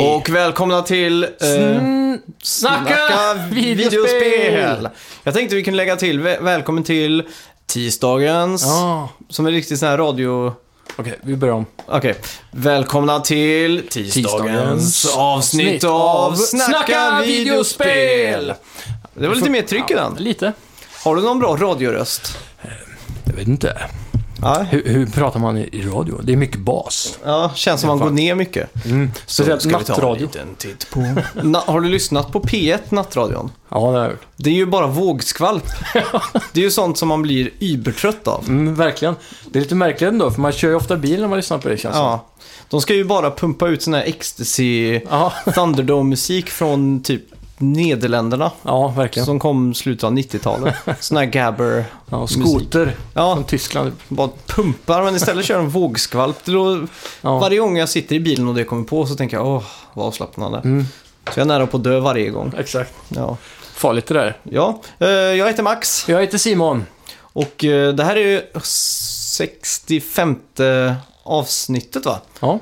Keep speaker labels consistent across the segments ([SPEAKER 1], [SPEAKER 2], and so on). [SPEAKER 1] Och välkomna till eh, Snacka, videospel! Jag tänkte vi kunde lägga till vä- välkommen till tisdagens,
[SPEAKER 2] Ja,
[SPEAKER 1] som är riktigt sån här radio...
[SPEAKER 2] okej, vi börjar om.
[SPEAKER 1] Okej. Välkomna till tisdagens,
[SPEAKER 2] Tisdagens
[SPEAKER 1] avsnitt,
[SPEAKER 2] avsnitt
[SPEAKER 1] av
[SPEAKER 2] av
[SPEAKER 1] Snacka,
[SPEAKER 2] Snacka
[SPEAKER 1] videospel!
[SPEAKER 2] videospel!
[SPEAKER 1] Det var lite mer tryck i den.
[SPEAKER 2] Lite.
[SPEAKER 1] Har du någon bra radioröst?
[SPEAKER 2] Jag vet inte.
[SPEAKER 1] Nej.
[SPEAKER 2] Hur, hur pratar man i, i radio? Det är mycket bas.
[SPEAKER 1] Ja, känns som man går ner mycket.
[SPEAKER 2] Mm. Speciellt nattradio.
[SPEAKER 1] liten titt på... Na- har du lyssnat på P1 Nattradion?
[SPEAKER 2] Ja, det har jag gjort.
[SPEAKER 1] Det är ju bara vågskvalp. det är ju sånt som man blir übertrött av.
[SPEAKER 2] Mm, verkligen. Det är lite märkligt ändå, för man kör ju ofta bil när man lyssnar på det känns
[SPEAKER 1] Ja. De ska ju bara pumpa ut sån här ecstasy
[SPEAKER 2] det. Ja,
[SPEAKER 1] Thunderdome-musik från typ Nederländerna.
[SPEAKER 2] ja verkligen.
[SPEAKER 1] Som kom slutet av 90-talet. Sån här gabber.
[SPEAKER 2] Ja, och skoter
[SPEAKER 1] Ja,
[SPEAKER 2] från Tyskland.
[SPEAKER 1] bara pumpar men istället kör de vågskvalp. Det lå-
[SPEAKER 2] Ja.
[SPEAKER 1] Varje gång jag sitter i bilen och det kommer på så tänker jag åh, vad avslappnande.
[SPEAKER 2] Mm.
[SPEAKER 1] Så jag är nära på att dö varje gång.
[SPEAKER 2] Exakt.
[SPEAKER 1] Ja.
[SPEAKER 2] Farligt det där.
[SPEAKER 1] Ja, eh, jag heter Max
[SPEAKER 2] Jag heter Simon.
[SPEAKER 1] och eh, det här är ju 65 avsnittet va?
[SPEAKER 2] Ja,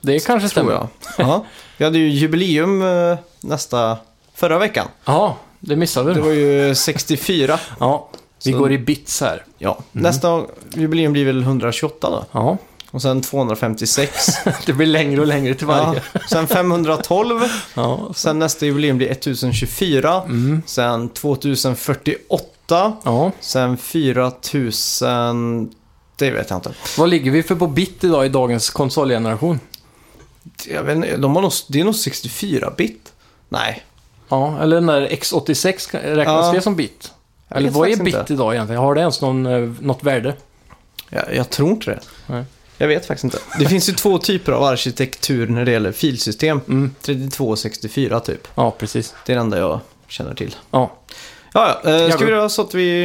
[SPEAKER 2] det kanske
[SPEAKER 1] Tror
[SPEAKER 2] stämmer.
[SPEAKER 1] jag. Ja. Vi hade ju jubileum eh, nästa förra veckan.
[SPEAKER 2] Ja, det missade
[SPEAKER 1] Det
[SPEAKER 2] du.
[SPEAKER 1] var ju 64.
[SPEAKER 2] Ja, vi
[SPEAKER 1] Så-
[SPEAKER 2] går i bits här.
[SPEAKER 1] Ja, Mm. nästa jubileum blir väl 128 då.
[SPEAKER 2] Ja,
[SPEAKER 1] Och sen 256.
[SPEAKER 2] det blir längre och längre till
[SPEAKER 1] ja.
[SPEAKER 2] varje.
[SPEAKER 1] Sen 512.
[SPEAKER 2] Ja,
[SPEAKER 1] Sen nästa jubileum blir 1024.
[SPEAKER 2] mm.
[SPEAKER 1] Sen 2048.
[SPEAKER 2] ja.
[SPEAKER 1] Sen 4000. Det vet jag inte.
[SPEAKER 2] Vad ligger vi för på bit idag i dagens konsolgeneration?
[SPEAKER 1] Jag vet inte, de har nog, det är nog 64-bit. Nej.
[SPEAKER 2] Ja, eller den där X86, kan- räknas
[SPEAKER 1] Ja.
[SPEAKER 2] det som bit?
[SPEAKER 1] jag
[SPEAKER 2] Eller
[SPEAKER 1] vet
[SPEAKER 2] vad är
[SPEAKER 1] faktiskt
[SPEAKER 2] bit
[SPEAKER 1] Inte.
[SPEAKER 2] idag egentligen? Har det ens någon, eh, något värde?
[SPEAKER 1] Jag, jag tror inte det.
[SPEAKER 2] Nej.
[SPEAKER 1] Jag vet faktiskt inte. Det finns ju två typer av arkitektur när det gäller filsystem.
[SPEAKER 2] Mm.
[SPEAKER 1] 32 och 64 typ.
[SPEAKER 2] Ja, precis.
[SPEAKER 1] Det är det enda jag känner till.
[SPEAKER 2] Ja,
[SPEAKER 1] Ja, ja. Eh, ska
[SPEAKER 2] går-
[SPEAKER 1] vi göra så att vi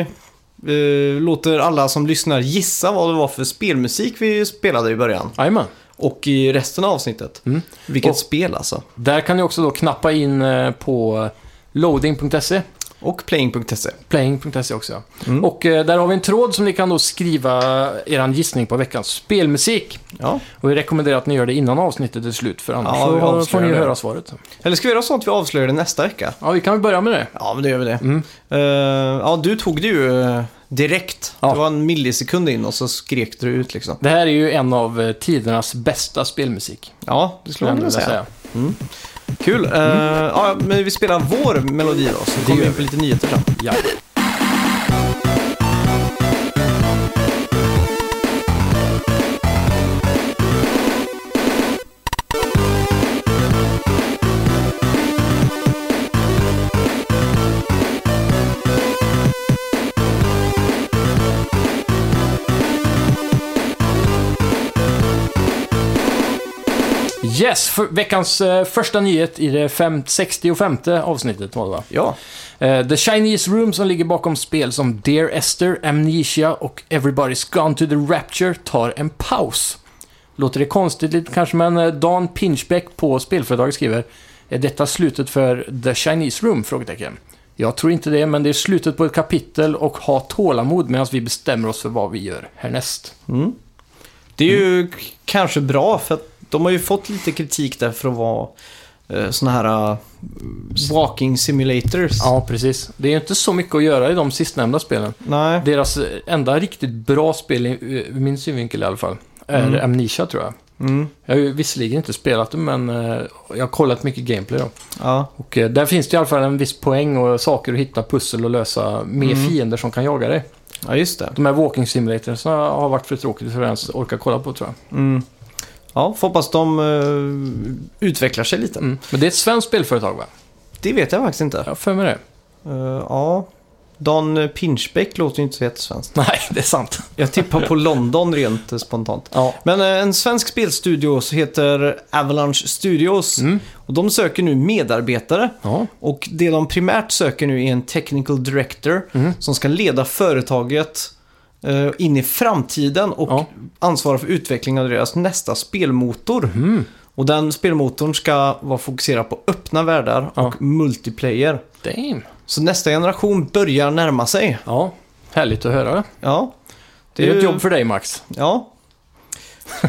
[SPEAKER 1] eh, låter alla som lyssnar gissa vad det var för spelmusik vi spelade i början.
[SPEAKER 2] jajamän.
[SPEAKER 1] Och i resten av avsnittet.
[SPEAKER 2] Mm.
[SPEAKER 1] Vilket
[SPEAKER 2] Och-
[SPEAKER 1] spel alltså.
[SPEAKER 2] Där kan ni också då knappa in eh, på eh, loading.se,
[SPEAKER 1] Och playing.se.
[SPEAKER 2] playing.se också. ja.
[SPEAKER 1] Mm.
[SPEAKER 2] Och eh, där har vi en tråd som ni kan då skriva er gissning på veckans spelmusik.
[SPEAKER 1] Ja.
[SPEAKER 2] Och vi rekommenderar att ni gör det innan avsnittet är slut, för annars
[SPEAKER 1] Ja, vi
[SPEAKER 2] så får
[SPEAKER 1] avslöjar
[SPEAKER 2] ni ju
[SPEAKER 1] det.
[SPEAKER 2] höra svaret.
[SPEAKER 1] Eller ska vi göra så att vi avslöjar det nästa vecka?
[SPEAKER 2] Ja, vi kan väl börja med det.
[SPEAKER 1] Ja, men då gör vi det.
[SPEAKER 2] Mm.
[SPEAKER 1] Eh, ja, du tog det ju eh, direkt.
[SPEAKER 2] Ja.
[SPEAKER 1] Det var en millisekund in och så skrek du ut liksom.
[SPEAKER 2] Det här är ju en av eh, tidernas bästa spelmusik.
[SPEAKER 1] Ja, det skulle
[SPEAKER 2] skulle
[SPEAKER 1] man
[SPEAKER 2] jag
[SPEAKER 1] kunna
[SPEAKER 2] vilja
[SPEAKER 1] säga.
[SPEAKER 2] säga.
[SPEAKER 1] Kul. Eh, ja, men vi spelar vår melodi då, så
[SPEAKER 2] gör
[SPEAKER 1] kommer vi in på lite nyheter fram.
[SPEAKER 2] Ja. Yes, för veckans eh, första nyhet i det fem- 65 avsnittet var det va?
[SPEAKER 1] Ja,
[SPEAKER 2] Eh, The Chinese Room som ligger bakom spel som Dear Esther, Amnesia och Everybody's Gone to the Rapture tar en paus. Låter det konstigt lite kanske, men eh, Dan Pinchbeck på spelföretaget skriver Är detta slutet för The Chinese Room? Frågetecken. Jag tror inte det, men det är slutet på ett kapitel och ha tålamod medan vi bestämmer oss för vad vi gör härnäst.
[SPEAKER 1] Mm. det är
[SPEAKER 2] Mm.
[SPEAKER 1] ju k- kanske bra för att de har ju fått lite kritik där för att vara uh, såna här eh, walking simulators.
[SPEAKER 2] Ja, precis. Det är ju inte så mycket att göra i de sistnämnda spelen.
[SPEAKER 1] Nej.
[SPEAKER 2] Deras eh, enda riktigt bra spel, i- eh, ur min synvinkel i alla fall, är
[SPEAKER 1] Mm.
[SPEAKER 2] Amnesia tror jag.
[SPEAKER 1] Mm.
[SPEAKER 2] Jag har ju visserligen inte spelat det, men eh, jag har kollat mycket gameplay då.
[SPEAKER 1] Ja.
[SPEAKER 2] Och eh, där finns det i alla fall en viss poäng och saker att hitta, pussel och lösa med
[SPEAKER 1] Mm.
[SPEAKER 2] fiender som kan jaga dig.
[SPEAKER 1] ja, just det.
[SPEAKER 2] De här walking simulatorsna har varit för tråkigt för att ens orka kolla på tror jag.
[SPEAKER 1] Mm. Ja, får hoppas de eh, utvecklar sig lite.
[SPEAKER 2] Mm. Men det är ett svenskt spelföretag va?
[SPEAKER 1] Det vet jag faktiskt inte.
[SPEAKER 2] Jag har för mig det.
[SPEAKER 1] Eh, ja. Dan Pinchbeck låter ju inte så jättesvenskt.
[SPEAKER 2] Nej, det är sant.
[SPEAKER 1] Jag tippar på London rent eh, spontant.
[SPEAKER 2] Ja.
[SPEAKER 1] Men eh, en svensk spelstudio så heter Avalanche Studios.
[SPEAKER 2] Mm.
[SPEAKER 1] Och de söker nu medarbetare.
[SPEAKER 2] Ja.
[SPEAKER 1] Och det de primärt söker nu är en technical director
[SPEAKER 2] Mm.
[SPEAKER 1] som ska leda företaget eh, in i framtiden och
[SPEAKER 2] Ja.
[SPEAKER 1] ansvara för utvecklingen av deras nästa spelmotor.
[SPEAKER 2] Mm.
[SPEAKER 1] Och den spelmotorn ska vara fokuserad på öppna världar
[SPEAKER 2] Ja.
[SPEAKER 1] och multiplayer.
[SPEAKER 2] Damn.
[SPEAKER 1] Så nästa generation börjar närma sig.
[SPEAKER 2] Ja, härligt att höra.
[SPEAKER 1] Ja.
[SPEAKER 2] Det är
[SPEAKER 1] ju-
[SPEAKER 2] ett jobb för dig Max.
[SPEAKER 1] Ja.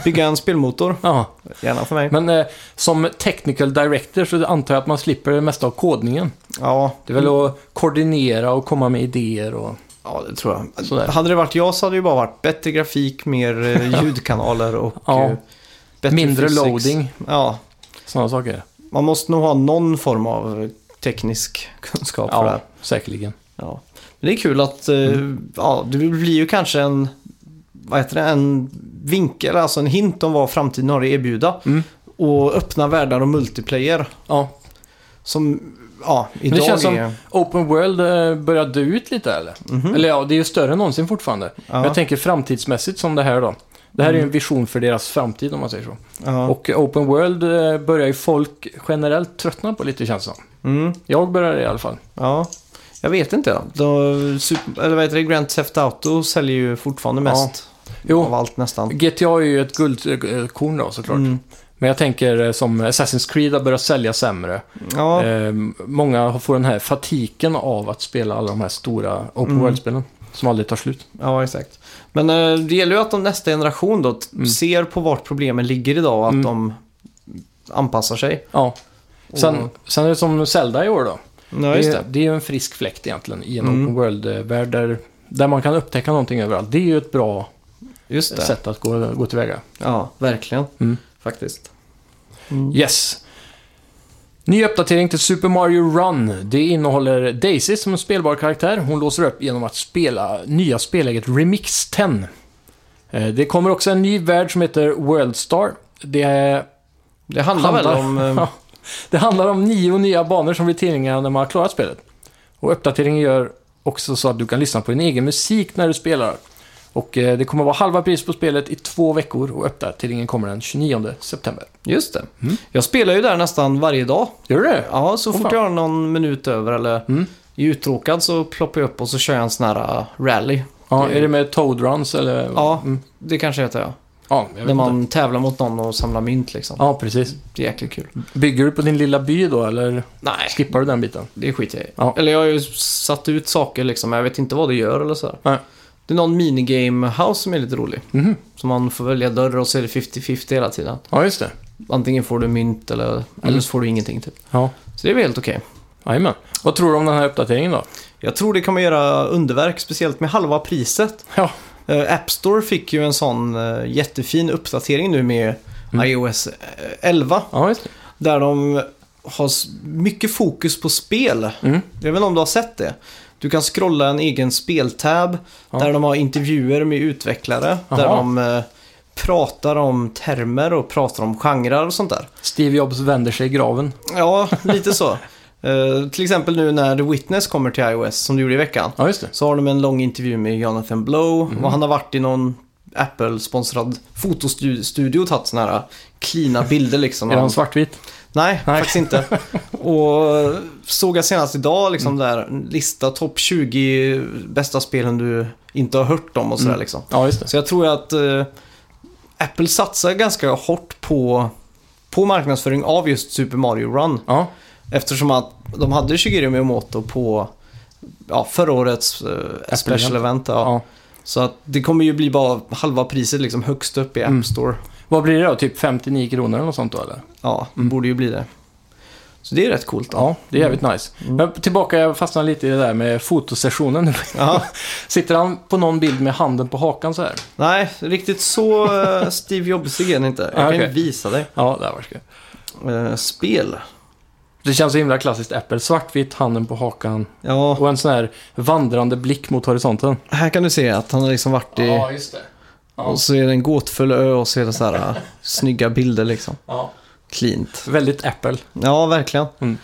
[SPEAKER 1] Bygga en spelmotor,
[SPEAKER 2] Ja.
[SPEAKER 1] gärna för mig.
[SPEAKER 2] Men eh, som technical director så antar jag att man slipper det mesta av kodningen.
[SPEAKER 1] Ja,
[SPEAKER 2] Det är väl att koordinera och komma med idéer och...
[SPEAKER 1] ja, det tror jag.
[SPEAKER 2] Sådär.
[SPEAKER 1] Hade det varit jag så hade det ju bara varit bättre grafik, mer eh, ljudkanaler och
[SPEAKER 2] Ja.
[SPEAKER 1] eh, bättre
[SPEAKER 2] Mindre
[SPEAKER 1] physics.
[SPEAKER 2] loading,
[SPEAKER 1] Ja,
[SPEAKER 2] sådana saker.
[SPEAKER 1] man måste nog ha någon form av teknisk kunskap för det
[SPEAKER 2] Ja,
[SPEAKER 1] här.
[SPEAKER 2] säkerligen.
[SPEAKER 1] Ja. Men det är kul att eh,
[SPEAKER 2] Mm.
[SPEAKER 1] ja, det blir ju kanske en, vad heter det, en vinkel, alltså en hint om vad framtiden har att erbjuda.
[SPEAKER 2] Mm.
[SPEAKER 1] Och öppna världar och multiplayer
[SPEAKER 2] Ja.
[SPEAKER 1] som ja, idag
[SPEAKER 2] känns som-
[SPEAKER 1] är...
[SPEAKER 2] Open World eh, börjar dö ut lite eller?
[SPEAKER 1] Mhm.
[SPEAKER 2] Eller ja, det är ju större än någonsin fortfarande. Men
[SPEAKER 1] Ja, Mm.
[SPEAKER 2] jag tänker framtidsmässigt som det här då. Det här är ju en vision för deras framtid om man säger så.
[SPEAKER 1] ja.
[SPEAKER 2] Och eh, Open World eh, börjar ju folk generellt tröttna på lite känns det som.
[SPEAKER 1] Mm,
[SPEAKER 2] Jag börjar det i alla fall.
[SPEAKER 1] ja. Jag vet inte. De, super, eller vad heter det? Grand Theft Auto säljer ju fortfarande
[SPEAKER 2] Ja.
[SPEAKER 1] mest av
[SPEAKER 2] Jo,
[SPEAKER 1] allt nästan.
[SPEAKER 2] GTA är ju ett guldkorn då såklart.
[SPEAKER 1] Mm.
[SPEAKER 2] Men jag tänker eh, som Assassin's Creed har börjat sälja sämre.
[SPEAKER 1] Ja,
[SPEAKER 2] Eh, många har- får den här fatiken av att spela alla de här stora Open
[SPEAKER 1] Mm.
[SPEAKER 2] World-spelen. Som aldrig tar slut.
[SPEAKER 1] ja, exakt. Men eh, det gäller ju att de nästa generation då t-
[SPEAKER 2] Mm.
[SPEAKER 1] ser på vart problemen ligger idag och att
[SPEAKER 2] Mm.
[SPEAKER 1] de anpassar sig.
[SPEAKER 2] Ja. Sen,
[SPEAKER 1] Och-
[SPEAKER 2] sen är det som Zelda i år då.
[SPEAKER 1] Ja, just det.
[SPEAKER 2] är- det är ju en frisk fläkt egentligen i en
[SPEAKER 1] Mm.
[SPEAKER 2] open world-värld där, där man kan upptäcka någonting överallt. Det är ju ett bra
[SPEAKER 1] Just det.
[SPEAKER 2] sätt att gå, gå tillväga.
[SPEAKER 1] Ja, verkligen.
[SPEAKER 2] Mm.
[SPEAKER 1] Faktiskt.
[SPEAKER 2] Yes. Ny uppdatering till Super Mario Run. Det innehåller Daisy som en spelbar karaktär. Hon låser upp genom att spela nya spelläget Remix 10. Eh, Det kommer också en ny värld som heter Worldstar. Det är
[SPEAKER 1] Det handlar, väl om... eh,
[SPEAKER 2] Ja. det handlar om nio nya banor som blir tillgängliga när man har klarat spelet. Och uppdateringen gör också så att du kan lyssna på din egen musik när du spelar. Och eh, det kommer vara halva pris på spelet i två veckor och uppdateringen kommer den 29 september.
[SPEAKER 1] Just det.
[SPEAKER 2] Mm.
[SPEAKER 1] Jag spelar ju där nästan varje dag.
[SPEAKER 2] Gör du det?
[SPEAKER 1] Ja, så
[SPEAKER 2] Åh,
[SPEAKER 1] fort
[SPEAKER 2] fan.
[SPEAKER 1] jag har någon minut över eller
[SPEAKER 2] Mm.
[SPEAKER 1] är uttråkad så ploppar jag upp och så kör jag en sån här eh, rally.
[SPEAKER 2] Ja, är det med Toad Runs eller?
[SPEAKER 1] Ja,
[SPEAKER 2] Mm.
[SPEAKER 1] det kanske heter jag.
[SPEAKER 2] ja jag
[SPEAKER 1] När
[SPEAKER 2] vet
[SPEAKER 1] man
[SPEAKER 2] inte.
[SPEAKER 1] tävlar mot någon och samlar mynt liksom.
[SPEAKER 2] Ja, Mm. precis.
[SPEAKER 1] Det är jäkligt kul.
[SPEAKER 2] Bygger du på din lilla by då eller
[SPEAKER 1] Nej,
[SPEAKER 2] skippar du den biten?
[SPEAKER 1] det skiter jag i.
[SPEAKER 2] Ja.
[SPEAKER 1] Eller jag har ju satt ut saker liksom, men jag vet inte vad det gör eller sådär.
[SPEAKER 2] Nej.
[SPEAKER 1] Det är någon minigame-house som är lite rolig.
[SPEAKER 2] Mhm.
[SPEAKER 1] Så man får välja dörr och så är det 50-50 hela tiden.
[SPEAKER 2] Ja, just det.
[SPEAKER 1] Antingen får du mynt eller, eller så får du ingenting typ.
[SPEAKER 2] Ja,
[SPEAKER 1] Så det är väl helt okej.
[SPEAKER 2] jajamän. Vad tror du om den här uppdateringen då?
[SPEAKER 1] Jag tror det kommer göra underverk, speciellt med halva priset.
[SPEAKER 2] Ja,
[SPEAKER 1] Eh, App Store fick ju en sån eh, jättefin uppdatering nu med
[SPEAKER 2] Mm.
[SPEAKER 1] iOS eh, 11.
[SPEAKER 2] ja just det.
[SPEAKER 1] Där de har s- mycket fokus på spel.
[SPEAKER 2] Mm.
[SPEAKER 1] Jag vet inte om du har sett det. Du kan scrolla en egen speltab
[SPEAKER 2] Ja.
[SPEAKER 1] där de har intervjuer med utvecklare. Där
[SPEAKER 2] Jaha.
[SPEAKER 1] de eh, pratar om termer och pratar om genrer och sånt där.
[SPEAKER 2] Steve Jobs vänder sig i graven.
[SPEAKER 1] Ja, lite så. Eh, till exempel nu när The Witness kommer till iOS, som du gjorde i veckan.
[SPEAKER 2] Ja, just det.
[SPEAKER 1] Så har de en lång intervju med Jonathan Blow
[SPEAKER 2] Mm.
[SPEAKER 1] och han har varit i någon Apple-sponsrad fotostudio och tagit sådana här cleana bilder liksom.
[SPEAKER 2] Är den svartvit?
[SPEAKER 1] Nej,
[SPEAKER 2] Nej.
[SPEAKER 1] faktiskt inte. Och såg jag senast idag liksom
[SPEAKER 2] Mm.
[SPEAKER 1] där, lista topp 20 bästa spelen du inte har hört om och sådär
[SPEAKER 2] Mm.
[SPEAKER 1] liksom.
[SPEAKER 2] Ja, just det.
[SPEAKER 1] Så jag tror att eh, Apple satsar ganska hårt på, på marknadsföring av just Super Mario Run.
[SPEAKER 2] Ja,
[SPEAKER 1] Eftersom att de hade Shigeru Miyamoto på ja, förra årets eh, special event. Ja.
[SPEAKER 2] ja.
[SPEAKER 1] Så att det kommer ju bli bara halva priset liksom högst upp i
[SPEAKER 2] Mm.
[SPEAKER 1] App Store.
[SPEAKER 2] Vad blir det då? Typ 59 kronor eller något sånt då eller?
[SPEAKER 1] Ja, det borde ju bli det. Så det är rätt coolt. Då.
[SPEAKER 2] Ja, det är
[SPEAKER 1] Mm.
[SPEAKER 2] jävligt nice. Men tillbaka, jag fastnade lite i det där med fotosessionen.
[SPEAKER 1] Ja.
[SPEAKER 2] Sitter han på någon bild med handen på hakan så här?
[SPEAKER 1] Nej, riktigt så eh, Steve Jobsig är den inte. Jag
[SPEAKER 2] Ah,
[SPEAKER 1] kan ju
[SPEAKER 2] okej.
[SPEAKER 1] visa dig.
[SPEAKER 2] Ja, det var skoj.
[SPEAKER 1] Eh, spel.
[SPEAKER 2] Det känns så himla klassiskt Apple. Svartvitt, handen på hakan
[SPEAKER 1] Ja,
[SPEAKER 2] och en sån här vandrande blick mot horisonten.
[SPEAKER 1] här kan du se att han har liksom varit i...
[SPEAKER 2] just det.
[SPEAKER 1] Och så är det en gåtfull ö och så är det så här eh, snygga bilder liksom.
[SPEAKER 2] Ja.
[SPEAKER 1] Cleant.
[SPEAKER 2] Väldigt Apple.
[SPEAKER 1] Ja, verkligen.
[SPEAKER 2] Mm.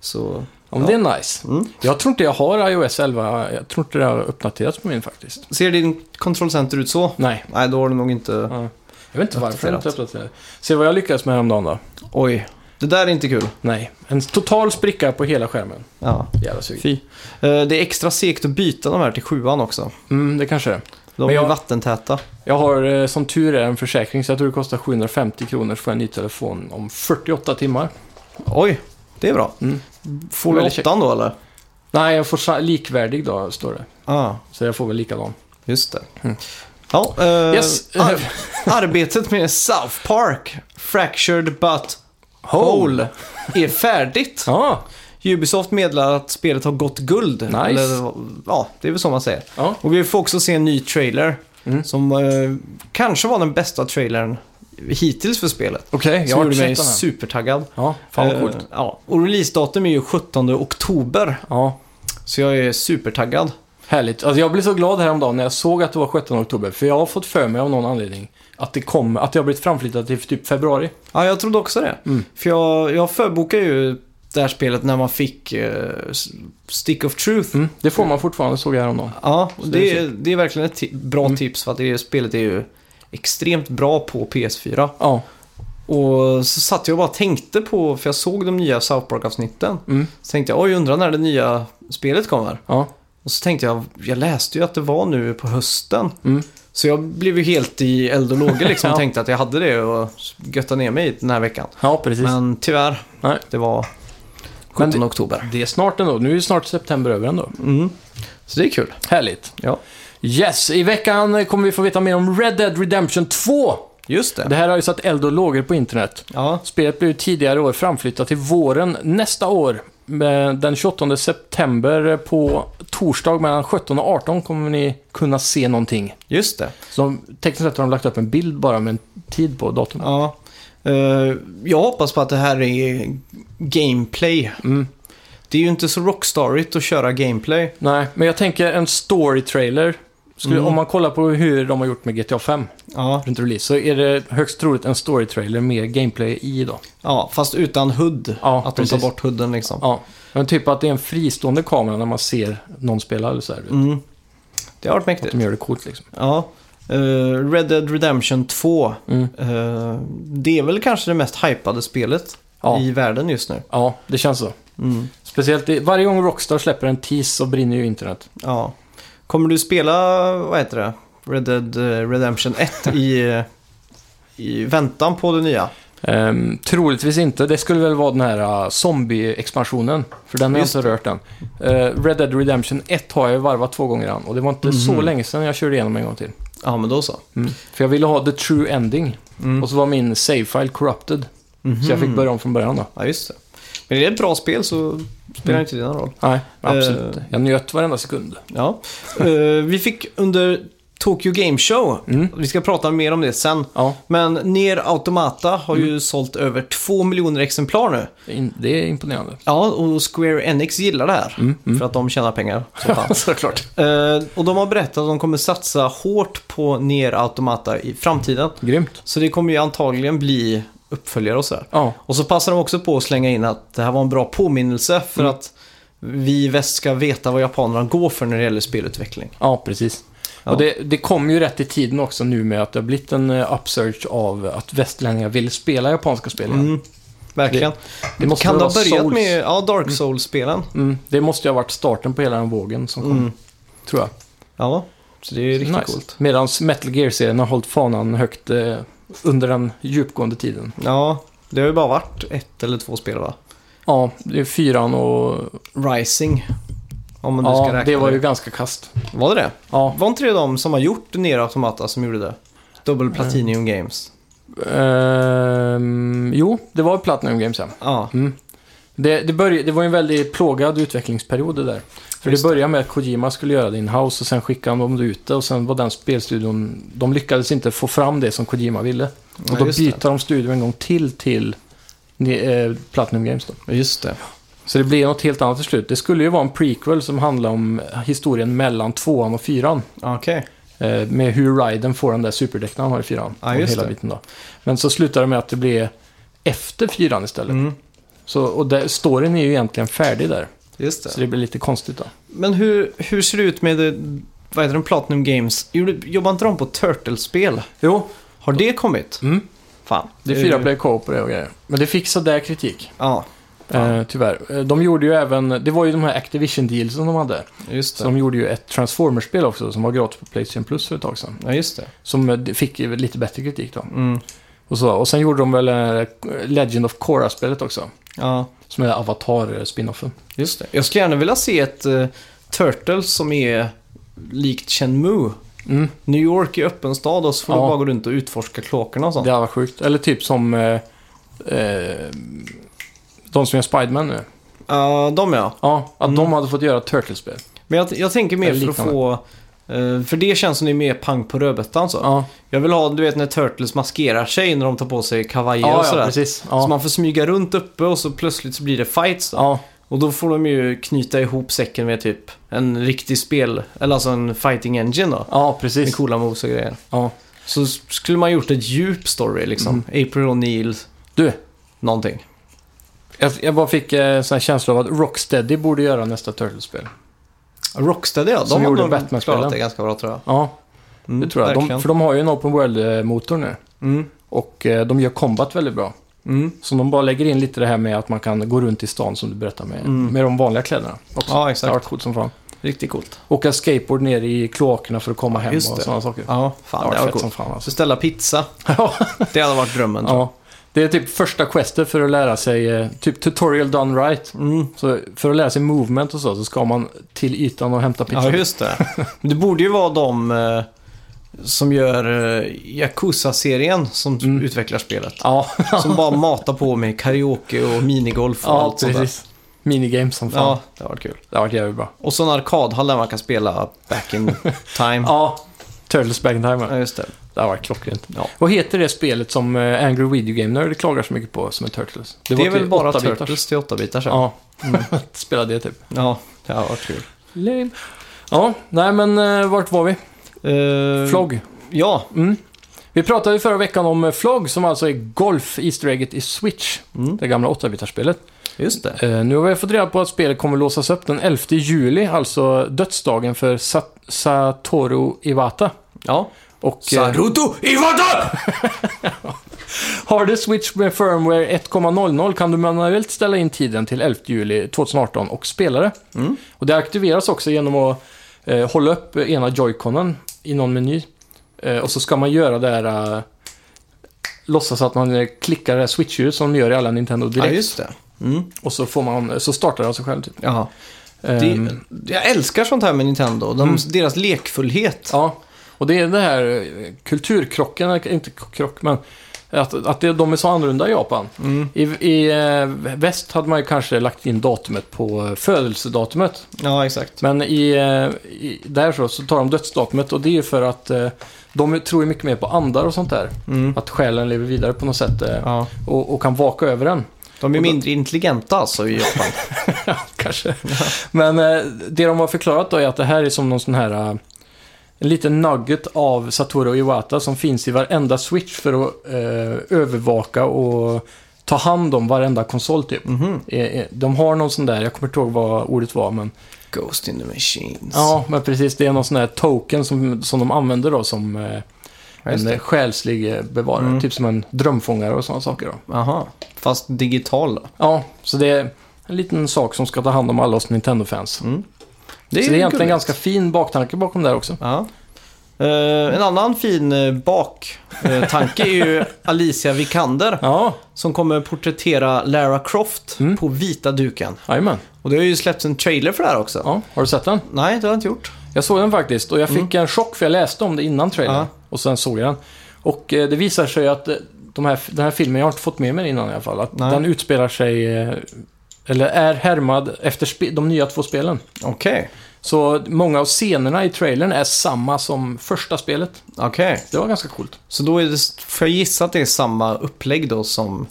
[SPEAKER 1] Så,
[SPEAKER 2] Ja, men
[SPEAKER 1] Ja.
[SPEAKER 2] Det är nice.
[SPEAKER 1] Mm.
[SPEAKER 2] Jag tror inte jag har iOS 11. Jag tror inte det har uppdaterats på min faktiskt.
[SPEAKER 1] ser din kontrollcenter ut så?
[SPEAKER 2] Nej.
[SPEAKER 1] Nej, då har du nog inte...
[SPEAKER 2] Ja. Jag vet inte varför jag inte
[SPEAKER 1] Uppdaterat.
[SPEAKER 2] uppdaterade. Se vad jag lyckades med häromdagen då.
[SPEAKER 1] Oj, det där är inte kul.
[SPEAKER 2] Nej, en total spricka på hela skärmen.
[SPEAKER 1] Ja,
[SPEAKER 2] Jävla sug.
[SPEAKER 1] fy. Eh, Det är extra segt att byta de här till sjuan också.
[SPEAKER 2] Mm, det kanske det är.
[SPEAKER 1] De
[SPEAKER 2] Men
[SPEAKER 1] är
[SPEAKER 2] jag-
[SPEAKER 1] ju vattentäta.
[SPEAKER 2] Jag har eh, som tur är en försäkring, så jag tror det kostar 750 kronor så får jag en ny telefon om 48 timmar.
[SPEAKER 1] Oj, det är bra.
[SPEAKER 2] Mm.
[SPEAKER 1] Får du
[SPEAKER 2] Väldigt käckt.
[SPEAKER 1] åttan då eller?
[SPEAKER 2] Nej, jag får sa- likvärdig då, står det.
[SPEAKER 1] Ja, Mm. ah,
[SPEAKER 2] Så jag får väl likadan.
[SPEAKER 1] just det. Ja, eh,
[SPEAKER 2] Yes.
[SPEAKER 1] ar- arbetet med South Park, Fractured But Whole, är färdigt.
[SPEAKER 2] Ja,
[SPEAKER 1] Ubisoft meddelar att spelet har gått guld.
[SPEAKER 2] Nice.
[SPEAKER 1] Eller, ja, det är väl så man säger.
[SPEAKER 2] ja.
[SPEAKER 1] Och vi får också se en ny trailer.
[SPEAKER 2] Mm.
[SPEAKER 1] Som eh, kanske var den bästa trailern hittills för spelet.
[SPEAKER 2] okej. jag
[SPEAKER 1] Som
[SPEAKER 2] har
[SPEAKER 1] gjorde
[SPEAKER 2] inte
[SPEAKER 1] mig
[SPEAKER 2] sett den här.
[SPEAKER 1] supertaggad.
[SPEAKER 2] Ja, fan vad
[SPEAKER 1] Eh,
[SPEAKER 2] coolt.
[SPEAKER 1] ja. Och releasedatum är ju 17 oktober.
[SPEAKER 2] Ja,
[SPEAKER 1] Så jag är supertaggad.
[SPEAKER 2] härligt. Alltså, jag blev så glad häromdagen när jag såg att det var 17 oktober. För jag har fått för mig av någon anledning att det kommer, att det har blivit framflyttat till typ februari.
[SPEAKER 1] Ja, jag trodde också det.
[SPEAKER 2] Mm.
[SPEAKER 1] För jag, jag förbokade ju det här spelet när man fick eh, S- Stick of Truth.
[SPEAKER 2] Mm. Det får man fortfarande, såg jag häromdagen.
[SPEAKER 1] Ja, och
[SPEAKER 2] det
[SPEAKER 1] det,
[SPEAKER 2] är
[SPEAKER 1] är- det är verkligen ett ti- bra
[SPEAKER 2] Mm.
[SPEAKER 1] tips för att det spelet är ju extremt bra på PS4.
[SPEAKER 2] Ja,
[SPEAKER 1] Och så satt jag och bara tänkte på, för jag såg de nya South Park-avsnitten.
[SPEAKER 2] mm.
[SPEAKER 1] Så tänkte jag, oj undrar när det nya spelet kommer.
[SPEAKER 2] ja.
[SPEAKER 1] Och så tänkte jag, jag läste ju att det var nu på hösten.
[SPEAKER 2] Mm.
[SPEAKER 1] Så jag blev ju helt i eld och lågor liksom
[SPEAKER 2] Ja.
[SPEAKER 1] och tänkte att jag hade det och götta ner mig den här veckan.
[SPEAKER 2] ja precis.
[SPEAKER 1] Men tyvärr,
[SPEAKER 2] Nej.
[SPEAKER 1] det var
[SPEAKER 2] Men
[SPEAKER 1] 17 oktober.
[SPEAKER 2] Det är snart ändå. Nu är ju snart september över ändå.
[SPEAKER 1] Mm. Så det är kul.
[SPEAKER 2] Härligt.
[SPEAKER 1] Ja,
[SPEAKER 2] Yes, i veckan kommer vi få veta mer om Red Dead Redemption 2.
[SPEAKER 1] just det.
[SPEAKER 2] Det här har ju satt eld och lågor på internet.
[SPEAKER 1] Ja,
[SPEAKER 2] Spelet blev ju tidigare i år framflyttat till våren nästa år. Eh, Den 28 september på torsdag mellan 17 och 18 kommer ni kunna se någonting.
[SPEAKER 1] just det.
[SPEAKER 2] Så de- tekniskt sett har de lagt upp en bild bara med en tid på datumet.
[SPEAKER 1] Ja. Eh, jag hoppas på att det här är gameplay.
[SPEAKER 2] Mm.
[SPEAKER 1] Det är ju inte så rockstarigt att köra gameplay.
[SPEAKER 2] Nej, men jag tänker en story-trailer. Skulle,
[SPEAKER 1] Mm.
[SPEAKER 2] Om man kollar på hur de har gjort med GTA 5
[SPEAKER 1] Ja,
[SPEAKER 2] runt release så är det högst troligt en story-trailer med gameplay i då.
[SPEAKER 1] ja fast utan hud.
[SPEAKER 2] Ja,
[SPEAKER 1] att de
[SPEAKER 2] precis.
[SPEAKER 1] tar bort huden liksom.
[SPEAKER 2] Ja, men typ att det är en fristående kamera när man ser någon spela eller så här.
[SPEAKER 1] Mm. Det har varit
[SPEAKER 2] Att
[SPEAKER 1] mäktigt.
[SPEAKER 2] de gör det coolt liksom.
[SPEAKER 1] Ja. Eh, Red Dead Redemption 2.
[SPEAKER 2] Mm.
[SPEAKER 1] Eh, det är väl kanske det mest hypade spelet
[SPEAKER 2] Ja.
[SPEAKER 1] i världen just nu.
[SPEAKER 2] Ja, det känns så.
[SPEAKER 1] Mm.
[SPEAKER 2] Speciellt i, varje gång Rockstar släpper en tease så brinner ju internet.
[SPEAKER 1] Ja. Kommer du spela, vad heter det, Red Dead eh, Redemption 1 i, eh, i väntan på det nya?
[SPEAKER 2] Um, troligtvis inte. Det skulle väl vara den här uh, zombie-expansionen. För den har jag
[SPEAKER 1] Just
[SPEAKER 2] inte rört än. Eh, Red Dead Redemption 1 har jag ju varvat två gånger än. Och det var inte så
[SPEAKER 1] Mhm.
[SPEAKER 2] länge sedan jag körde igenom en gång till.
[SPEAKER 1] Ja, men då så.
[SPEAKER 2] Mm. För jag ville ha the true ending.
[SPEAKER 1] Mm.
[SPEAKER 2] Och så var min save-file corrupted. Så jag fick
[SPEAKER 1] Mhm.
[SPEAKER 2] börja om från början då.
[SPEAKER 1] Ja, just det. Men är det ett bra spel så spelar
[SPEAKER 2] Mm.
[SPEAKER 1] inte det någon roll.
[SPEAKER 2] Nej, absolut
[SPEAKER 1] Eh.
[SPEAKER 2] inte. Jag njöt varenda sekund.
[SPEAKER 1] Ja. Eh, vi fick under Tokyo Game Show,
[SPEAKER 2] Mm.
[SPEAKER 1] vi ska prata mer om det sen,
[SPEAKER 2] Ja,
[SPEAKER 1] men Ner Automata har
[SPEAKER 2] Mm.
[SPEAKER 1] ju sålt över 2 miljoner exemplar nu.
[SPEAKER 2] in- det är imponerande.
[SPEAKER 1] Ja, och Square Enix gillar det här.
[SPEAKER 2] Mm, mm.
[SPEAKER 1] För att de tjänar pengar. som fan.
[SPEAKER 2] Såklart.
[SPEAKER 1] Eh, och de har berättat att de kommer satsa hårt på Nier Automata i framtiden.
[SPEAKER 2] Grymt.
[SPEAKER 1] Så det kommer ju antagligen bli uppföljare och sådär.
[SPEAKER 2] Ja,
[SPEAKER 1] Och så passar de också på att slänga in att det här var en bra påminnelse för
[SPEAKER 2] Mm.
[SPEAKER 1] att vi i väst ska veta vad japanerna går för när det gäller spelutveckling.
[SPEAKER 2] ja precis.
[SPEAKER 1] Ja.
[SPEAKER 2] Och det, det kom ju rätt i tiden också nu med att det har blivit en eh, upsurge av att västlänningar vill spela japanska spel igen.
[SPEAKER 1] Mm, verkligen.
[SPEAKER 2] det måste
[SPEAKER 1] kan det
[SPEAKER 2] väl
[SPEAKER 1] ha
[SPEAKER 2] vara
[SPEAKER 1] börjat
[SPEAKER 2] Souls?
[SPEAKER 1] med ja, Dark Souls-spelen?
[SPEAKER 2] Mm, det måste ju ha varit starten på hela den vågen som kom,
[SPEAKER 1] Mm.
[SPEAKER 2] tror jag.
[SPEAKER 1] Ja, så det är riktigt
[SPEAKER 2] Nice.
[SPEAKER 1] coolt.
[SPEAKER 2] Medan Metal Gear-serien har hållit fanan högt eh, under den djupgående tiden.
[SPEAKER 1] Ja, det har ju bara varit ett eller två spel va?
[SPEAKER 2] Ja, det är fyran och...
[SPEAKER 1] Rising. Om man nu ska
[SPEAKER 2] Ja,
[SPEAKER 1] räkna
[SPEAKER 2] det var ju ganska kast.
[SPEAKER 1] Var det det?
[SPEAKER 2] Ja,
[SPEAKER 1] Var inte det de som har gjort Nier Automata som gjorde det? Double Platinum
[SPEAKER 2] Mm.
[SPEAKER 1] Games.
[SPEAKER 2] ehm, jo, det var Platinum Games ja.
[SPEAKER 1] Ja,
[SPEAKER 2] Mm. Det, det, började, det var ju en väldigt plågad utvecklingsperiod det där. För
[SPEAKER 1] Just
[SPEAKER 2] det
[SPEAKER 1] det.
[SPEAKER 2] började med att Kojima skulle göra det in-house och sen skickade de det ute och sen var den spelstudion... De lyckades inte få fram det som Kojima ville. Och
[SPEAKER 1] Nej,
[SPEAKER 2] då
[SPEAKER 1] just
[SPEAKER 2] byter de studio en gång till till eh, Platinum Games då.
[SPEAKER 1] just det.
[SPEAKER 2] Så det blir något helt annat till slut. Det skulle ju vara en prequel som handlar om historien mellan tvåan och fyran.
[SPEAKER 1] Okej.
[SPEAKER 2] Eh, med hur Ryden får den där superdäcken han har i fyran.
[SPEAKER 1] Ja,
[SPEAKER 2] och
[SPEAKER 1] just
[SPEAKER 2] hela
[SPEAKER 1] det.
[SPEAKER 2] biten då. Men så slutar det med att det blir efter fyran istället.
[SPEAKER 1] Mm,
[SPEAKER 2] Så, och där, storyn är ju egentligen färdig där.
[SPEAKER 1] just det.
[SPEAKER 2] Så det blir lite konstigt då.
[SPEAKER 1] Men hur, hur ser det ut med det, vad heter den, Platinum Games? Gjorde- Jobbar inte de på Turtles-spel?
[SPEAKER 2] Jo,
[SPEAKER 1] Har det kommit?
[SPEAKER 2] Mm.
[SPEAKER 1] Fan. Eh,
[SPEAKER 2] det är fyra player co-op och det och grejer. Men det fick sådär kritik,
[SPEAKER 1] Ja,
[SPEAKER 2] eh, tyvärr. Eh, De gjorde ju även, det var ju de här Activision dealsen de hade.
[SPEAKER 1] just
[SPEAKER 2] Så
[SPEAKER 1] det.
[SPEAKER 2] de gjorde ju ett Transformers-spel också som var gratis på Playstation Plus för ett tag sedan.
[SPEAKER 1] Ja, just det.
[SPEAKER 2] Som eh, det fick ju lite bättre kritik då.
[SPEAKER 1] Mm.
[SPEAKER 2] Och, så, och sen gjorde de väl eh, Legend of Korra-spelet också.
[SPEAKER 1] Ja,
[SPEAKER 2] Som är Avatar-spinoffen.
[SPEAKER 1] just det. Jag skulle gärna vilja se ett eh, Turtles som är likt Shenmue.
[SPEAKER 2] Mm.
[SPEAKER 1] New York är öppen stad och så får
[SPEAKER 2] Ja.
[SPEAKER 1] du bara gå runt och utforska kloakerna och sånt.
[SPEAKER 2] Det hade varit sjukt. Eller typ som eh, eh, de som gör Spiderman nu.
[SPEAKER 1] Ja, de ja.
[SPEAKER 2] Ja, att
[SPEAKER 1] Mm.
[SPEAKER 2] de hade fått göra Turtlespel.
[SPEAKER 1] Men jag, jag tänker mer
[SPEAKER 2] Eller
[SPEAKER 1] för att få... eh, För det känns som det är mer pang på rödbetan så.
[SPEAKER 2] Ja,
[SPEAKER 1] Jag vill ha, du vet när Turtles maskerar sig när de tar på sig kavajer och
[SPEAKER 2] ja, ja
[SPEAKER 1] sådär.
[SPEAKER 2] precis.
[SPEAKER 1] Så
[SPEAKER 2] Ja.
[SPEAKER 1] man får smyga runt uppe och så plötsligt så blir det fights då.
[SPEAKER 2] Ja,
[SPEAKER 1] Och då får de ju knyta ihop säcken med typ en riktig spel, eller alltså en fighting engine då.
[SPEAKER 2] ja,
[SPEAKER 1] Med
[SPEAKER 2] precis.
[SPEAKER 1] coola moves och grejer.
[SPEAKER 2] Ja.
[SPEAKER 1] Så s- skulle man gjort ett djup story liksom. April O'Neill,
[SPEAKER 2] Du,
[SPEAKER 1] någonting.
[SPEAKER 2] jag, jag bara fick eh, en sån här känsla av att Rocksteady borde göra nästa Turtlespel.
[SPEAKER 1] Rocksteady ja,
[SPEAKER 2] Som
[SPEAKER 1] de har
[SPEAKER 2] gjorde
[SPEAKER 1] nog
[SPEAKER 2] Batman-spelen.
[SPEAKER 1] klarat det ganska bra tror jag.
[SPEAKER 2] Ja,
[SPEAKER 1] Mm,
[SPEAKER 2] det tror jag.
[SPEAKER 1] Verkligen.
[SPEAKER 2] De, för de har ju en Open World-motor nu.
[SPEAKER 1] Mm,
[SPEAKER 2] Och eh, de gör combat väldigt bra.
[SPEAKER 1] mm.
[SPEAKER 2] Så de bara lägger in lite det här med att man kan gå runt i stan som du berättar med,
[SPEAKER 1] Mm.
[SPEAKER 2] med de vanliga kläderna. Också.
[SPEAKER 1] Ja,
[SPEAKER 2] det har
[SPEAKER 1] exakt.
[SPEAKER 2] varit coolt som fan.
[SPEAKER 1] Riktigt coolt.
[SPEAKER 2] Åka skateboard ner i kloakerna för att komma hem och
[SPEAKER 1] just det.
[SPEAKER 2] sådana saker.
[SPEAKER 1] Ja, fan det
[SPEAKER 2] det
[SPEAKER 1] hade
[SPEAKER 2] var
[SPEAKER 1] varit
[SPEAKER 2] fett som
[SPEAKER 1] coolt.
[SPEAKER 2] fan alltså.
[SPEAKER 1] Beställa pizza. Det hade varit drömmen tror jag.
[SPEAKER 2] ja. Det är typ första questet för att lära sig, eh, typ tutorial done right.
[SPEAKER 1] Mm.
[SPEAKER 2] Så för att lära sig movement och så, så ska man till ytan och hämta pizza.
[SPEAKER 1] Ja, just det. Men det borde ju vara de eh, som gör eh, Yakuza-serien som
[SPEAKER 2] Mm.
[SPEAKER 1] utvecklar spelet.
[SPEAKER 2] ja,
[SPEAKER 1] Som bara matar på med karaoke och minigolf och
[SPEAKER 2] ja
[SPEAKER 1] allt sånt där.
[SPEAKER 2] precis. Minigames som fan.
[SPEAKER 1] Ja, det var kul.
[SPEAKER 2] Det har varit jävligt bra.
[SPEAKER 1] Och så en arkadhall där man kan spela back in time.
[SPEAKER 2] Ja,
[SPEAKER 1] ja.
[SPEAKER 2] Turtles Back in Time. ja.
[SPEAKER 1] just det.
[SPEAKER 2] Det har varit klockrent.
[SPEAKER 1] Ja.
[SPEAKER 2] Vad heter det spelet som eh, Angry Video Game Nerd klagar så mycket på som är Turtles?
[SPEAKER 1] Det,
[SPEAKER 2] var
[SPEAKER 1] är väl
[SPEAKER 2] till
[SPEAKER 1] bara
[SPEAKER 2] 8-bitars.
[SPEAKER 1] Turtles Mm. till 8-bitar sen. Ja.
[SPEAKER 2] Ja, spela det typ.
[SPEAKER 1] ja, det har varit kul.
[SPEAKER 2] Lame. Ja, nej men eh, vart var vi?
[SPEAKER 1] Uh,
[SPEAKER 2] Flog.
[SPEAKER 1] Ja.
[SPEAKER 2] Mm. Vi pratade ju förra veckan om eh, Flog som alltså är Golf, Easter egget i Switch.
[SPEAKER 1] Mm,
[SPEAKER 2] Det gamla 8-bitarspelet.
[SPEAKER 1] just det.
[SPEAKER 2] Eh, nu har vi fått reda på att spelet kommer låsas upp den 11 juli, alltså dödsdagen för Sat- Satoru Iwata.
[SPEAKER 1] Ja.
[SPEAKER 2] Och, eh,
[SPEAKER 1] Saruto Iwata!
[SPEAKER 2] Har du Switch med firmware 1.00 kan du manuellt ställa in tiden till 11 juli 2018 och spela det.
[SPEAKER 1] Mm.
[SPEAKER 2] Och det aktiveras också genom att eh, hålla upp ena joyconen i någon meny. Eh, och så ska man göra det här... Eh, låtsas att man eh, klickar det här switch som de gör i alla Nintendo
[SPEAKER 1] Ja,
[SPEAKER 2] direkt.
[SPEAKER 1] just det. Mm.
[SPEAKER 2] och så, får man, så startar det av sig själv. Typ.
[SPEAKER 1] Jaha.
[SPEAKER 2] Ehm, Mm.
[SPEAKER 1] Det, jag älskar sånt här med Nintendo. De, Deras lekfullhet.
[SPEAKER 2] Ja, och det är det här eh, kulturkrocken, eller inte k- krock, men att, att det, de är så annorlunda i Japan. I, i eh, väst hade man ju kanske lagt in datumet på eh, födelsedatumet.
[SPEAKER 1] Ja, exakt.
[SPEAKER 2] Men i, eh, i, där så, så tar de dödsdatumet och det är ju för att eh, de tror ju mycket mer på andar och sånt där.
[SPEAKER 1] Mm.
[SPEAKER 2] Att själen lever vidare på något sätt eh,
[SPEAKER 1] Ja.
[SPEAKER 2] och, och kan vaka över den.
[SPEAKER 1] De är
[SPEAKER 2] Och då-
[SPEAKER 1] mindre intelligenta alltså i Japan.
[SPEAKER 2] Ja, kanske. Men eh, det de har förklarat då är att det här är som någon sån här... eh, En liten nugget av Satoru Iwata som finns i varenda switch för att eh, övervaka och ta hand om varenda konsol typ.
[SPEAKER 1] Mhm.
[SPEAKER 2] Eh, eh, De har någon sån där, jag kommer inte ihåg vad ordet var men...
[SPEAKER 1] Ghost in the machines.
[SPEAKER 2] Ja, men precis. Det är någon sån här token som, som de använder då som eh,
[SPEAKER 1] Ja, just
[SPEAKER 2] en
[SPEAKER 1] det.
[SPEAKER 2] själslig eh, bevarare.
[SPEAKER 1] Mm.
[SPEAKER 2] Typ som en drömfångare och sådana saker då.
[SPEAKER 1] Aha. Fast digital då.
[SPEAKER 2] Ja, så det är en liten sak som ska ta hand om alla oss Nintendo-fans.
[SPEAKER 1] Mm.
[SPEAKER 2] så det är
[SPEAKER 1] ju
[SPEAKER 2] egentligen en
[SPEAKER 1] gulligt.
[SPEAKER 2] ganska fin baktanke bakom det här också.
[SPEAKER 1] Ja. Eh, en annan fin uh, baktanke är ju Alicia Vikander
[SPEAKER 2] Ja,
[SPEAKER 1] som kommer porträttera Lara Croft
[SPEAKER 2] Mm.
[SPEAKER 1] på vita duken.
[SPEAKER 2] jajamän.
[SPEAKER 1] Och det har ju släppts en trailer för det här också.
[SPEAKER 2] Ja, har du sett den?
[SPEAKER 1] Nej, det har jag inte gjort.
[SPEAKER 2] Jag såg den faktiskt och jag fick en chock för jag läste om det innan trailern.
[SPEAKER 1] Ja.
[SPEAKER 2] Och sen såg jag den. Och eh, det visar sig att eh, de här, den här filmen, jag har inte fått med mig den innan i alla fall, att
[SPEAKER 1] Nej.
[SPEAKER 2] den utspelar sig, eh, eller är härmad efter spe, de nya två spelen.
[SPEAKER 1] Okej.
[SPEAKER 2] Så många av scenerna i trailern är samma som första spelet.
[SPEAKER 1] Okej.
[SPEAKER 2] Det var ganska coolt.
[SPEAKER 1] Så då är det, får jag gissa att det är samma upplägg då som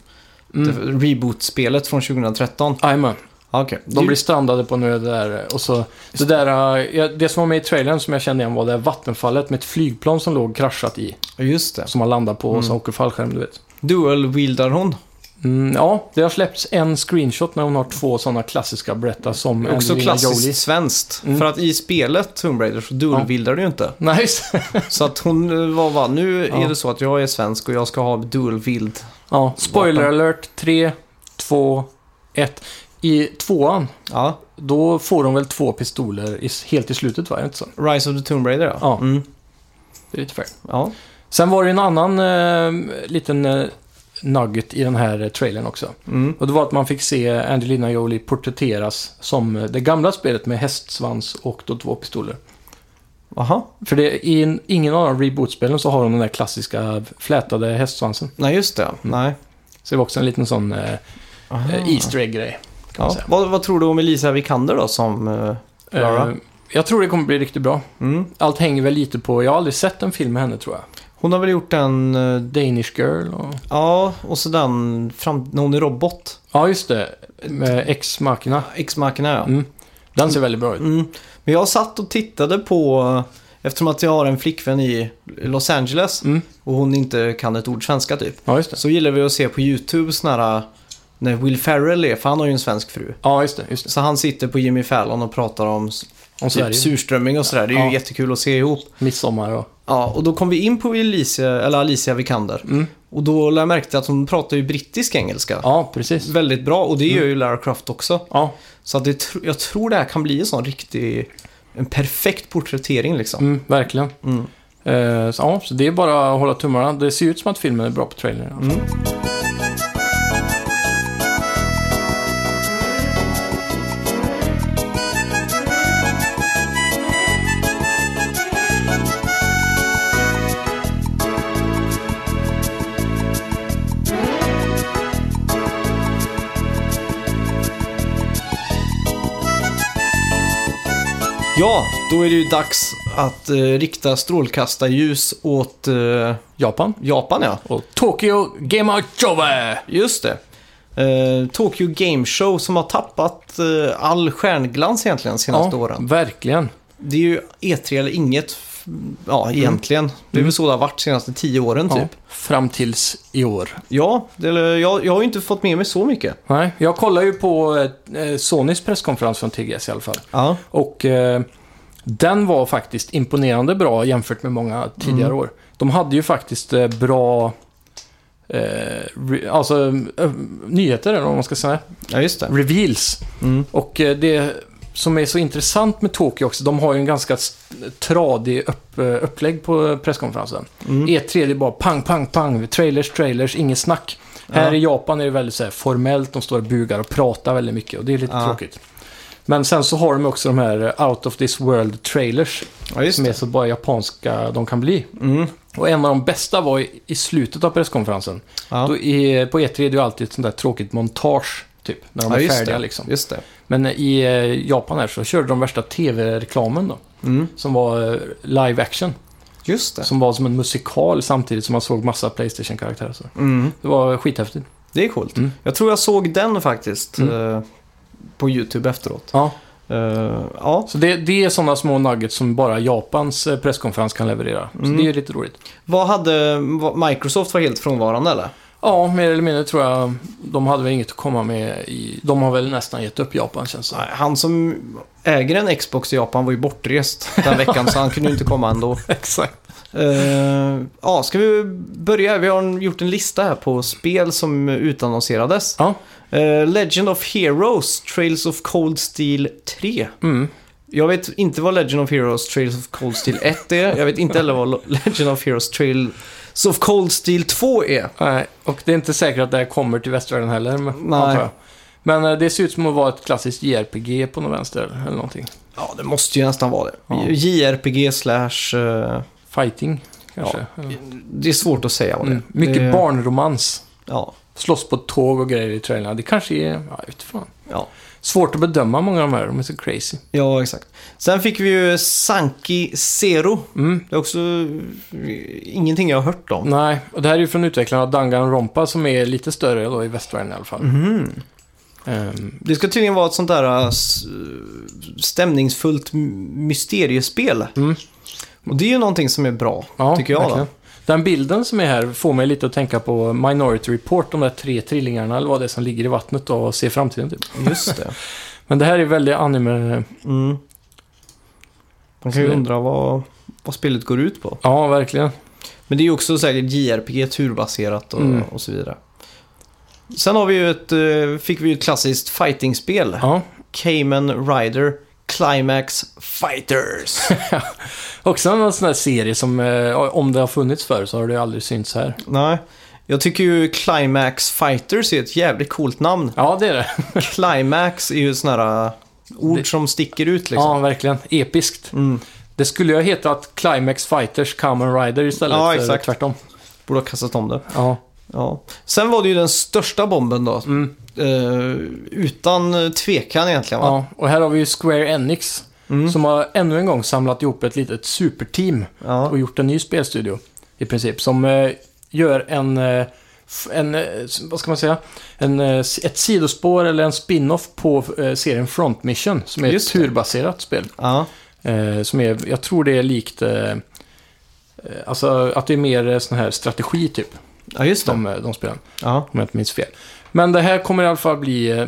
[SPEAKER 2] Mm.
[SPEAKER 1] det- reboot-spelet från 2013?
[SPEAKER 2] Jajamän.
[SPEAKER 1] Ja, Okej.
[SPEAKER 2] De blir strandade på en ö där. Och så, det, där, eh, ja, det som var med i trailern som jag kände igen var det här vattenfallet med ett flygplan som låg kraschat i.
[SPEAKER 1] Ja, Just det.
[SPEAKER 2] Som man landar på och så åker fallskärm, du vet.
[SPEAKER 1] Dual-wieldar hon.
[SPEAKER 2] Mm, ja, det har släppts en screenshot när hon har två sådana klassiska berättar som
[SPEAKER 1] Också
[SPEAKER 2] Angelina
[SPEAKER 1] klassiskt
[SPEAKER 2] Jolie.
[SPEAKER 1] svenskt.
[SPEAKER 2] Mm.
[SPEAKER 1] För att i spelet Tomb Raider så dual-wieldar du ju inte.
[SPEAKER 2] Nice.
[SPEAKER 1] Så att hon eh, var va, nu
[SPEAKER 2] Ja.
[SPEAKER 1] är det så att jag är svensk och jag ska ha dual-wield.
[SPEAKER 2] ja, spoiler alert. Tre, två, ett. I tvåan,
[SPEAKER 1] Ja,
[SPEAKER 2] då får hon väl två pistoler i, helt i slutet, va? Är det inte så?
[SPEAKER 1] Rise of the Tomb Raider ja.
[SPEAKER 2] Ja.
[SPEAKER 1] Mm.
[SPEAKER 2] Det är lite fair.
[SPEAKER 1] ja.
[SPEAKER 2] Sen var det en annan eh, liten eh, nugget i den här eh, trailern också.
[SPEAKER 1] Mm.
[SPEAKER 2] Och det var att man fick se Angelina Jolie porträtteras som eh, det gamla spelet med hästsvans och då två pistoler.
[SPEAKER 1] Aha.
[SPEAKER 2] För det, i en, ingen av de reboot-spelen så har de den där klassiska flätade hästsvansen.
[SPEAKER 1] Nej, just det. Nej.
[SPEAKER 2] Så det var också en liten sån eh,
[SPEAKER 1] Aha.
[SPEAKER 2] Mm. eh, Easter egg-grej. Kan man
[SPEAKER 1] Ah. Ja.
[SPEAKER 2] säga.
[SPEAKER 1] Vad, vad tror du om Elisa Vikander då som... eh, Clara?
[SPEAKER 2] Eh, jag tror det kommer bli riktigt bra.
[SPEAKER 1] Mm.
[SPEAKER 2] Allt hänger väl lite på, jag har aldrig sett en film med henne tror jag.
[SPEAKER 1] Hon har väl gjort en... eh,
[SPEAKER 2] Danish Girl och...
[SPEAKER 1] Ja, och så den... Fram, när hon är robot.
[SPEAKER 2] Ja, just det. Med ex machina
[SPEAKER 1] x machina ja.
[SPEAKER 2] Mm. Den ser väldigt bra ut.
[SPEAKER 1] Mm. Men jag satt och tittade på... eh, Eftersom att jag har en flickvän i Los Angeles
[SPEAKER 2] Mm.
[SPEAKER 1] och hon inte kan ett ord svenska typ.
[SPEAKER 2] Ja, just det.
[SPEAKER 1] Så gillar vi att se på YouTube såna här... När Will Ferrell är, för han har ju en svensk fru.
[SPEAKER 2] Ja, just det. Just det.
[SPEAKER 1] Så han sitter på Jimmy Fallon och pratar om s-
[SPEAKER 2] Om Sverige.
[SPEAKER 1] typ surströmming och sådär. Det är ju
[SPEAKER 2] Ja.
[SPEAKER 1] jättekul att se ihop.
[SPEAKER 2] Midsommar och...
[SPEAKER 1] Ja, och då kom vi in på Alicia, eller Alicia Vikander.
[SPEAKER 2] Mm.
[SPEAKER 1] Och då lade jag märke till att hon pratar ju brittisk engelska.
[SPEAKER 2] Ja, Mm. precis.
[SPEAKER 1] Väldigt bra, och det gör ju Lara Croft också.
[SPEAKER 2] Ja,
[SPEAKER 1] Så att det, tr- jag tror det här kan bli en sån riktig... En perfekt porträttering liksom.
[SPEAKER 2] mm, verkligen.
[SPEAKER 1] Mm.
[SPEAKER 2] Eh, så, ja, så det är bara att hålla tummarna. Det ser ut som att filmen är bra på trailern.
[SPEAKER 1] Mm. Ja, då är det ju dags att eh, rikta strålkastarljus åt eh,
[SPEAKER 2] Japan.
[SPEAKER 1] Japan ja.
[SPEAKER 2] Och Tokyo Game Out Jove!
[SPEAKER 1] Just det. Eh, Tokyo Game Show som har tappat eh, all stjärnglans egentligen de senaste åren.
[SPEAKER 2] verkligen.
[SPEAKER 1] Det är ju E3 eller inget, f- ja egentligen. Det är väl så det har varit de senaste tio åren
[SPEAKER 2] Mm. Ja.
[SPEAKER 1] typ.
[SPEAKER 2] Fram tills i år.
[SPEAKER 1] Ja, det, eller jag, jag har ju inte fått med mig så mycket.
[SPEAKER 2] Nej, jag kollar ju på eh, Sonys presskonferens från TGS i alla fall.
[SPEAKER 1] Ja,
[SPEAKER 2] Och eh, den var faktiskt imponerande bra jämfört med många tidigare
[SPEAKER 1] Mm.
[SPEAKER 2] år. De hade ju faktiskt eh, bra... Eh, re, alltså eh, nyheter eller vad man ska säga.
[SPEAKER 1] ja just det.
[SPEAKER 2] Reveals.
[SPEAKER 1] Mm.
[SPEAKER 2] Och eh, det som är så intressant med Tokyo också, de har ju en ganska s- tradig upp, eh, upplägg på presskonferensen.
[SPEAKER 1] Mm.
[SPEAKER 2] E3 det är bara pang, pang, pang, trailers, trailers, inget snack. Här i Japan är det väldigt så här, formellt, de står och bugar och pratar väldigt mycket och det är lite
[SPEAKER 1] Ja.
[SPEAKER 2] tråkigt. Men sen så har de också de här eh, out of this world trailers
[SPEAKER 1] Ja, just
[SPEAKER 2] som är
[SPEAKER 1] det.
[SPEAKER 2] så bara japanska de kan bli.
[SPEAKER 1] Mm.
[SPEAKER 2] Och en av de bästa var i, i slutet av presskonferensen.
[SPEAKER 1] Ja.
[SPEAKER 2] Då är, på E3 är det ju alltid ett sånt där tråkigt montage, typ, när de
[SPEAKER 1] Ja,
[SPEAKER 2] är
[SPEAKER 1] just
[SPEAKER 2] färdiga
[SPEAKER 1] det.
[SPEAKER 2] liksom.
[SPEAKER 1] Just det.
[SPEAKER 2] Men i eh, Japan här så körde de värsta tv-reklamen då.
[SPEAKER 1] Mm.
[SPEAKER 2] Som var eh, live action.
[SPEAKER 1] Just det.
[SPEAKER 2] Som var som en musikal samtidigt som man såg massa Playstation-karaktärer. Så.
[SPEAKER 1] Mm.
[SPEAKER 2] Det var skithäftigt.
[SPEAKER 1] Det är coolt.
[SPEAKER 2] Mm.
[SPEAKER 1] Jag tror jag såg den faktiskt
[SPEAKER 2] Mm.
[SPEAKER 1] eh, på YouTube efteråt.
[SPEAKER 2] Ja.
[SPEAKER 1] Eh, ja.
[SPEAKER 2] Så det, det är sådana små nuggets som bara Japans eh, presskonferens kan leverera. Så
[SPEAKER 1] Mm.
[SPEAKER 2] det är lite roligt.
[SPEAKER 1] Vad hade, var- Microsoft var helt frånvarande eller?
[SPEAKER 2] Ja, mer eller mindre tror jag de hade väl inget att komma med i... De har väl nästan gett upp Japan känns det som.
[SPEAKER 1] Nej, Han som äger en Xbox i Japan var ju bortrest den veckan så han kunde ju inte komma ändå.
[SPEAKER 2] Exakt.
[SPEAKER 1] Eh, ja, ska vi börja? Vi har en- gjort en lista här på spel som utannonserades.
[SPEAKER 2] Ja.
[SPEAKER 1] Eh, Legend of Heroes Trails of Cold Steel 3.
[SPEAKER 2] Mm.
[SPEAKER 1] Jag vet inte vad Legend of Heroes Trails of Cold Steel 1 är. Jag vet inte heller vad Lo- Legend of Heroes Trails of Cold Steel 2 är.
[SPEAKER 2] Nej, och det är inte säkert att det här kommer till västvärlden heller. Men,
[SPEAKER 1] Nej.
[SPEAKER 2] antar jag. men eh, det ser ut som att vara ett klassiskt JRPG på något vänster eller någonting.
[SPEAKER 1] Ja, det måste ju nästan vara det.
[SPEAKER 2] Ja.
[SPEAKER 1] JRPG slash... eh,
[SPEAKER 2] Fighting, kanske. Eller-
[SPEAKER 1] det är svårt att säga vad det är.
[SPEAKER 2] Mm. Mycket
[SPEAKER 1] det,
[SPEAKER 2] barnromans.
[SPEAKER 1] Ja,
[SPEAKER 2] Slåss på tåg och grejer i trailern. Det kanske är... Ja, jag vet fan.
[SPEAKER 1] ja.
[SPEAKER 2] Svårt att bedöma många av de här. De är så crazy.
[SPEAKER 1] Ja, exakt. Sen fick vi ju Sanki Zero.
[SPEAKER 2] Mm.
[SPEAKER 1] Det är också eh, ingenting jag har hört om.
[SPEAKER 2] Nej, och det här är ju från utvecklarna av Danganronpa som är lite större då i västvärlden i alla fall.
[SPEAKER 1] Mhm.
[SPEAKER 2] Ehm,
[SPEAKER 1] Det ska tydligen vara ett sånt där eh, s- stämningsfullt m- mysteriespel.
[SPEAKER 2] Mm.
[SPEAKER 1] Och det är ju någonting som är bra,
[SPEAKER 2] ja,
[SPEAKER 1] tycker jag. Då.
[SPEAKER 2] verkligen. Den bilden som är här får mig lite att tänka på Minority Report, de där tre trillingarna eller vad det är som ligger i vattnet då och ser framtiden typ.
[SPEAKER 1] Just det.
[SPEAKER 2] Men det här är väldigt anime...
[SPEAKER 1] Mm. Man kan ju undra vad, vad spelet går ut på.
[SPEAKER 2] Ja, verkligen.
[SPEAKER 1] Men det är ju också säkert JRPG, turbaserat och,
[SPEAKER 2] Mm.
[SPEAKER 1] och så vidare. Sen har vi ju ett, eh, fick vi ju ett klassiskt fightingspel.
[SPEAKER 2] Ja.
[SPEAKER 1] Cayman Rider Climax Fighters.
[SPEAKER 2] Också en sån här serie som, eh, om det har funnits förr så har det ju aldrig synts här.
[SPEAKER 1] Nej, jag tycker ju Climax Fighters är ett jävligt coolt namn.
[SPEAKER 2] Ja, det är det.
[SPEAKER 1] Climax är ju sådana här ord äh, som sticker ut liksom.
[SPEAKER 2] Ja, verkligen. Episkt.
[SPEAKER 1] Mm.
[SPEAKER 2] Det skulle ju ha hetat Climax Fighters Kamen Rider istället.
[SPEAKER 1] Ja,
[SPEAKER 2] för
[SPEAKER 1] exakt.
[SPEAKER 2] Tvärtom.
[SPEAKER 1] Borde ha kastat om det.
[SPEAKER 2] Ja.
[SPEAKER 1] Ja. Sen var det ju den största bomben då.
[SPEAKER 2] Mm.
[SPEAKER 1] Eh, utan eh, tvekan egentligen va?
[SPEAKER 2] ja. Och här har vi ju Square Enix.
[SPEAKER 1] Mm.
[SPEAKER 2] Som har ännu en gång samlat ihop ett litet superteam.
[SPEAKER 1] Ja.
[SPEAKER 2] och gjort en ny spelstudio i princip. Som eh, gör en, eh, f- en eh, s- vad ska man säga, en, eh, s- ett sidospår eller en spin-off på eh, serien Front Mission. Som är ett
[SPEAKER 1] Just det.
[SPEAKER 2] turbaserat spel.
[SPEAKER 1] Ja.
[SPEAKER 2] Eh, som är, jag tror det är likt, eh, eh, alltså att det är mer eh, sån här strategi typ,
[SPEAKER 1] ja, just det.
[SPEAKER 2] de, eh, de spelen.
[SPEAKER 1] Ja.
[SPEAKER 2] Om jag inte minns fel. Men det här kommer i alla fall bli eh,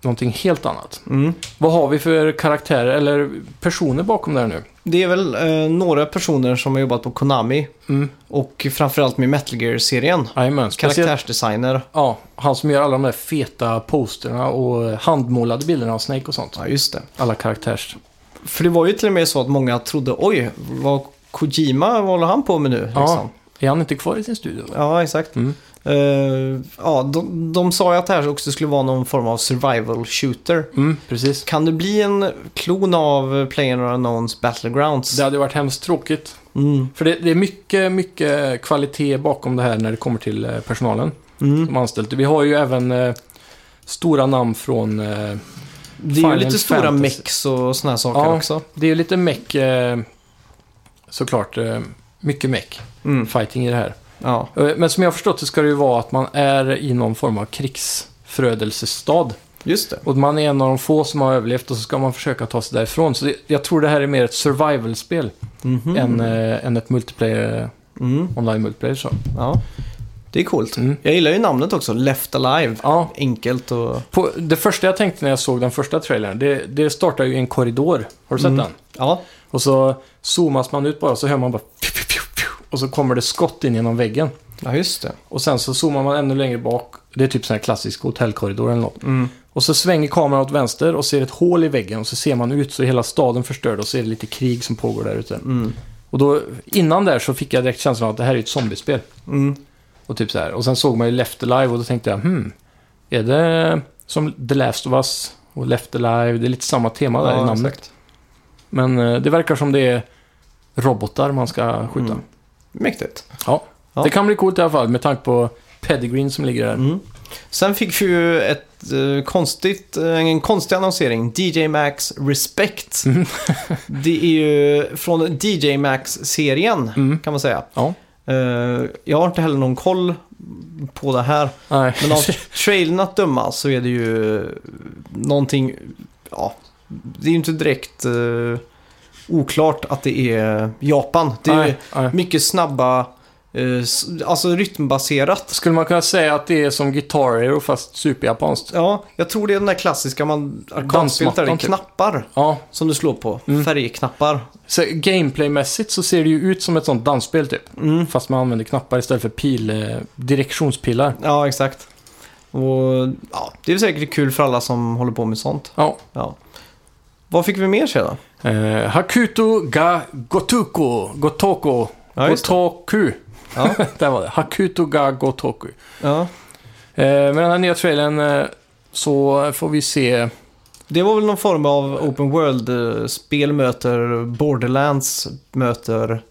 [SPEAKER 2] någonting helt annat.
[SPEAKER 1] Mm.
[SPEAKER 2] Vad har vi för karaktärer eller personer bakom det här nu?
[SPEAKER 1] Det är väl eh, några personer som har jobbat på Konami
[SPEAKER 2] Mm.
[SPEAKER 1] och framförallt med Metal Gear-serien.
[SPEAKER 2] Jajamän, speciellt-
[SPEAKER 1] Karaktärsdesigner.
[SPEAKER 2] Ja, han som gör alla de där feta posterna och eh, handmålade bilderna av Snake och sånt.
[SPEAKER 1] Ja, just det.
[SPEAKER 2] Alla karaktärs...
[SPEAKER 1] För det var ju till och med så att många trodde oj, vad Kojima, vad håller han på med nu?
[SPEAKER 2] Ja.
[SPEAKER 1] Liksom.
[SPEAKER 2] Är han inte kvar i sin studio? då?
[SPEAKER 1] ja exakt.
[SPEAKER 2] Mm.
[SPEAKER 1] Eh, ja, de, de sa ju att det här också skulle vara någon form av survival shooter.
[SPEAKER 2] Mm, precis.
[SPEAKER 1] Kan det bli en klon av PlayerUnknown's Battlegrounds?
[SPEAKER 2] Det hade varit hemskt tråkigt.
[SPEAKER 1] Mm.
[SPEAKER 2] För det, det är mycket, mycket kvalitet bakom det här när det kommer till eh, personalen
[SPEAKER 1] Mm.
[SPEAKER 2] som anställt. Vi har ju även eh, stora namn från... Eh,
[SPEAKER 1] Det är ju
[SPEAKER 2] Final
[SPEAKER 1] lite stora
[SPEAKER 2] Fantasy.
[SPEAKER 1] mex och såna här saker
[SPEAKER 2] Ja.
[SPEAKER 1] också.
[SPEAKER 2] det är ju lite meck, eh, såklart. Eh, mycket meck.
[SPEAKER 1] Mm.
[SPEAKER 2] Fighting i det här.
[SPEAKER 1] Ja.
[SPEAKER 2] Eh, Men som jag har förstått det ska det ju vara att man är i någon form av krigsförödelsestad.
[SPEAKER 1] Just det.
[SPEAKER 2] Och man är en av de få som har överlevt och så ska man försöka ta sig därifrån. Så det, jag tror det här är mer ett survival-spel
[SPEAKER 1] Mhm.
[SPEAKER 2] än, eh, än ett multiplayer,
[SPEAKER 1] Mm.
[SPEAKER 2] online multiplayer. Så.
[SPEAKER 1] Ja. Det är coolt.
[SPEAKER 2] Mm.
[SPEAKER 1] Jag gillar ju namnet också, Left Alive.
[SPEAKER 2] Ja,
[SPEAKER 1] Enkelt och...
[SPEAKER 2] på, det första jag tänkte när jag såg den första trailern, det, det startar ju i en korridor. Har du sett
[SPEAKER 1] Mm.
[SPEAKER 2] den?
[SPEAKER 1] Ja,
[SPEAKER 2] Och så zoomas man ut bara så hör man bara pju, pju, pju, pju, och så kommer det skott in genom väggen.
[SPEAKER 1] ja just det.
[SPEAKER 2] Och sen så zoomar man ännu längre bak. Det är typ sån här klassisk hotellkorridor eller något. Och så svänger kameran åt vänster och ser ett hål i väggen och så ser man ut så är hela staden förstörd och så är det lite krig som pågår där ute.
[SPEAKER 1] Mm.
[SPEAKER 2] Och då, innan där så fick jag direkt känslan av att det här är ett zombiespel.
[SPEAKER 1] Mm.
[SPEAKER 2] Och typ så här. Och sen såg man ju Left Alive och då tänkte jag, hmm, är det som The Last of Us och Left Alive? Det är lite samma tema där i namnet.
[SPEAKER 1] exakt.
[SPEAKER 2] Men eh, det verkar som det är robotar man ska skjuta.
[SPEAKER 1] Mm. Mäktigt.
[SPEAKER 2] Ja.
[SPEAKER 1] Ja.
[SPEAKER 2] det kan bli coolt i alla fall med tanke på pedigreen som ligger där.
[SPEAKER 1] Mm. Sen fick vi ju ett eh, konstigt, eh, en konstig annonsering. DJ Max Respect.
[SPEAKER 2] Mm.
[SPEAKER 1] det är ju från DJ Max-serien,
[SPEAKER 2] Mm.
[SPEAKER 1] kan man säga.
[SPEAKER 2] Ja.
[SPEAKER 1] Eh, jag har inte heller någon koll på det här.
[SPEAKER 2] Nej.
[SPEAKER 1] Men alltså, av trailern att döma så är det ju någonting, ja, det är ju inte direkt eh, oklart att det är Japan. Det är ju
[SPEAKER 2] Nej, nej.
[SPEAKER 1] mycket snabba, eh, s- alltså rytmbaserat.
[SPEAKER 2] Skulle man kunna säga att det är som Guitar Hero fast superjapanskt?
[SPEAKER 1] Ja, jag tror det är den där klassiska man arkadspel där det är
[SPEAKER 2] Dansmattan, typ.
[SPEAKER 1] knappar
[SPEAKER 2] Ja.
[SPEAKER 1] som du slår på.
[SPEAKER 2] Mm.
[SPEAKER 1] Färgknappar.
[SPEAKER 2] Så gameplaymässigt så ser det ju ut som ett sånt dansspel typ.
[SPEAKER 1] Mm.
[SPEAKER 2] Fast man använder knappar istället för pil, eh, direktionspilar.
[SPEAKER 1] Ja, exakt. Och ja, det är säkert kul för alla som håller på med sånt.
[SPEAKER 2] Ja.
[SPEAKER 1] Ja. Vad fick vi mer sedan?
[SPEAKER 2] Eh, Hakuto ga gotuko, gotoko,
[SPEAKER 1] Ja, just det.
[SPEAKER 2] gotoku.
[SPEAKER 1] Ja.
[SPEAKER 2] Där var det. Hakuto ga gotoku.
[SPEAKER 1] Ja.
[SPEAKER 2] Eh, med den här nya trailern eh, så får vi se.
[SPEAKER 1] Det var väl någon form av open world. eh, Spel möter Borderlands möter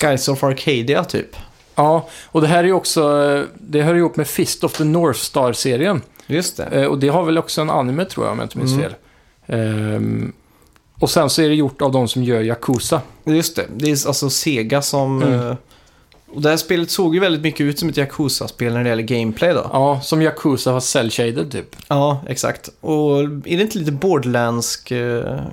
[SPEAKER 1] Skies of Arcadia typ.
[SPEAKER 2] Ja, och det här är ju också, eh, det hör ihop med Fist of the North Star-serien.
[SPEAKER 1] Just det.
[SPEAKER 2] Eh, och det har väl också en anime tror jag om jag inte minns
[SPEAKER 1] Mm.
[SPEAKER 2] fel. Ehm, och sen så är det gjort av de som gör Yakuza.
[SPEAKER 1] Just det. Det är alltså Sega som...
[SPEAKER 2] Mm.
[SPEAKER 1] eh, Och det här spelet såg ju väldigt mycket ut som ett Yakuza-spel när det gäller gameplay då.
[SPEAKER 2] Ja, som Yakuza har cell-shaded typ.
[SPEAKER 1] Ja, exakt. Och är det inte lite
[SPEAKER 2] Jo.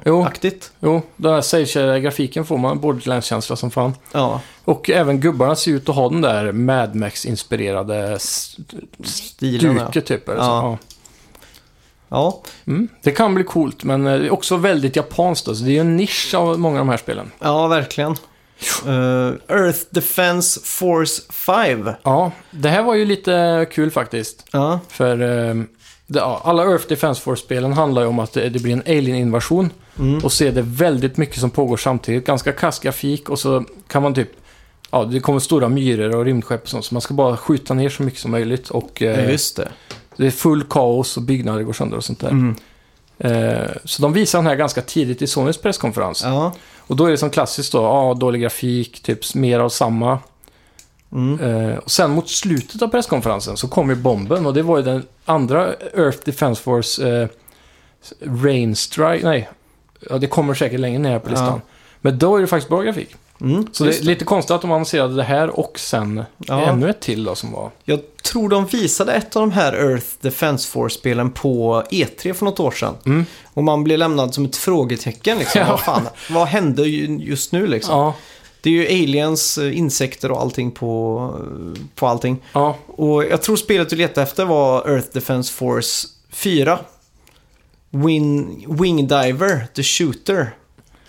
[SPEAKER 1] Borderlands-aktigt?
[SPEAKER 2] Jo, den här cell grafiken får man borderlands-känsla som fan.
[SPEAKER 1] Ja,
[SPEAKER 2] Och även gubbarna ser ut att ha den där Mad Max-inspirerade s-
[SPEAKER 1] stilen ja.
[SPEAKER 2] duket typ. Eller så.
[SPEAKER 1] Ja.
[SPEAKER 2] Ja.
[SPEAKER 1] ja.
[SPEAKER 2] Mm. Det kan bli coolt, men eh, det är också väldigt japanskt. Alltså. Det är ju en nisch av många av de här spelen.
[SPEAKER 1] Ja, verkligen. Eh, Earth Defense Force 5.
[SPEAKER 2] Ja, det här var ju lite kul faktiskt.
[SPEAKER 1] Ja,
[SPEAKER 2] För eh, det, ja, alla Earth Defense Force-spelen handlar ju om att det, det blir en alien-invasion.
[SPEAKER 1] mm.
[SPEAKER 2] Och så är det väldigt mycket som pågår samtidigt. Ganska kass grafik och så kan man typ... Ja, det kommer stora myror och rymdskepp och sånt. Så man ska bara skjuta ner så mycket som möjligt. Och
[SPEAKER 1] ja
[SPEAKER 2] eh,
[SPEAKER 1] just det.
[SPEAKER 2] det är full kaos och byggnader går sönder och sånt där.
[SPEAKER 1] Mm.
[SPEAKER 2] Eh, så de visar den här ganska tidigt i Sonys presskonferens.
[SPEAKER 1] Ja.
[SPEAKER 2] Och då är det som klassiskt då, ja, dålig grafik, typ mer av samma.
[SPEAKER 1] Mm.
[SPEAKER 2] Eh, och sen mot slutet av presskonferensen så kom ju bomben och det var ju den andra Earth Defense Force eh, Rain Strike, nej, ja, det kommer säkert längre ner på listan. Men då är det faktiskt bra grafik.
[SPEAKER 1] Mm.
[SPEAKER 2] Så det är lite konstigt att de annonserade det här och sen
[SPEAKER 1] Ja.
[SPEAKER 2] ännu ett till då som var.
[SPEAKER 1] Jag tror de visade ett av de här Earth Defense Force-spelen på E3 för något år sedan.
[SPEAKER 2] Mm.
[SPEAKER 1] Och man blir lämnad som ett frågetecken. Liksom.
[SPEAKER 2] Ja.
[SPEAKER 1] Vad, fan, vad hände ju- just nu liksom?
[SPEAKER 2] Ja,
[SPEAKER 1] Det är ju aliens, eh, insekter och allting på, eh, på allting.
[SPEAKER 2] ja,
[SPEAKER 1] Och jag tror spelet du letade efter var Earth Defense Force 4. Win, Wing Diver, The Shooter.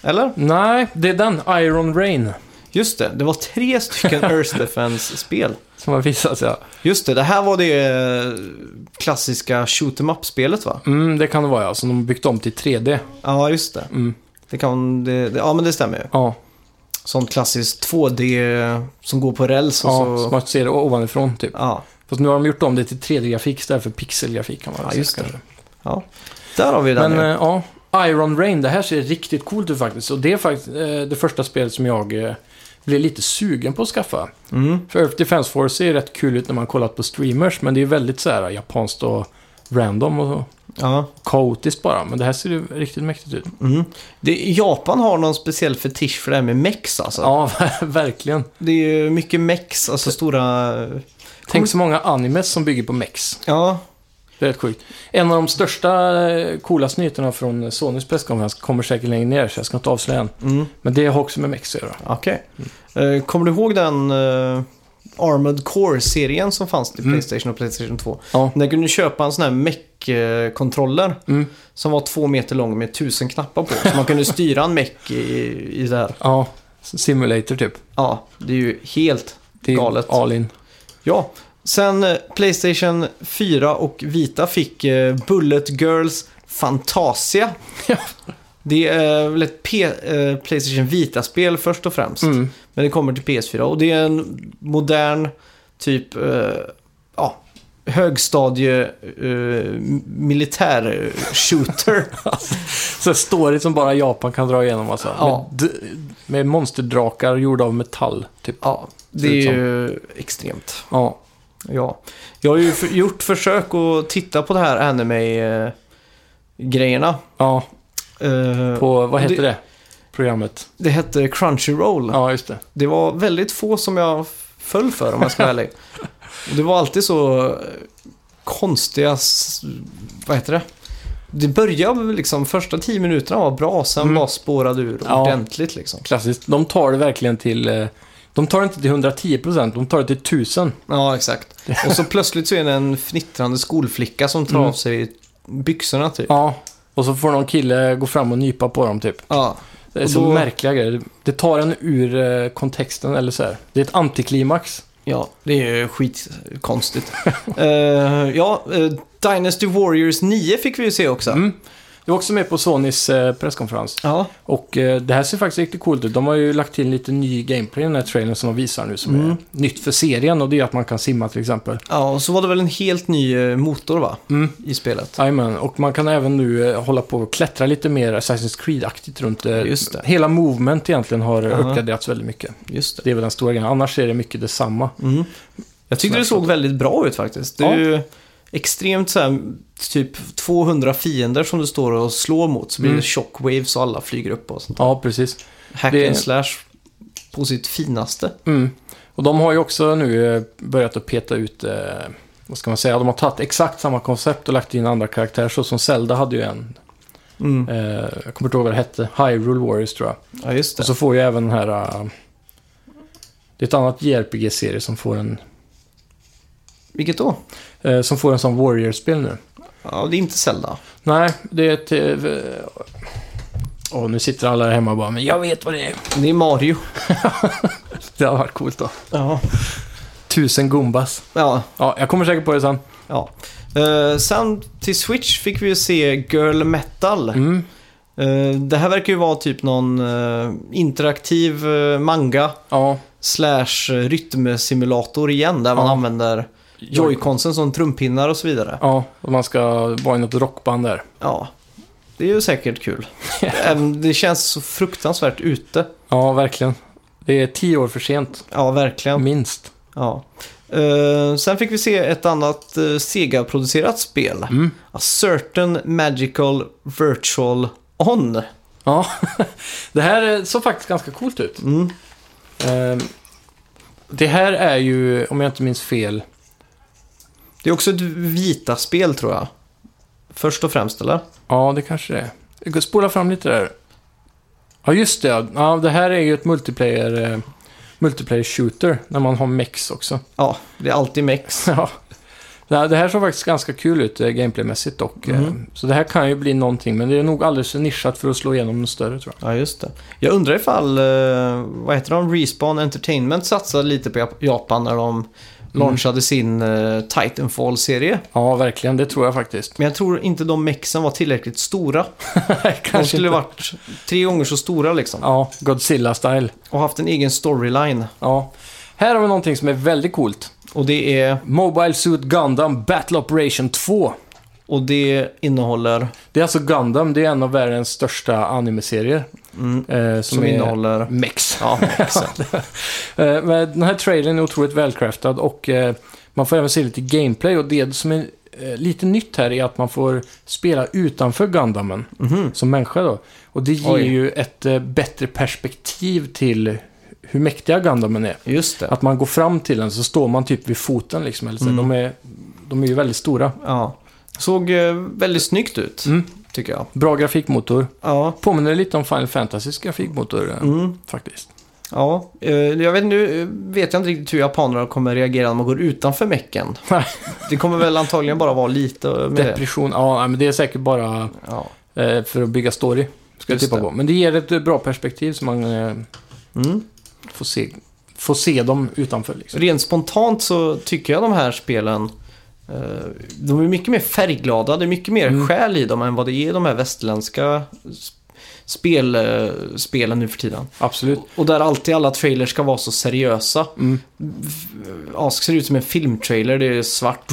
[SPEAKER 1] Eller?
[SPEAKER 2] nej, det är den, Iron Rain,
[SPEAKER 1] Just det, det var tre stycken Earth Defense-spel.
[SPEAKER 2] som har visats ja.
[SPEAKER 1] Just det, det här var det eh, klassiska shoot em up-spelet va?
[SPEAKER 2] Mm, det kan det vara ja, som de har byggt om till 3D.
[SPEAKER 1] Ja, just det.
[SPEAKER 2] Mm.
[SPEAKER 1] det, kan, det, det ja, men det stämmer ju.
[SPEAKER 2] Ja,
[SPEAKER 1] Sånt klassiskt 2D som går på räls och
[SPEAKER 2] ja
[SPEAKER 1] så...
[SPEAKER 2] som man ser det ovanifrån typ.
[SPEAKER 1] Ja,
[SPEAKER 2] Fast nu har de gjort om det till 3D-grafik istället för pixelgrafik kan man väl
[SPEAKER 1] Ja,
[SPEAKER 2] säga,
[SPEAKER 1] just det.
[SPEAKER 2] kanske.
[SPEAKER 1] ja. Där har vi den
[SPEAKER 2] Men
[SPEAKER 1] ju.
[SPEAKER 2] eh, ja, Iron Rain, det här ser riktigt coolt ut faktiskt. Och det är faktiskt eh, det första spelet som jag eh, blev lite sugen på att skaffa.
[SPEAKER 1] Mm.
[SPEAKER 2] För Earth Defense Force ser rätt kul ut när man kollat på streamers, men det är väldigt så här eh, japanskt och random och
[SPEAKER 1] Ja.
[SPEAKER 2] kaotiskt bara. Men det här ser ju riktigt mäktigt ut.
[SPEAKER 1] Mm. Det, Japan har någon speciell fetisch för det här med mex alltså.
[SPEAKER 2] Ja, verkligen.
[SPEAKER 1] Det är ju mycket mex,
[SPEAKER 2] Typ.
[SPEAKER 1] alltså stora...
[SPEAKER 2] Tänk så många animes som bygger på mex.
[SPEAKER 1] Ja,
[SPEAKER 2] Det är rätt sjukt. En av de största, eh, coolaste nyheterna från Sonys presskonferens kommer säkert längre ner, så jag ska inte avslöja än.
[SPEAKER 1] mm.
[SPEAKER 2] Men det har också med mex att göra.
[SPEAKER 1] okej. Eh, kommer du ihåg den eh, Armored Core-serien som fanns till
[SPEAKER 2] Mm.
[SPEAKER 1] Playstation och Playstation 2?
[SPEAKER 2] Ja.
[SPEAKER 1] Där kunde du köpa en sån här mech-kontroller
[SPEAKER 2] Mm.
[SPEAKER 1] som var två meter lång med tusen knappar på. Så man kunde styra en mech i, i det här.
[SPEAKER 2] Ja, simulator typ.
[SPEAKER 1] Ja, det är ju helt
[SPEAKER 2] Det är
[SPEAKER 1] galet.
[SPEAKER 2] All in.
[SPEAKER 1] Ja, sen eh, Playstation 4 och Vita fick eh, Bullet Girls Fantasia.
[SPEAKER 2] Ja.
[SPEAKER 1] Det är väl ett P- eh, Playstation Vita-spel först och främst.
[SPEAKER 2] Mm.
[SPEAKER 1] Men det kommer till PS4 och det är en modern typ eh, ja, högstadie eh, militär eh, shooter.
[SPEAKER 2] Så här story som bara Japan kan dra igenom alltså.
[SPEAKER 1] Ja.
[SPEAKER 2] Med, d- med monsterdrakar gjorda av metall, typ.
[SPEAKER 1] ja, det är ju extremt.
[SPEAKER 2] Ja.
[SPEAKER 1] Ja. Jag har ju f- gjort försök att titta på det här eh, anime-grejerna.
[SPEAKER 2] Ja,
[SPEAKER 1] Eh,
[SPEAKER 2] på, vad
[SPEAKER 1] det-
[SPEAKER 2] heter det? Programmet.
[SPEAKER 1] Det hette Crunchyroll.
[SPEAKER 2] Ja, just det.
[SPEAKER 1] Det var väldigt få som jag f- föll för om jag ska vara ärlig. Och Det var alltid så eh, konstiga... s- Vad heter det? Det började väl liksom, första tio minuterna var bra, sen
[SPEAKER 2] Mm.
[SPEAKER 1] bara spårade ur
[SPEAKER 2] Ja.
[SPEAKER 1] ordentligt liksom.
[SPEAKER 2] Klassiskt. De tar det verkligen till... eh, De tar det inte till 110%, de tar det till 1000.
[SPEAKER 1] Ja, exakt. Och så plötsligt så är det en fnittrande skolflicka som tar
[SPEAKER 2] Mm.
[SPEAKER 1] av sig byxorna typ.
[SPEAKER 2] Ja. Och så får någon kille gå fram och nypa på dem, typ.
[SPEAKER 1] Ja,
[SPEAKER 2] Det är
[SPEAKER 1] Och
[SPEAKER 2] så
[SPEAKER 1] då-
[SPEAKER 2] märkliga grejer. Det- Det tar en ur eh, kontexten, eller så här. Det är ett antiklimax.
[SPEAKER 1] ja det är ju skitkonstigt. Eh, ja, eh, Dynasty Warriors 9 fick vi ju se också.
[SPEAKER 2] Mm. Du var också med på Sonys eh, presskonferens.
[SPEAKER 1] Ja,
[SPEAKER 2] Och eh, det här ser faktiskt riktigt coolt ut. De har ju lagt till lite ny gameplay i den här trailern som de visar nu som
[SPEAKER 1] Mm.
[SPEAKER 2] är nytt för serien och det är att man kan simma till exempel.
[SPEAKER 1] ja, och så var det väl en helt ny eh, motor va?
[SPEAKER 2] Mm.
[SPEAKER 1] I spelet.
[SPEAKER 2] Jajamän, och man kan även nu eh, hålla på och klättra lite mer Assassin's Creed-aktigt runt. eh,
[SPEAKER 1] Just det.
[SPEAKER 2] Hela movement egentligen har uh
[SPEAKER 1] Aha.
[SPEAKER 2] uppgraderats väldigt mycket.
[SPEAKER 1] Just det.
[SPEAKER 2] Det är väl den stora grejen. Annars är det mycket detsamma.
[SPEAKER 1] Mm. Jag tyckte det såg väldigt bra ut faktiskt. Det är
[SPEAKER 2] Ja.
[SPEAKER 1] ju extremt så här, typ 200 fiender som du står och slår mot. Så blir
[SPEAKER 2] Mm.
[SPEAKER 1] det shockwaves och alla flyger upp och sånt.
[SPEAKER 2] Ja, precis.
[SPEAKER 1] Hack
[SPEAKER 2] Det-
[SPEAKER 1] and slash på sitt finaste.
[SPEAKER 2] Mm. Och de har ju också nu eh, börjat att peta ut, eh, vad ska man säga, de har tagit exakt samma koncept och lagt in andra karaktärer. Så som Zelda hade ju en,
[SPEAKER 1] Mm.
[SPEAKER 2] eh, jag kommer inte ihåg vad det hette, Hyrule Warriors tror jag.
[SPEAKER 1] Ja, just det.
[SPEAKER 2] Och så får ju även den här... äh, det är ett annat JRPG-serie som får en...
[SPEAKER 1] Vilket då?
[SPEAKER 2] äh, som får en sån Warrior-spel nu.
[SPEAKER 1] Ja, det är inte Zelda.
[SPEAKER 2] Nej, det är ett... eh, Åh, nu sitter alla där hemma och bara, men jag vet vad det är.
[SPEAKER 1] Det är Mario.
[SPEAKER 2] Det har varit coolt då.
[SPEAKER 1] Ja.
[SPEAKER 2] Tusen Gumbas.
[SPEAKER 1] ja,
[SPEAKER 2] Ja, jag kommer säkert på det sen.
[SPEAKER 1] ja. Eh, sen till Switch fick vi ju se Girl Metal.
[SPEAKER 2] Mm.
[SPEAKER 1] Eh, det här verkar ju vara typ någon eh, interaktiv eh, manga.
[SPEAKER 2] Ja,
[SPEAKER 1] slash rytmsimulator igen där man
[SPEAKER 2] Ja.
[SPEAKER 1] använder joyconsen som trumpinnar och så vidare.
[SPEAKER 2] ja, och man ska vara i något rockband där.
[SPEAKER 1] Ja. Det är ju säkert kul. Även- det känns så fruktansvärt ute.
[SPEAKER 2] Ja, verkligen. Det är tio år för sent,
[SPEAKER 1] Ja, verkligen.
[SPEAKER 2] minst.
[SPEAKER 1] Ja. Eh, sen fick vi se ett annat eh, Sega-producerat spel.
[SPEAKER 2] Mm.
[SPEAKER 1] A certain magical virtual on.
[SPEAKER 2] Ja, det här eh, såg faktiskt ganska coolt ut.
[SPEAKER 1] Mm.
[SPEAKER 2] Ehm, Det här är ju, om jag inte minns fel,
[SPEAKER 1] Det är också ett vita spel tror jag. Först och främst eller?
[SPEAKER 2] ja det kanske det är. Jag går- Spola fram lite där. Ja, just det. Ja, det här är ju ett multiplayer, eh, multiplayer shooter, när man har mex också.
[SPEAKER 1] Ja, det är alltid mex.
[SPEAKER 2] Ja. Nej, Det här såg faktiskt ganska kul ut eh, gameplaymässigt dock. eh,
[SPEAKER 1] Mhm.
[SPEAKER 2] Så det här kan ju bli någonting, men det är nog alldeles för nischat för att slå igenom något större tror jag.
[SPEAKER 1] Ja, just det. Jag undrar ifall, eh, vad heter de, Respawn Entertainment satsade lite på Jap- Japan när de
[SPEAKER 2] Mm.
[SPEAKER 1] launchade sin eh, Titanfall-serie.
[SPEAKER 2] Ja, verkligen. Det tror jag faktiskt.
[SPEAKER 1] Men jag tror inte de mexen var tillräckligt stora. De
[SPEAKER 2] Kanske
[SPEAKER 1] skulle
[SPEAKER 2] inte.
[SPEAKER 1] varit tre gånger så stora liksom.
[SPEAKER 2] Ja, Godzilla-style.
[SPEAKER 1] Och haft en egen storyline.
[SPEAKER 2] Ja. Här har vi någonting som är väldigt coolt.
[SPEAKER 1] Och det, är,
[SPEAKER 2] Mobile Suit Gundam Battle Operation 2.
[SPEAKER 1] och det innehåller,
[SPEAKER 2] Det är alltså Gundam, det är en av världens största animeserier.
[SPEAKER 1] mm,
[SPEAKER 2] Eh, som
[SPEAKER 1] som,
[SPEAKER 2] är
[SPEAKER 1] innehåller,
[SPEAKER 2] Mex.
[SPEAKER 1] ja, mexen.
[SPEAKER 2] Eh, men den här trailern är otroligt välcraftad och eh, man får även se lite gameplay och det som är eh, lite nytt här är att man får spela utanför Gundamen
[SPEAKER 1] Mhm.
[SPEAKER 2] som människa då. Och det ger
[SPEAKER 1] Oj.
[SPEAKER 2] ju ett eh, bättre perspektiv till hur mäktiga Gundamen är.
[SPEAKER 1] Just det.
[SPEAKER 2] Att man går fram till den så står man typ vid foten liksom. Eller så.
[SPEAKER 1] Mm.
[SPEAKER 2] De, är, de är ju väldigt stora.
[SPEAKER 1] Ja. Såg eh, väldigt snyggt ut,
[SPEAKER 2] Mm.
[SPEAKER 1] tycker jag.
[SPEAKER 2] Bra grafikmotor.
[SPEAKER 1] Ja.
[SPEAKER 2] Påminner lite om Final Fantasys grafikmotor eh,
[SPEAKER 1] Mm.
[SPEAKER 2] faktiskt.
[SPEAKER 1] Ja, eh, jag vet, nu eh, vet jag inte riktigt hur japanerna kommer reagera när man går utanför mecken.
[SPEAKER 2] Nej.
[SPEAKER 1] Det kommer väl antagligen bara vara lite med det.
[SPEAKER 2] Depression, ja nej, men det är säkert bara
[SPEAKER 1] Ja.
[SPEAKER 2] eh, för att bygga story. Ska jag
[SPEAKER 1] Just
[SPEAKER 2] tippa
[SPEAKER 1] det.
[SPEAKER 2] på. Men det ger ett eh, bra perspektiv så man eh,
[SPEAKER 1] Mm.
[SPEAKER 2] får, se, får se dem utanför liksom.
[SPEAKER 1] Rent spontant så tycker jag de här spelen eh, de är mycket mer färgglada, det är mycket mer
[SPEAKER 2] Mm.
[SPEAKER 1] själ i dem än vad det är i de här västerländska s- spel, eh, spelen nu för tiden.
[SPEAKER 2] Absolut.
[SPEAKER 1] Och där alltid alla trailers ska vara så seriösa.
[SPEAKER 2] Mm.
[SPEAKER 1] Ja, ser ut som en filmtrailer, det är svart,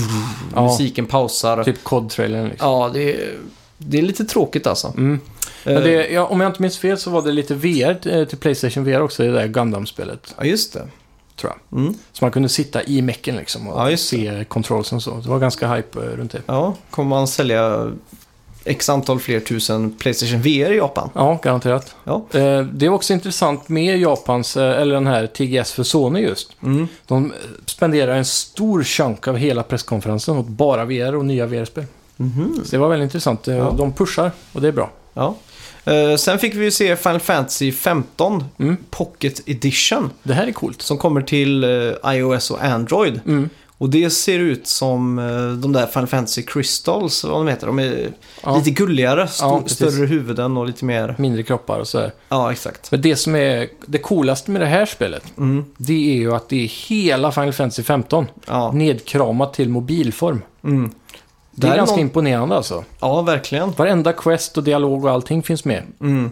[SPEAKER 2] Ja.
[SPEAKER 1] musiken pausar.
[SPEAKER 2] Typ COD-trailern liksom.
[SPEAKER 1] Ja, det är, det är lite tråkigt alltså.
[SPEAKER 2] Mm. Men
[SPEAKER 1] Eh,
[SPEAKER 2] det, ja, om jag inte minns fel så var det lite VR eh, till Playstation VR också, det där Gundam-spelet.
[SPEAKER 1] Ja, just det.
[SPEAKER 2] Tror jag.
[SPEAKER 1] Mm.
[SPEAKER 2] Så man kunde sitta i mecken liksom och
[SPEAKER 1] Ja, just det.
[SPEAKER 2] se controlsen och så. Det var ganska hype eh, runt det.
[SPEAKER 1] Ja, kommer man sälja x antal fler tusen Playstation VR i Japan?
[SPEAKER 2] Ja, garanterat.
[SPEAKER 1] Ja.
[SPEAKER 2] Eh, Det är också intressant med Japans, eh, eller den här TGS för Sony just.
[SPEAKER 1] Mm.
[SPEAKER 2] De eh, spenderar en stor chunk av hela presskonferensen åt bara VR och nya VR-spel.
[SPEAKER 1] Mhm.
[SPEAKER 2] Så det var väldigt intressant. Eh,
[SPEAKER 1] Ja.
[SPEAKER 2] De pushar och det är bra.
[SPEAKER 1] Ja. Eh, sen fick vi ju se Final Fantasy 15
[SPEAKER 2] Mm.
[SPEAKER 1] Pocket Edition
[SPEAKER 2] Det här är coolt.
[SPEAKER 1] som kommer till eh, iOS och Android.
[SPEAKER 2] Mm.
[SPEAKER 1] Och det ser ut som eh, de där Final Fantasy Crystals, vad de heter. De är
[SPEAKER 2] Ja.
[SPEAKER 1] lite gulligare, stor,
[SPEAKER 2] Ja, precis.
[SPEAKER 1] större huvuden och lite mer...
[SPEAKER 2] Mindre kroppar och sådär.
[SPEAKER 1] Ja, exakt.
[SPEAKER 2] Men det som är det coolaste med det här spelet,
[SPEAKER 1] Mm.
[SPEAKER 2] det är ju att det är hela Final Fantasy 15
[SPEAKER 1] Ja.
[SPEAKER 2] nedkramat till mobilform.
[SPEAKER 1] Mm.
[SPEAKER 2] Det
[SPEAKER 1] Där
[SPEAKER 2] är
[SPEAKER 1] är
[SPEAKER 2] ganska
[SPEAKER 1] någon-
[SPEAKER 2] imponerande alltså.
[SPEAKER 1] ja, verkligen.
[SPEAKER 2] Varenda quest och dialog och allting finns med.
[SPEAKER 1] Mm.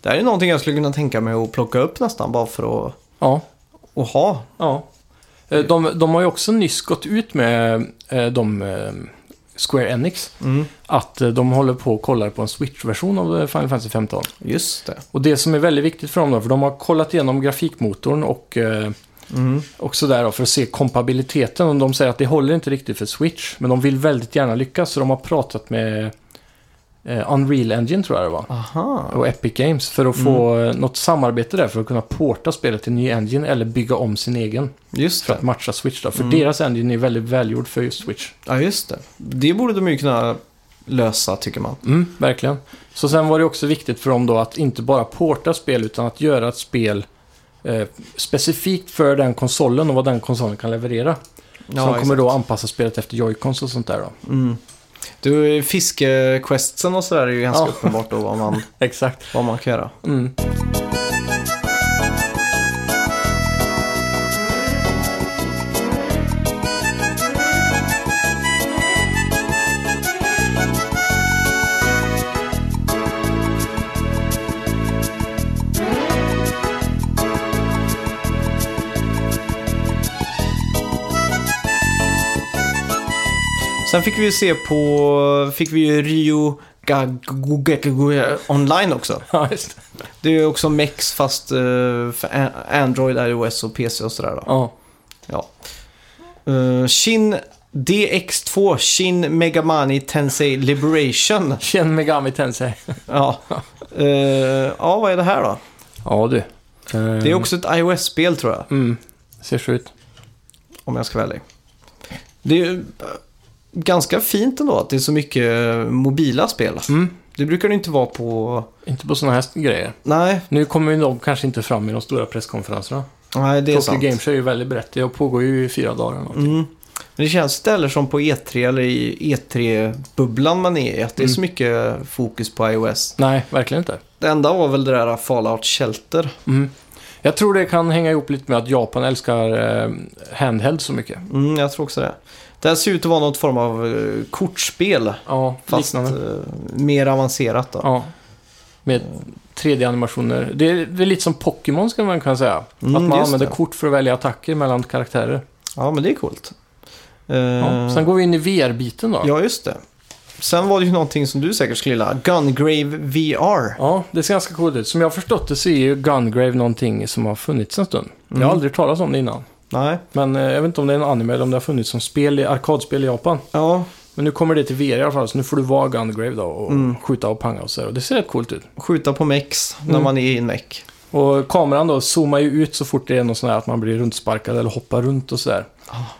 [SPEAKER 1] Det här är någonting jag skulle kunna tänka mig att plocka upp nästan bara för att
[SPEAKER 2] Ja.
[SPEAKER 1] att ha.
[SPEAKER 2] Ja. Eh, De, de har ju också nyss gått ut med eh, de eh, Square Enix
[SPEAKER 1] Mm.
[SPEAKER 2] att eh, de håller på och kollar på en Switch-version av eh, Final Fantasy 15.
[SPEAKER 1] Just det.
[SPEAKER 2] Och det som är väldigt viktigt för dem då, för de har kollat igenom grafikmotorn och, eh,
[SPEAKER 1] Mm.
[SPEAKER 2] och sådär då, för att se kompabiliteten. Och de säger att det håller inte riktigt för Switch, men de vill väldigt gärna lyckas. Så de har pratat med eh, Unreal Engine tror jag det var.
[SPEAKER 1] Aha.
[SPEAKER 2] Och Epic Games för att få eh, något samarbete där för att kunna porta spelet till ny engine eller bygga om sin egen.
[SPEAKER 1] Just
[SPEAKER 2] för att
[SPEAKER 1] det.
[SPEAKER 2] matcha Switch då. För
[SPEAKER 1] Mm.
[SPEAKER 2] deras engine är väldigt välgjord för just Switch.
[SPEAKER 1] Ja, just det. Det borde de ju kunna lösa tycker man.
[SPEAKER 2] Verkligen. Så sen var det också viktigt för dem då att inte bara porta spel utan att göra ett spel eh, specifikt för den konsolen och vad den konsolen kan leverera. så de kommer
[SPEAKER 1] exakt.
[SPEAKER 2] då anpassa spelet efter Joy-Cons och sånt där då.
[SPEAKER 1] Mm. Du, fiskequestsen och sådär är ju ganska
[SPEAKER 2] Ja.
[SPEAKER 1] uppenbart då vad man,
[SPEAKER 2] Exakt.
[SPEAKER 1] vad man kan göra.
[SPEAKER 2] Mm.
[SPEAKER 1] Sen fick vi ju se på, fick vi ju Rio Online också.
[SPEAKER 2] Ja, just det.
[SPEAKER 1] Det är ju också Mex fast eh, för A- Android, iOS och PC och sådär då.
[SPEAKER 2] Ja.
[SPEAKER 1] Ja. Eh, Shin DX2, Shin Megamani Tensei Liberation.
[SPEAKER 2] Känn Megami Tensei.
[SPEAKER 1] Ja. Eh, ja, vad är det här då?
[SPEAKER 2] Ja, du.
[SPEAKER 1] Det är också ett iOS-spel tror jag,
[SPEAKER 2] Eh, Mm, ser så ut.
[SPEAKER 1] om jag ska vara ärlig. Det är ju eh, ganska fint ändå att det är så mycket eh, mobila spel.
[SPEAKER 2] Mm.
[SPEAKER 1] Det brukar det inte vara på...
[SPEAKER 2] Inte på sådana här grejer.
[SPEAKER 1] Nej,
[SPEAKER 2] Nu kommer ju nog kanske inte fram i de stora presskonferenserna.
[SPEAKER 1] nej det är
[SPEAKER 2] Tokyo
[SPEAKER 1] sant.
[SPEAKER 2] Game Show är ju väldigt brett. Det pågår ju i fyra dagar eller någonting.
[SPEAKER 1] Mm. Men det känns ställer som på E3 eller i E3-bubblan man är i, att det är så
[SPEAKER 2] Mm.
[SPEAKER 1] mycket eh, fokus på iOS.
[SPEAKER 2] Nej, verkligen inte.
[SPEAKER 1] Det enda var väl det där eh, Fallout Shelter.
[SPEAKER 2] Mm. Jag tror det kan hänga ihop lite med att Japan älskar eh, handheld så mycket.
[SPEAKER 1] Mm, jag tror också det. Det här ser ut att vara något form av eh, kortspel.
[SPEAKER 2] Ja,
[SPEAKER 1] Fast
[SPEAKER 2] liknande.
[SPEAKER 1] eh, mer avancerat då.
[SPEAKER 2] Ja. Med 3D-animationer. Det är, det är lite som Pokémon skulle man kunna säga.
[SPEAKER 1] Mm,
[SPEAKER 2] att man
[SPEAKER 1] just
[SPEAKER 2] använder
[SPEAKER 1] det.
[SPEAKER 2] kort för att välja attacker mellan karaktärer.
[SPEAKER 1] Ja, men det är coolt. Eh,
[SPEAKER 2] Ja. Sen går vi in i VR-biten då.
[SPEAKER 1] ja, just det. Sen var det ju någonting som du säkert skulle gilla. Gungrave VR.
[SPEAKER 2] Ja, det ser ganska coolt ut. Som jag har förstått det så är ju Gungrave någonting som har funnits en stund. Jag
[SPEAKER 1] Mm.
[SPEAKER 2] har aldrig talat om det innan.
[SPEAKER 1] Nej.
[SPEAKER 2] Men eh, jag vet inte om det är en anime eller om det har funnits som spel i, arkadspel i Japan.
[SPEAKER 1] Ja,
[SPEAKER 2] Men nu kommer det till VR i alla fall, så nu får du vara Gungrave då och
[SPEAKER 1] Mm.
[SPEAKER 2] skjuta och panga och så där. Och det ser rätt coolt ut.
[SPEAKER 1] skjuta på mex när
[SPEAKER 2] Mm.
[SPEAKER 1] man är i en mech.
[SPEAKER 2] Och kameran då zoomar ju ut så fort det är något sånt här att man blir runtsparkad eller hoppar runt och sådär.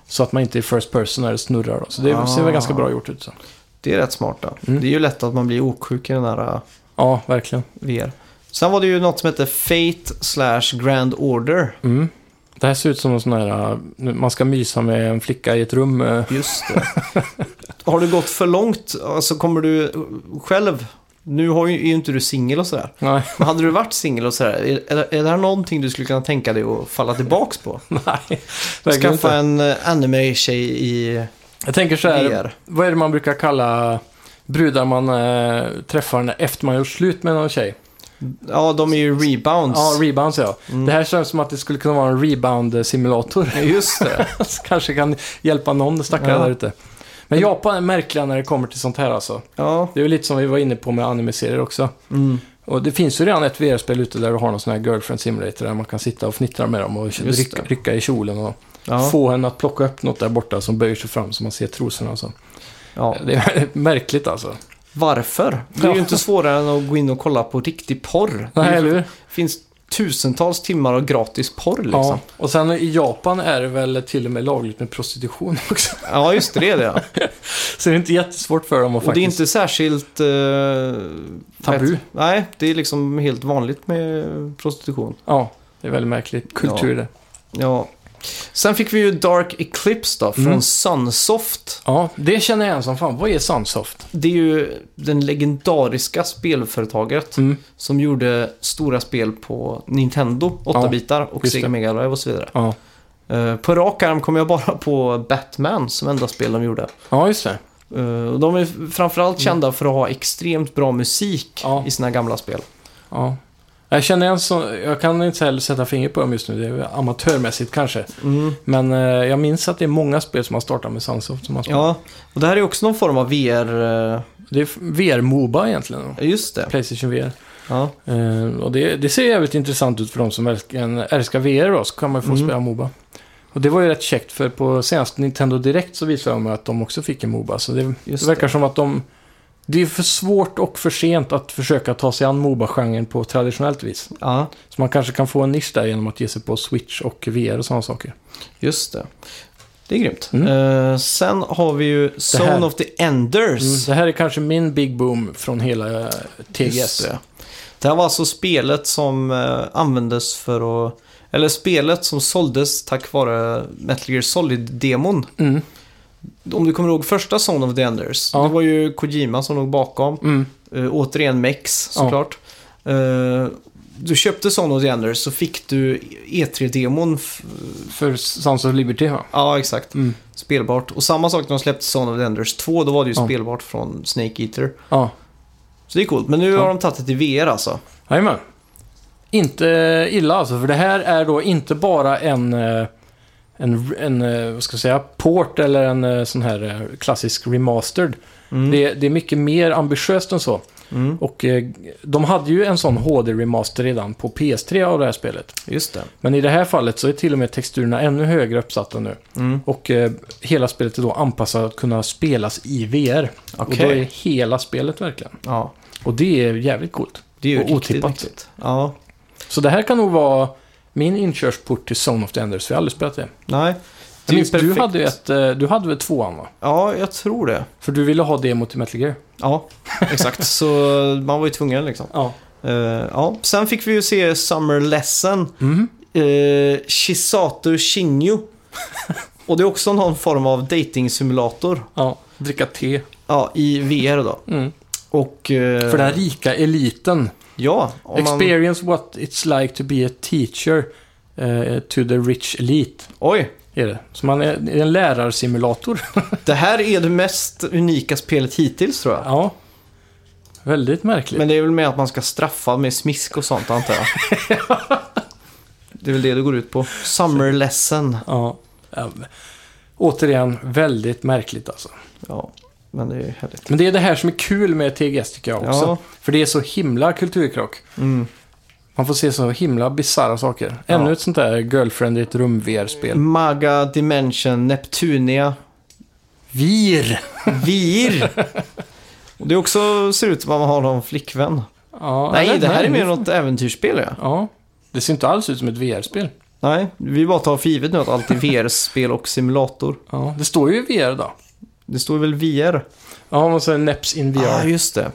[SPEAKER 2] Så att man inte är first person när det snurrar då. Så det
[SPEAKER 1] Ah.
[SPEAKER 2] ser väl ganska bra gjort ut. Så.
[SPEAKER 1] Det är rätt smart då.
[SPEAKER 2] Mm.
[SPEAKER 1] Det är ju lätt att man blir osjuk i den här eh,
[SPEAKER 2] Ja, verkligen.
[SPEAKER 1] VR. Sen var det ju något som hette Fate slash Grand Order.
[SPEAKER 2] Mm. Det här ser ut som en sån här, äh, nu- man ska mysa med en flicka i ett rum. äh.
[SPEAKER 1] Just det. har du gått för långt, alltså kommer du själv... Nu har ju, är ju inte du singel och sådär.
[SPEAKER 2] Nej,
[SPEAKER 1] Men hade du varit singel och sådär, är, är det- är det här någonting du skulle kunna tänka dig att falla tillbaks på?
[SPEAKER 2] nej. Verkligen
[SPEAKER 1] Skaffa
[SPEAKER 2] inte.
[SPEAKER 1] en eh, anime-tjej i
[SPEAKER 2] Jag tänker så här,
[SPEAKER 1] VR.
[SPEAKER 2] vad är det man brukar kalla brudar man äh, träffar när- efter man gjort slut med någon tjej?
[SPEAKER 1] Ja, de är ju rebounds.
[SPEAKER 2] Ja, rebounds ja.
[SPEAKER 1] Mm.
[SPEAKER 2] Det här känns som att det skulle kunna vara en rebound-simulator.
[SPEAKER 1] Just det.
[SPEAKER 2] Så kanske kan hjälpa någon stackare
[SPEAKER 1] Ja.
[SPEAKER 2] där ute. Men Japan är märkliga när det kommer till sånt här alltså.
[SPEAKER 1] Ja.
[SPEAKER 2] Det är ju lite som vi var inne på med anime-serier också.
[SPEAKER 1] Mm.
[SPEAKER 2] Och det finns ju redan ett VR-spel ute där du har någon sån här girlfriend simulator där man kan sitta och fnittra med dem och
[SPEAKER 1] det.
[SPEAKER 2] rycka, rycka i kjolen och
[SPEAKER 1] Ja.
[SPEAKER 2] få henne att plocka upp något där borta som böjer sig fram så man ser trosorna och så.
[SPEAKER 1] ja.
[SPEAKER 2] Det är märkligt alltså.
[SPEAKER 1] Varför? Det är ju
[SPEAKER 2] Ja.
[SPEAKER 1] inte svårare än att gå in och kolla på riktig porr.
[SPEAKER 2] Nej,
[SPEAKER 1] det
[SPEAKER 2] eller hur?
[SPEAKER 1] finns tusentals timmar av gratis porr liksom.
[SPEAKER 2] Ja.
[SPEAKER 1] Ja,
[SPEAKER 2] Och sen i Japan är det väl till och med lagligt med prostitution också.
[SPEAKER 1] just det, det är det. ja.
[SPEAKER 2] Så det är inte jättesvårt för dem att
[SPEAKER 1] Och det är
[SPEAKER 2] faktiskt...
[SPEAKER 1] inte särskilt... Eh,
[SPEAKER 2] Tabu.
[SPEAKER 1] vet- nej, det är liksom helt vanligt med prostitution.
[SPEAKER 2] Ja, det är väldigt märkligt. Kultur
[SPEAKER 1] Ja.
[SPEAKER 2] det.
[SPEAKER 1] Ja. Sen fick vi ju Dark Eclipse då, från
[SPEAKER 2] Mm.
[SPEAKER 1] Sunsoft.
[SPEAKER 2] Ja, det känner jag igen som fan. Vad är Sunsoft?
[SPEAKER 1] Det är ju den legendariska spelföretaget
[SPEAKER 2] Mm.
[SPEAKER 1] som gjorde stora spel på Nintendo, 8-bitar, och
[SPEAKER 2] just
[SPEAKER 1] Sega
[SPEAKER 2] det.
[SPEAKER 1] Mega Drive och så vidare.
[SPEAKER 2] Ja.
[SPEAKER 1] Eh, på rak arm kommer jag bara på Batman som enda spel de gjorde.
[SPEAKER 2] ja, just det.
[SPEAKER 1] Eh, och de är framförallt kända för att ha extremt bra musik
[SPEAKER 2] Ja.
[SPEAKER 1] i sina gamla spel.
[SPEAKER 2] Ja. Jag känner igen så, jag kan inte heller sätta fingret på dem just nu, det är väl amatörmässigt kanske.
[SPEAKER 1] Mm.
[SPEAKER 2] Men eh, jag minns att det är många spel som har startat med Sunsoft som har spelat.
[SPEAKER 1] Ja, och det här är också någon form av VR... eh,
[SPEAKER 2] Det är VR-Moba egentligen.
[SPEAKER 1] Just det.
[SPEAKER 2] Playstation VR.
[SPEAKER 1] Ja.
[SPEAKER 2] Eh, och det, det ser jävligt intressant ut för de som verkligen älskar VR då, så kan man ju få
[SPEAKER 1] Mm.
[SPEAKER 2] spela Moba. Och det var ju rätt käckt för på senaste Nintendo Direkt så visade de att de också fick en Moba. Så det,
[SPEAKER 1] Just
[SPEAKER 2] det verkar som att de... Det är för svårt och för sent att försöka ta sig an Moba-genren på traditionellt vis.
[SPEAKER 1] ja,
[SPEAKER 2] Så man kanske kan få en nisch där genom att ge sig på Switch och VR och sådana saker.
[SPEAKER 1] just det. Det är grymt.
[SPEAKER 2] Mm.
[SPEAKER 1] Eh, sen har vi ju Zone
[SPEAKER 2] här- Mm.
[SPEAKER 1] of the Enders.
[SPEAKER 2] Det här är kanske min big boom från hela eh, TGS.
[SPEAKER 1] Just det. det här var alltså spelet som eh, användes för att... Eller spelet som såldes tack vare Metal Gear Solid-demon.
[SPEAKER 2] Mm,
[SPEAKER 1] Om du kommer ihåg första Zone of the Enders.
[SPEAKER 2] Ja.
[SPEAKER 1] Det var ju Kojima som låg bakom.
[SPEAKER 2] mm,
[SPEAKER 1] Eh, återigen Mex
[SPEAKER 2] Ja.
[SPEAKER 1] såklart. Eh, du köpte Zone of the Enders så fick du E3-demon. f-
[SPEAKER 2] för Sons of Liberty va?
[SPEAKER 1] Ja, exakt.
[SPEAKER 2] Mm.
[SPEAKER 1] Spelbart. Och samma sak när de släppte Zone of the Enders 2. Då var det ju
[SPEAKER 2] Ja.
[SPEAKER 1] spelbart från Snake Eater.
[SPEAKER 2] Ja,
[SPEAKER 1] Så det är coolt. Men nu
[SPEAKER 2] Ja.
[SPEAKER 1] har de tagit det till VR alltså.
[SPEAKER 2] jajamän. Inte illa alltså, för det här är då inte bara en, eh, en, en eh, vad ska jag säga, port eller en eh, sån här eh, klassisk remastered.
[SPEAKER 1] Mm.
[SPEAKER 2] Det, det är mycket mer ambitiöst än så.
[SPEAKER 1] Mm.
[SPEAKER 2] Och eh, de hade ju en sån HD-remaster redan på PS3 av det här spelet.
[SPEAKER 1] Just det.
[SPEAKER 2] Men i det här fallet så är till och med texturerna ännu högre uppsatta nu.
[SPEAKER 1] Mm.
[SPEAKER 2] Och eh, hela spelet är då anpassat att kunna spelas i VR. Och då är
[SPEAKER 1] Okej.
[SPEAKER 2] hela spelet verkligen.
[SPEAKER 1] Ja,
[SPEAKER 2] Och det är jävligt coolt.
[SPEAKER 1] det är ju
[SPEAKER 2] Och
[SPEAKER 1] riktigt
[SPEAKER 2] otippat.
[SPEAKER 1] mäktigt. Ja,
[SPEAKER 2] Så det här kan nog vara min inkörsport till Zone of the Enders, för jag har aldrig spelat det.
[SPEAKER 1] nej.
[SPEAKER 2] Jag
[SPEAKER 1] är
[SPEAKER 2] minns, du
[SPEAKER 1] perfekt.
[SPEAKER 2] hade, ju ett, eh, du hade väl tvåan va?
[SPEAKER 1] Ja, jag tror det.
[SPEAKER 2] För du ville ha demot till Metal Gear?
[SPEAKER 1] Ja, exakt. Så man var ju tvungen liksom.
[SPEAKER 2] Ja.
[SPEAKER 1] Eh, ja. Sen fick vi ju se Summer Lesson.
[SPEAKER 2] Mm.
[SPEAKER 1] Eh, Shisato Shinju. Och det är också någon form av dating-simulator.
[SPEAKER 2] ja. Dricka te.
[SPEAKER 1] Ja, i VR då.
[SPEAKER 2] Mm.
[SPEAKER 1] Och... eh,
[SPEAKER 2] För den rika eliten.
[SPEAKER 1] Ja, om man...
[SPEAKER 2] Experience what it's like to be a teacher eh, to the rich elite.
[SPEAKER 1] Oj!
[SPEAKER 2] Är det. Så man är, det är en lärarsimulator.
[SPEAKER 1] Det här är det mest unika spelet hittills tror jag.
[SPEAKER 2] ja. Väldigt märkligt.
[SPEAKER 1] Men det är väl med att man ska straffa med smisk och sånt antar jag. Det är väl det det går ut på. Summer lesson.
[SPEAKER 2] Ja. Ja. Återigen, väldigt märkligt alltså.
[SPEAKER 1] Ja, men det är ju härligt.
[SPEAKER 2] Men det är det här som är kul med TGS tycker jag också.
[SPEAKER 1] Ja.
[SPEAKER 2] För det är så himla kulturkrock.
[SPEAKER 1] Mm.
[SPEAKER 2] Man får se så himla bisarra saker. Ännu
[SPEAKER 1] Ja.
[SPEAKER 2] ett sånt där girlfriend i ett rum VR-spel.
[SPEAKER 1] Maga Dimension Neptunia
[SPEAKER 2] Vir!
[SPEAKER 1] Vir. Och det är också ser ut som att man har någon flickvän.
[SPEAKER 2] Ja,
[SPEAKER 1] nej,
[SPEAKER 2] eller-
[SPEAKER 1] det här är mer något äventyrsspel ja.
[SPEAKER 2] Ja. Det ser inte alls ut som ett VR-spel.
[SPEAKER 1] Nej, vi bara tar för givet nu att allt är VR-spel och simulator.
[SPEAKER 2] Ja. Det står ju VR då.
[SPEAKER 1] Det står väl VR?
[SPEAKER 2] Ja, man säger Neps in VR.
[SPEAKER 1] Ja, ah, just det.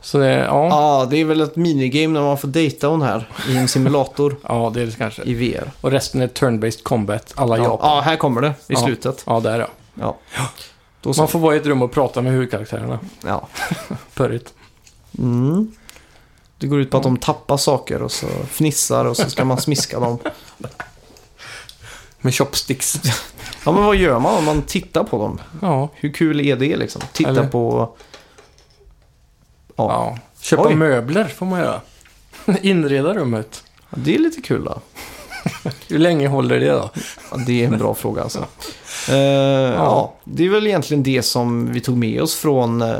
[SPEAKER 2] Så det, ja. ja.
[SPEAKER 1] Ja, det är väl ett minigame när man får dejta hon här i en simulator
[SPEAKER 2] det är det kanske.
[SPEAKER 1] i VR.
[SPEAKER 2] Och resten är turn-based combat, alla
[SPEAKER 1] Ja,
[SPEAKER 2] Japan.
[SPEAKER 1] här kommer det i
[SPEAKER 2] Ja.
[SPEAKER 1] slutet.
[SPEAKER 2] Ja, där ja.
[SPEAKER 1] Ja. Då så.
[SPEAKER 2] Man får vara i ett rum och prata med huvudkaraktärerna.
[SPEAKER 1] Ja.
[SPEAKER 2] Pörrigt.
[SPEAKER 1] Mm. Det går ut på att de tappar saker och så fnissar och så ska man smiska dem.
[SPEAKER 2] Med chopsticks.
[SPEAKER 1] Ja, men vad gör man om man tittar på dem?
[SPEAKER 2] ja.
[SPEAKER 1] Hur kul är det liksom? Titta
[SPEAKER 2] Eller-
[SPEAKER 1] på... Ja.
[SPEAKER 2] ja. Köpa
[SPEAKER 1] Oj.
[SPEAKER 2] möbler får man göra. Inreda rummet.
[SPEAKER 1] det är lite kul då.
[SPEAKER 2] Hur länge håller det då?
[SPEAKER 1] Ja, det är en bra fråga alltså. Eh, ja, det är väl egentligen det som vi tog med oss från... eh,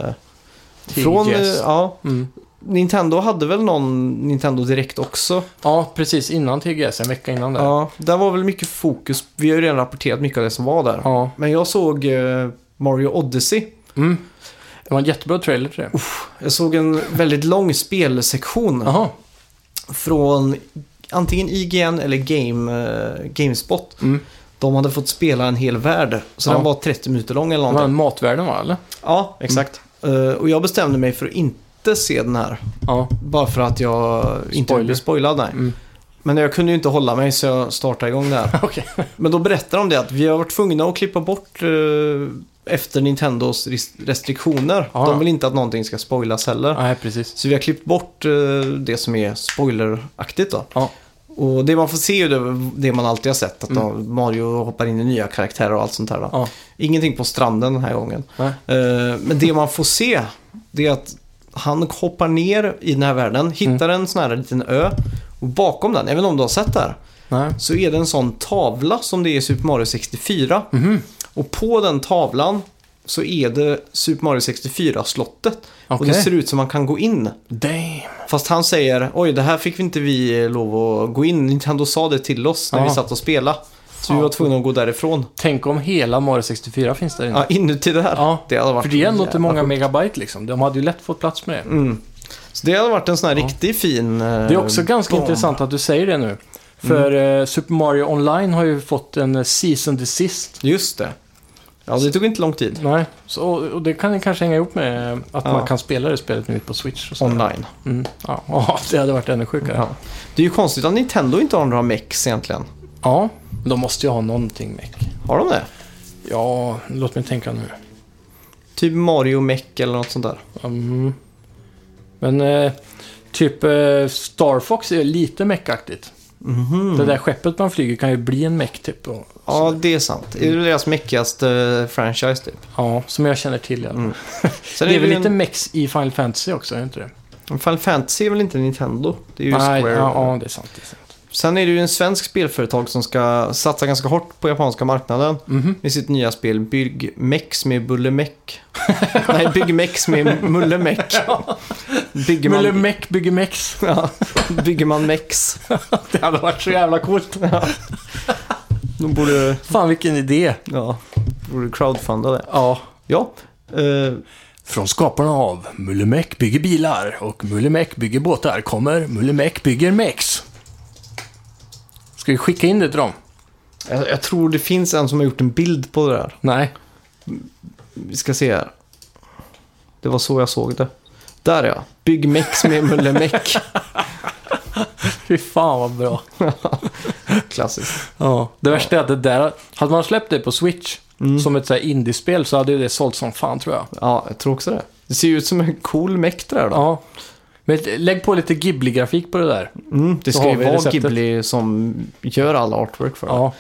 [SPEAKER 1] från eh,
[SPEAKER 2] TGS.
[SPEAKER 1] ja,
[SPEAKER 2] Mm.
[SPEAKER 1] Nintendo hade väl någon Nintendo Direkt också.
[SPEAKER 2] Ja, precis innan TGS, en vecka innan där. Ja.
[SPEAKER 1] Ja, där var väl mycket fokus. Vi har ju redan rapporterat mycket av det som var där.
[SPEAKER 2] ja.
[SPEAKER 1] Men jag såg eh, Mario Odyssey.
[SPEAKER 2] Mm. Det var en jättebra trailer till det.
[SPEAKER 1] Jag såg en väldigt lång spelsektion
[SPEAKER 2] Jaha.
[SPEAKER 1] från antingen IGN eller Game, eh, Gamespot.
[SPEAKER 2] Mm.
[SPEAKER 1] De hade fått spela en hel värld. Så
[SPEAKER 2] Ja.
[SPEAKER 1] den var 30 minuter lång eller
[SPEAKER 2] Det var
[SPEAKER 1] någonting.
[SPEAKER 2] en matvärden va, eller?
[SPEAKER 1] Ja, exakt. Eh, och jag bestämde mig för att inte se den här.
[SPEAKER 2] Ja.
[SPEAKER 1] Bara för att jag inte
[SPEAKER 2] Spoiler.
[SPEAKER 1] ville bli spoilad. Nej.
[SPEAKER 2] Mm.
[SPEAKER 1] Men jag kunde ju inte hålla mig så jag startade igång det här.
[SPEAKER 2] Okej.
[SPEAKER 1] Men då berättar de det att vi har varit tvungna att klippa bort eh, efter Nintendos res- restriktioner.
[SPEAKER 2] Ja.
[SPEAKER 1] De vill inte att någonting ska spoilas heller.
[SPEAKER 2] Nej, precis.
[SPEAKER 1] Så vi har klippt bort eh, det som är spoileraktigt då.
[SPEAKER 2] Ja.
[SPEAKER 1] Och det man får se är ju det man alltid har sett. Att
[SPEAKER 2] Mm.
[SPEAKER 1] då Mario hoppar in i nya karaktärer och allt sånt där. Va?
[SPEAKER 2] Ja.
[SPEAKER 1] Ingenting på stranden den här gången.
[SPEAKER 2] Nej.
[SPEAKER 1] Eh, men det man får se det är att han hoppar ner i den här världen, hittar
[SPEAKER 2] Mm.
[SPEAKER 1] en sån här liten ö. Och bakom den, även om du har sett det här,
[SPEAKER 2] Nej.
[SPEAKER 1] så är det en sån tavla som det är i Super Mario 64.
[SPEAKER 2] Mhm.
[SPEAKER 1] Och på den tavlan så är det Super Mario 64-slottet. Och det
[SPEAKER 2] Okej.
[SPEAKER 1] ser ut som man kan gå in.
[SPEAKER 2] Damn.
[SPEAKER 1] Fast han säger, oj det här fick vi inte vi eh, lov att gå in. Nintendo sa det till oss när
[SPEAKER 2] Ja.
[SPEAKER 1] vi satt och spelade. Så vi var tvungna att gå därifrån.
[SPEAKER 2] Tänk om hela Mario 64 finns där inne.
[SPEAKER 1] Ja, inuti det här.
[SPEAKER 2] Ja,
[SPEAKER 1] Det hade varit
[SPEAKER 2] För det är ändå inte
[SPEAKER 1] jävla
[SPEAKER 2] många
[SPEAKER 1] sjukt.
[SPEAKER 2] megabyte liksom. De hade ju lätt fått plats med det.
[SPEAKER 1] Mm. Så det hade varit en sån här
[SPEAKER 2] Ja.
[SPEAKER 1] riktigt fin... eh,
[SPEAKER 2] Det är också ganska intressant att du säger det nu. För
[SPEAKER 1] Mm.
[SPEAKER 2] eh, Super Mario Online har ju fått en eh, season desist.
[SPEAKER 1] Just det. Ja, det tog inte lång tid.
[SPEAKER 2] Nej, så, och det kan ju kanske hänga ihop med eh, att
[SPEAKER 1] Ja.
[SPEAKER 2] man kan spela det spelet nu på Switch och sådär.
[SPEAKER 1] Online.
[SPEAKER 2] Mm. Ja, ja, det hade varit ännu sjukare. Ja.
[SPEAKER 1] Ja. Det är ju konstigt att Nintendo inte har några mex egentligen.
[SPEAKER 2] de måste ju ha någonting meck.
[SPEAKER 1] Har de det?
[SPEAKER 2] Ja, låt mig tänka nu.
[SPEAKER 1] Typ Mario Mech eller något sånt där.
[SPEAKER 2] Mm. Men eh, typ eh, Star Fox är lite meckaktigt.
[SPEAKER 1] Mhm.
[SPEAKER 2] Det där skeppet man flyger kan ju bli en meck typ. Och,
[SPEAKER 1] Ja, det är sant. Det är väl deras meckigaste eh, franchise typ.
[SPEAKER 2] ja, som jag känner till. Ja.
[SPEAKER 1] Mm. Sen
[SPEAKER 2] Det är väl
[SPEAKER 1] ju
[SPEAKER 2] lite
[SPEAKER 1] en-
[SPEAKER 2] mex i Final Fantasy också, är det inte det?
[SPEAKER 1] Final Fantasy är väl inte Nintendo? Det är ju
[SPEAKER 2] Nej,
[SPEAKER 1] Square.
[SPEAKER 2] ja, ja, det är sant. Det är sant.
[SPEAKER 1] Sen är det ju en svensk spelföretag som ska satsa ganska hårt på japanska marknaden
[SPEAKER 2] Mhm.
[SPEAKER 1] med sitt nya spel Byggmex med Bullemek. Nej, Byggmex med Mullemek. Bygger man,
[SPEAKER 2] Mulle Meck bygger Mex.
[SPEAKER 1] ja, bygger man mex.
[SPEAKER 2] Det hade varit så jävla coolt.
[SPEAKER 1] De borde,
[SPEAKER 2] Fan vilken idé.
[SPEAKER 1] ja, borde crowdfunda det.
[SPEAKER 2] Ja.
[SPEAKER 1] Ja, eh,
[SPEAKER 2] Från skaparna av Mulle Meck bygger bilar och Mulle Meck bygger båtar kommer Mulle Meck bygger Mex. Ska vi skicka in det till dem?
[SPEAKER 1] jag, jag tror det finns en som har gjort en bild på det där.
[SPEAKER 2] Nej.
[SPEAKER 1] Vi ska se här. Det var så jag såg det. Där ja. Bygg mex med Mulle Meck.
[SPEAKER 2] Fy fan vad bra.
[SPEAKER 1] Klassiskt.
[SPEAKER 2] Ja. Mm. Det värsta är att det där, hade man släppt det på Switch som ett så här indiespel så hade ju det sålt som fan tror jag.
[SPEAKER 1] Ja, jag tror också det. Det ser ju ut som en cool meck det där då.
[SPEAKER 2] Ja. Men lägg på lite Ghibli-grafik på det där.
[SPEAKER 1] Mm, det
[SPEAKER 2] Då
[SPEAKER 1] ska
[SPEAKER 2] har
[SPEAKER 1] ju
[SPEAKER 2] vi
[SPEAKER 1] vara
[SPEAKER 2] receptet.
[SPEAKER 1] Ghibli som gör all artwork för det.
[SPEAKER 2] Ja.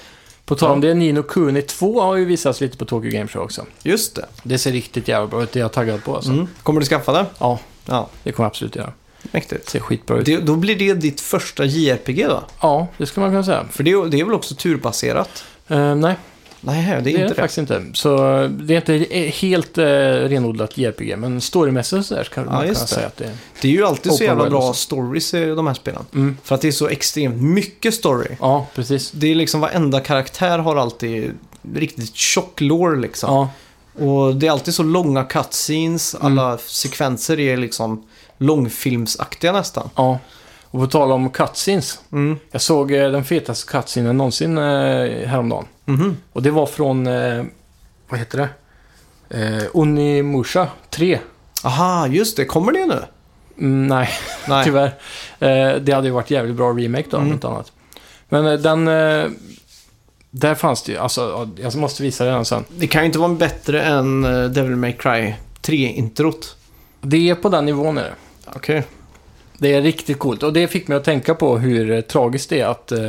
[SPEAKER 2] På tal om det, Nino Kuni 2 har ju visats lite på Tokyo Game Show också.
[SPEAKER 1] Just det.
[SPEAKER 2] Det ser riktigt jävla bra ut, det är jag taggad på alltså.
[SPEAKER 1] Mm. Kommer du skaffa det?
[SPEAKER 2] Ja,
[SPEAKER 1] Ja,
[SPEAKER 2] det kommer jag absolut göra. Det
[SPEAKER 1] mäktigt.
[SPEAKER 2] ser skitbra ut.
[SPEAKER 1] Det, då blir det ditt första JRPG då?
[SPEAKER 2] Ja, det skulle man kunna säga.
[SPEAKER 1] För det, är- det är väl också turbaserat?
[SPEAKER 2] Eh, nej,
[SPEAKER 1] Nej, det är
[SPEAKER 2] det är,
[SPEAKER 1] inte
[SPEAKER 2] det
[SPEAKER 1] det.
[SPEAKER 2] faktiskt inte. Så eh, det är inte he- helt eh, renodlat JRPG, men storymässigt så där ska man kunna
[SPEAKER 1] just det.
[SPEAKER 2] säga att det är...
[SPEAKER 1] Det är ju alltid så
[SPEAKER 2] Open
[SPEAKER 1] jävla
[SPEAKER 2] world
[SPEAKER 1] bra
[SPEAKER 2] också.
[SPEAKER 1] stories i de här spelen.
[SPEAKER 2] Mm.
[SPEAKER 1] För att det är så extremt mycket story.
[SPEAKER 2] Ja, precis.
[SPEAKER 1] Det är liksom varenda karaktär har alltid riktigt tjock lore liksom.
[SPEAKER 2] Ja,
[SPEAKER 1] Och det är alltid så långa cutscenes, alla sekvenser är liksom långfilmsaktiga nästan.
[SPEAKER 2] ja. Och på tal om cutscenes.
[SPEAKER 1] Mm.
[SPEAKER 2] Jag såg eh, den fetaste cutscenen någonsin eh, häromdagen.
[SPEAKER 1] Mhm.
[SPEAKER 2] Och det var från, eh, vad heter det? Eh, Onimusha 3.
[SPEAKER 1] Aha, just det. Kommer det nu?
[SPEAKER 2] Mm, nej,
[SPEAKER 1] Nej.
[SPEAKER 2] tyvärr. Eh, det hade ju varit jävligt bra remake då, om
[SPEAKER 1] Mm.
[SPEAKER 2] inte annat. Men eh, den... Eh, där fanns det ju, alltså, ja, jag måste visa den sen.
[SPEAKER 1] Det kan ju inte vara bättre än eh, Devil May Cry 3-introt.
[SPEAKER 2] Det är på den nivån är det.
[SPEAKER 1] Okej.
[SPEAKER 2] Det är riktigt coolt och det fick mig att tänka på hur eh, tragiskt det är att eh,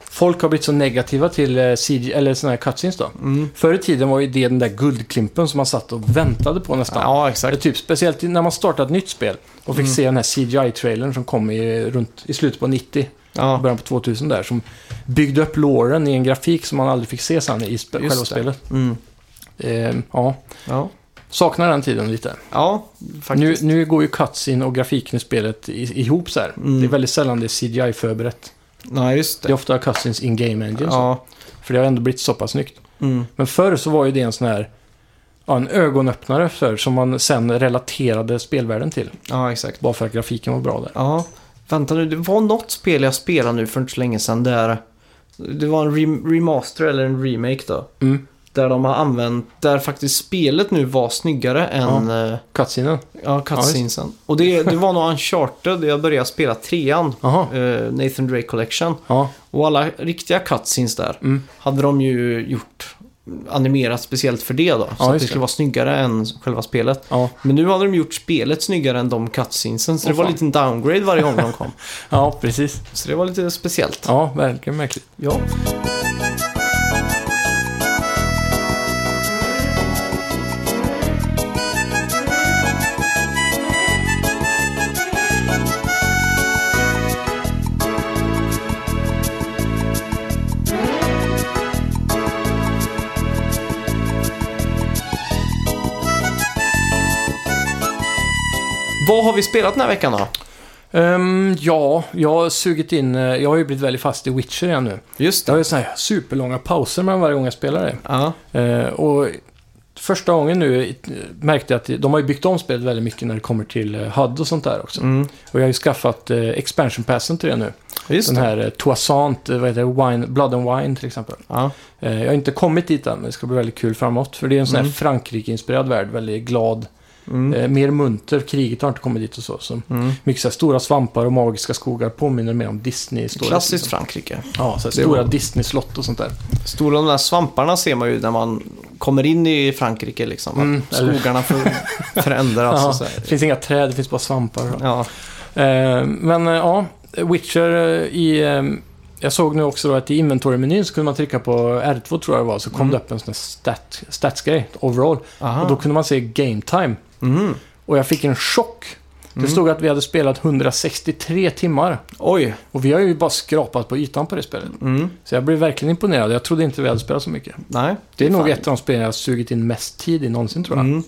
[SPEAKER 2] folk har blivit så negativa till eh, CG, eller såna här cutscenes då.
[SPEAKER 1] Mm.
[SPEAKER 2] Förr i tiden var ju det den där guldklimpen som man satt och väntade på nästan.
[SPEAKER 1] Ja,
[SPEAKER 2] Eller
[SPEAKER 1] exakt.
[SPEAKER 2] typ speciellt när man startade ett nytt spel och fick
[SPEAKER 1] Mm.
[SPEAKER 2] se den här CGI-trailern som kom i, runt, i slutet på 90,
[SPEAKER 1] Ja.
[SPEAKER 2] början på 2000 där. Som byggde upp låren i en grafik som man aldrig fick se sen i spe-
[SPEAKER 1] Just
[SPEAKER 2] själva
[SPEAKER 1] det.
[SPEAKER 2] spelet.
[SPEAKER 1] Mm.
[SPEAKER 2] Eh, ja,
[SPEAKER 1] Ja.
[SPEAKER 2] saknar den tiden lite.
[SPEAKER 1] ja,
[SPEAKER 2] Nu,
[SPEAKER 1] faktiskt.
[SPEAKER 2] nu går ju cutscene och grafiken i spelet i, ihop så här.
[SPEAKER 1] Mm.
[SPEAKER 2] Det är väldigt sällan det är CGI-förberett.
[SPEAKER 1] Nej, just
[SPEAKER 2] Det är
[SPEAKER 1] det.
[SPEAKER 2] ofta cutscenes in game engine. så.
[SPEAKER 1] Ja.
[SPEAKER 2] För det har ändå blivit så pass snyggt.
[SPEAKER 1] Mm.
[SPEAKER 2] Men förr så var ju det en sån här... Ja, en ögonöppnare för som man sen relaterade spelvärlden till.
[SPEAKER 1] ja, exakt.
[SPEAKER 2] Bara för att grafiken var bra där.
[SPEAKER 1] Ja, vänta nu. Det var något spel jag spelade nu för inte så länge sedan där... Det var en rem- remaster eller en remake då.
[SPEAKER 2] Mm.
[SPEAKER 1] Där de har använt... Där faktiskt spelet nu var snyggare än... eh,
[SPEAKER 2] Cutscenen?
[SPEAKER 1] Ja, cutscenesen. Och det, det var nog Uncharted jag började spela trean.
[SPEAKER 2] Jaha.
[SPEAKER 1] eh, Nathan Drake Collection.
[SPEAKER 2] Ja.
[SPEAKER 1] Och alla riktiga cutscenes där
[SPEAKER 2] Mm.
[SPEAKER 1] hade de ju gjort animerat speciellt för det då. Så
[SPEAKER 2] Ja, just
[SPEAKER 1] att det
[SPEAKER 2] det.
[SPEAKER 1] skulle vara snyggare än själva spelet.
[SPEAKER 2] Ja.
[SPEAKER 1] Men nu hade de gjort spelet snyggare än de cutscenesen. Så
[SPEAKER 2] Åh,
[SPEAKER 1] det var en
[SPEAKER 2] fan.
[SPEAKER 1] liten downgrade varje gång de kom.
[SPEAKER 2] ja, precis.
[SPEAKER 1] Så det var lite speciellt.
[SPEAKER 2] Ja, verkligen märkligt.
[SPEAKER 1] Ja. Vad har vi spelat den här veckan då?
[SPEAKER 2] Ehm, ja, jag har sugit in... eh, Jag har ju blivit väldigt fast i Witcher igen nu.
[SPEAKER 1] Just
[SPEAKER 2] Jag har ju såna här superlånga pauser mellan varje gång jag spelar det.
[SPEAKER 1] Ja.
[SPEAKER 2] Eh, och första gången nu eh, märkte jag att de har ju byggt om spelet väldigt mycket när det kommer till eh, HUD och sånt där också.
[SPEAKER 1] Mm.
[SPEAKER 2] Och jag har ju skaffat eh, expansion passen till det nu.
[SPEAKER 1] Just
[SPEAKER 2] Den
[SPEAKER 1] det.
[SPEAKER 2] här eh, Toissant, eh, vad heter det, wine, Blood and Wine till exempel.
[SPEAKER 1] Ja.
[SPEAKER 2] Eh, jag har inte kommit dit än, men det ska bli väldigt kul framåt. För det är en sån här
[SPEAKER 1] Mm.
[SPEAKER 2] Frankrike-inspirerad värld, väldigt glad,
[SPEAKER 1] Mm.
[SPEAKER 2] eh, mer munter. Kriget har inte kommit dit och så. så.
[SPEAKER 1] Mm.
[SPEAKER 2] Mycket så här stora svampar och magiska skogar påminner mer om Disney-historia.
[SPEAKER 1] Klassiskt
[SPEAKER 2] liksom.
[SPEAKER 1] Frankrike.
[SPEAKER 2] Ja, så här
[SPEAKER 1] Det
[SPEAKER 2] stora
[SPEAKER 1] var-
[SPEAKER 2] Disney-slott och sånt där.
[SPEAKER 1] Stora de där svamparna ser man ju när man kommer in i Frankrike liksom.
[SPEAKER 2] Mm,
[SPEAKER 1] att skogarna för, förändras
[SPEAKER 2] Ja,
[SPEAKER 1] och så här.
[SPEAKER 2] det finns inga träd, det finns bara svampar.
[SPEAKER 1] Ja.
[SPEAKER 2] Eh, men eh, ja, Witcher eh, i... Eh, jag såg nu också då att i inventory-menyn så kunde man trycka på R2 tror jag det var, så kom
[SPEAKER 1] Mm. Ah.
[SPEAKER 2] det upp en sån här stat, statsgrej, overall.
[SPEAKER 1] Aha.
[SPEAKER 2] Och då kunde man se game time.
[SPEAKER 1] Mhm.
[SPEAKER 2] Och jag fick en chock.
[SPEAKER 1] Mm.
[SPEAKER 2] Det stod att vi hade spelat 163 timmar.
[SPEAKER 1] Oj.
[SPEAKER 2] Och vi har ju bara skrapat på ytan på det spelet.
[SPEAKER 1] Mm.
[SPEAKER 2] Så jag blev verkligen imponerad. Jag trodde inte vi hade spelat så mycket.
[SPEAKER 1] Nej.
[SPEAKER 2] Det är nog
[SPEAKER 1] Fan.
[SPEAKER 2] ett av de spel jag har sugit in mest tid i någonsin tror jag.
[SPEAKER 1] Mm.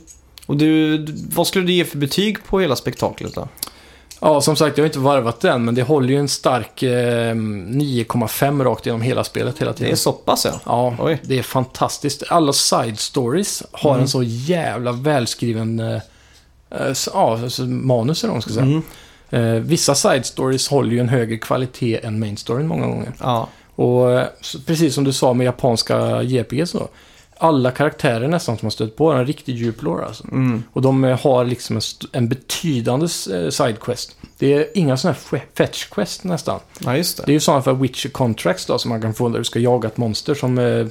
[SPEAKER 1] Och du, du- vad skulle du ge för betyg på hela spektaklet då?
[SPEAKER 2] Ja, som sagt, jag har inte varvat den, men det håller ju en stark eh, 9,5 rakt genom hela spelet hela
[SPEAKER 1] Det
[SPEAKER 2] tiden.
[SPEAKER 1] är så pass ja.
[SPEAKER 2] Ja,
[SPEAKER 1] Oj.
[SPEAKER 2] det är fantastiskt. Alla side stories har
[SPEAKER 1] Mm.
[SPEAKER 2] en så jävla välskriven eh, eh, s- ja, alltså manus eller vad man ska säga.
[SPEAKER 1] Mm.
[SPEAKER 2] Eh, vissa side stories håller ju en högre kvalitet än main storyn många gånger.
[SPEAKER 1] Ja.
[SPEAKER 2] Och eh, så- precis som du sa med japanska JPG så. Alla karaktärer nästan som har stött på har en riktigt djup lore alltså.
[SPEAKER 1] Mm.
[SPEAKER 2] Och de eh, har liksom en, st- en betydande s- eh, sidequest. Det är inga sådana här fe- fetch quest nästan.
[SPEAKER 1] ja, just det.
[SPEAKER 2] Det är ju sådana för Witcher Contracts då, som man kan få där du ska jaga ett monster som eh, eh,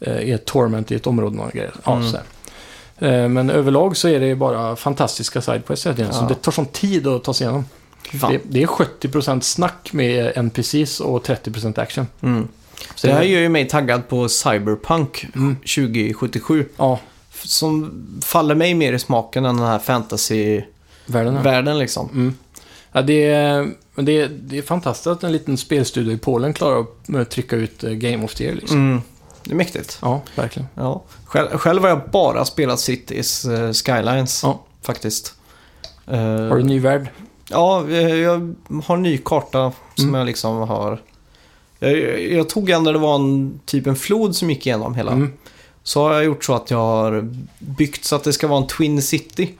[SPEAKER 2] är ett torment i ett område. Och grejer. Ja,
[SPEAKER 1] Mm.
[SPEAKER 2] så här. Eh, Men överlag så är det ju bara fantastiska sidequests hela tiden. Så
[SPEAKER 1] Ja.
[SPEAKER 2] det tar sån tid att ta sig igenom.
[SPEAKER 1] Fan.
[SPEAKER 2] Det, det är 70% snack med NPCs och 30% action.
[SPEAKER 1] Mm.
[SPEAKER 2] Så
[SPEAKER 1] Det här
[SPEAKER 2] är-
[SPEAKER 1] gör ju mig taggad på Cyberpunk
[SPEAKER 2] Mm.
[SPEAKER 1] 2077.
[SPEAKER 2] Ja,
[SPEAKER 1] f- Som faller mig mer i smaken än den här fantasy-världen
[SPEAKER 2] världen här.
[SPEAKER 1] liksom.
[SPEAKER 2] Mm. Ja, det, är, men det, är, det är fantastiskt att en liten spelstudio i Polen klarar att eh, trycka ut eh, Game of the Year. Liksom.
[SPEAKER 1] Mm. Det är mäktigt.
[SPEAKER 2] Ja, verkligen.
[SPEAKER 1] Ja. Själv, själv har jag bara spelat Cities eh, Skylines
[SPEAKER 2] Ja.
[SPEAKER 1] faktiskt. Eh,
[SPEAKER 2] Har du en ny värld?
[SPEAKER 1] Ja, eh, jag har en ny karta som
[SPEAKER 2] Mm.
[SPEAKER 1] jag liksom har... Jag, jag- jag tog en där det var en typ en flod som gick igenom hela.
[SPEAKER 2] Mm.
[SPEAKER 1] Så har jag gjort så att jag har byggt så att det ska vara en Twin City.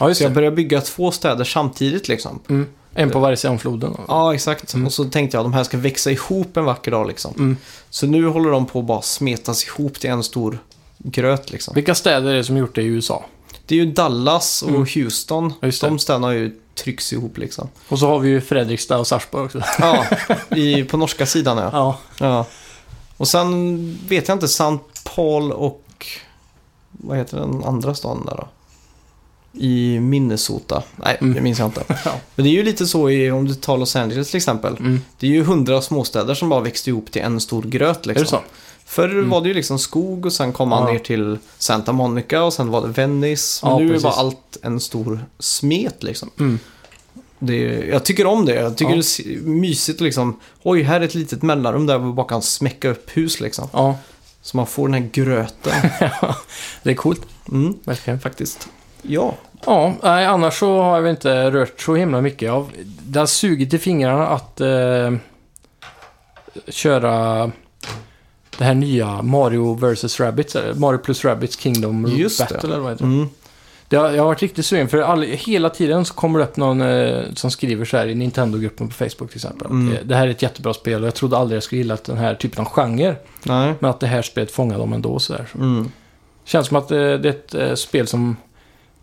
[SPEAKER 2] Ja, just
[SPEAKER 1] Så jag
[SPEAKER 2] det.
[SPEAKER 1] börjar bygga två städer samtidigt liksom.
[SPEAKER 2] Mm. En på varje sida om floden. då.
[SPEAKER 1] Ja, exakt.
[SPEAKER 2] Mm.
[SPEAKER 1] Och så tänkte jag att de här ska växa ihop en vacker dag liksom.
[SPEAKER 2] Mm.
[SPEAKER 1] Så nu håller de på att bara smetas ihop till en stor gröt liksom.
[SPEAKER 2] Vilka städer är det som gjort det i USA?
[SPEAKER 1] Det är ju Dallas och
[SPEAKER 2] Mm.
[SPEAKER 1] Houston.
[SPEAKER 2] Ja, just det.
[SPEAKER 1] De städerna har ju trycks ihop liksom.
[SPEAKER 2] Och så har vi ju Fredrikstad och Sarpsborg också.
[SPEAKER 1] Ja, i, på norska sidan ja.
[SPEAKER 2] Ja.
[SPEAKER 1] ja. Och sen vet jag inte, St. Paul och vad heter den andra staden där då? I Minnesota. Nej,
[SPEAKER 2] Mm.
[SPEAKER 1] det minns jag inte.
[SPEAKER 2] Ja.
[SPEAKER 1] Men det är ju lite så i, om du tar Los Angeles till exempel.
[SPEAKER 2] Mm.
[SPEAKER 1] Det är ju hundra småstäder som bara växte ihop till en stor gröt
[SPEAKER 2] Är det
[SPEAKER 1] liksom.
[SPEAKER 2] så?
[SPEAKER 1] Förr
[SPEAKER 2] Mm.
[SPEAKER 1] var det ju liksom skog och sen kom man
[SPEAKER 2] Ja.
[SPEAKER 1] ner till Santa Monica och sen var det Venice. Men
[SPEAKER 2] Ja,
[SPEAKER 1] nu
[SPEAKER 2] precis.
[SPEAKER 1] är bara allt en stor smet liksom.
[SPEAKER 2] Mm.
[SPEAKER 1] Det är, jag tycker om det. Jag
[SPEAKER 2] Ja.
[SPEAKER 1] tycker det är s- mysigt liksom. Oj, här är ett litet mellanrum där vi bara kan smäcka upp hus liksom.
[SPEAKER 2] Ja,
[SPEAKER 1] Så man får den här gröten.
[SPEAKER 2] det är coolt.
[SPEAKER 1] Mm,
[SPEAKER 2] Verkligen.
[SPEAKER 1] faktiskt. Ja.
[SPEAKER 2] Ja, nej, annars så har jag inte rört så himla mycket. Jag, har- det har sugit i fingrarna att eh, köra det här nya Mario vs. Rabbids, eller Mario plus Rabbids Kingdom
[SPEAKER 1] Just det.
[SPEAKER 2] Battle eller vad heter det?
[SPEAKER 1] Mm.
[SPEAKER 2] det har, jag har varit riktigt sugen, för all, hela tiden så kommer det upp någon eh, som skriver så här i Nintendo-gruppen på Facebook till exempel. att,
[SPEAKER 1] Mm.
[SPEAKER 2] eh, Det här är ett jättebra spel och jag trodde aldrig jag skulle gilla den här typen av genre.
[SPEAKER 1] Nej.
[SPEAKER 2] Men att det här spelet fångar dem ändå och så där.
[SPEAKER 1] Mm.
[SPEAKER 2] Känns som att eh, det är ett eh, spel som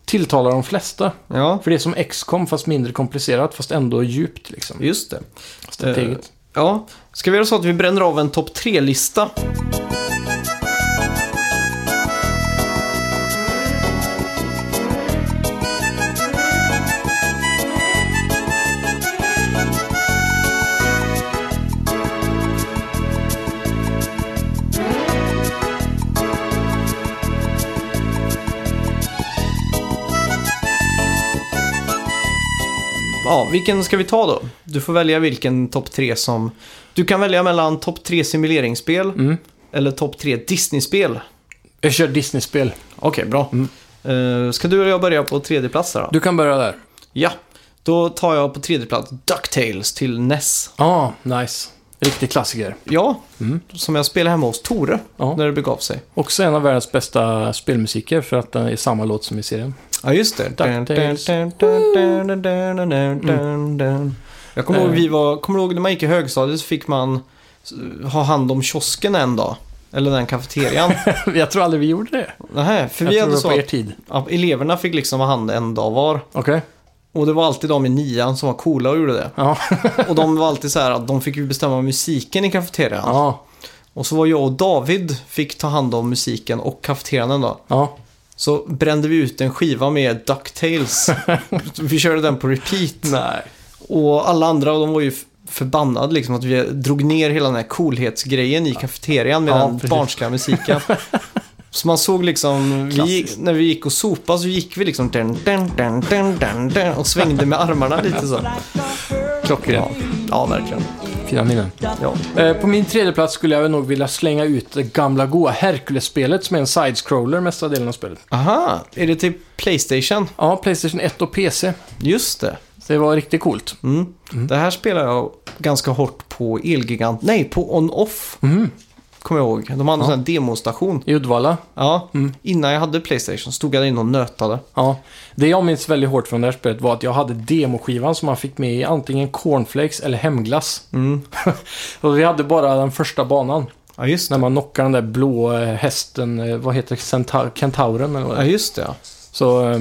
[SPEAKER 2] tilltalar de flesta.
[SPEAKER 1] Ja,
[SPEAKER 2] För det är som XCOM fast mindre komplicerat fast ändå djupt liksom.
[SPEAKER 1] just det.
[SPEAKER 2] Strategiskt.
[SPEAKER 1] Ja, ska vi göra så att vi bränner av en topp tre-lista? Ja, vilken ska vi ta då? Du får välja vilken topp tre som... Du kan välja mellan topp tre simuleringsspel
[SPEAKER 2] Mm.
[SPEAKER 1] eller topp tre Disney-spel.
[SPEAKER 2] Jag kör Disney-spel.
[SPEAKER 1] Okej, bra.
[SPEAKER 2] Mm.
[SPEAKER 1] Eh, ska du eller jag börja på tredje plats där då?
[SPEAKER 2] Du kan börja där.
[SPEAKER 1] Ja, då tar jag på tredje plats DuckTales till NES.
[SPEAKER 2] Ja, nice. Riktig klassiker.
[SPEAKER 1] Ja,
[SPEAKER 2] Mm.
[SPEAKER 1] som jag spelade hemma hos Tore
[SPEAKER 2] Ja.
[SPEAKER 1] när det begav sig.
[SPEAKER 2] Också en av världens bästa spelmusiker för att den är samma låt som i serien.
[SPEAKER 1] Ja, just det.
[SPEAKER 2] DuckTales. Mm.
[SPEAKER 1] Jag kommer ihåg,
[SPEAKER 2] Eh.
[SPEAKER 1] vi var, kommer ihåg när man gick i högstadiet så fick man eh, ha hand om kiosken en dag. Eller den cafeterian.
[SPEAKER 2] jag tror aldrig vi gjorde det.
[SPEAKER 1] Nej, för
[SPEAKER 2] jag
[SPEAKER 1] vi
[SPEAKER 2] tror
[SPEAKER 1] hade
[SPEAKER 2] det var
[SPEAKER 1] så
[SPEAKER 2] på
[SPEAKER 1] att
[SPEAKER 2] er tid.
[SPEAKER 1] ja, eleverna fick liksom ha hand en dag var.
[SPEAKER 2] Okej.
[SPEAKER 1] Och det var alltid de i nian som var coola och gjorde det.
[SPEAKER 2] Ja.
[SPEAKER 1] Och de var alltid så här att de fick ju bestämma musiken i kafeterian.
[SPEAKER 2] ja.
[SPEAKER 1] Och så var jag och David fick ta hand om musiken och kafeterian en dag.
[SPEAKER 2] Ja.
[SPEAKER 1] Så brände vi ut en skiva med DuckTales. vi körde den på repeat.
[SPEAKER 2] Nej.
[SPEAKER 1] Och alla andra de var ju f- förbannade liksom att vi drog ner hela den här coolhetsgrejen i kafeterian med
[SPEAKER 2] Ja,
[SPEAKER 1] den
[SPEAKER 2] precis.
[SPEAKER 1] barnsliga musiken. Så man såg liksom, vi, gick-
[SPEAKER 2] Klassiskt.
[SPEAKER 1] när vi gick och sopade så gick vi liksom den, den, den, den, den, den, och svängde med armarna lite så.
[SPEAKER 2] Klockrent.
[SPEAKER 1] Ja, verkligen.
[SPEAKER 2] Fina minnen.
[SPEAKER 1] Ja.
[SPEAKER 2] Eh, På min tredje plats skulle jag väl nog vilja slänga ut det gamla goa Hercules-spelet som är en side-scroller mesta delen av spelet.
[SPEAKER 1] Aha, är det till Playstation?
[SPEAKER 2] Ja, Playstation 1 och PC.
[SPEAKER 1] Just det.
[SPEAKER 2] Så det var riktigt coolt.
[SPEAKER 1] Mm. Det här spelar jag ganska hårt på Elgigant, nej på On-Off.
[SPEAKER 2] Mm.
[SPEAKER 1] Kommer jag ihåg. De hade en sån här demostation.
[SPEAKER 2] I Uddevalla.
[SPEAKER 1] Ja,
[SPEAKER 2] Mm.
[SPEAKER 1] innan jag hade Playstation stod jag där inne och nötade.
[SPEAKER 2] Ja. Det jag minns väldigt hårt från det här spelet var att jag hade demoskivan som man fick med i antingen cornflakes eller hemglass.
[SPEAKER 1] Mm.
[SPEAKER 2] Och vi hade bara den första banan.
[SPEAKER 1] Ja, just
[SPEAKER 2] När
[SPEAKER 1] det.
[SPEAKER 2] man knockar den där blå eh, hästen, eh, vad heter det, Centa- kentauren eller vad det
[SPEAKER 1] Ja,
[SPEAKER 2] är.
[SPEAKER 1] just det. ja.
[SPEAKER 2] Så, eh,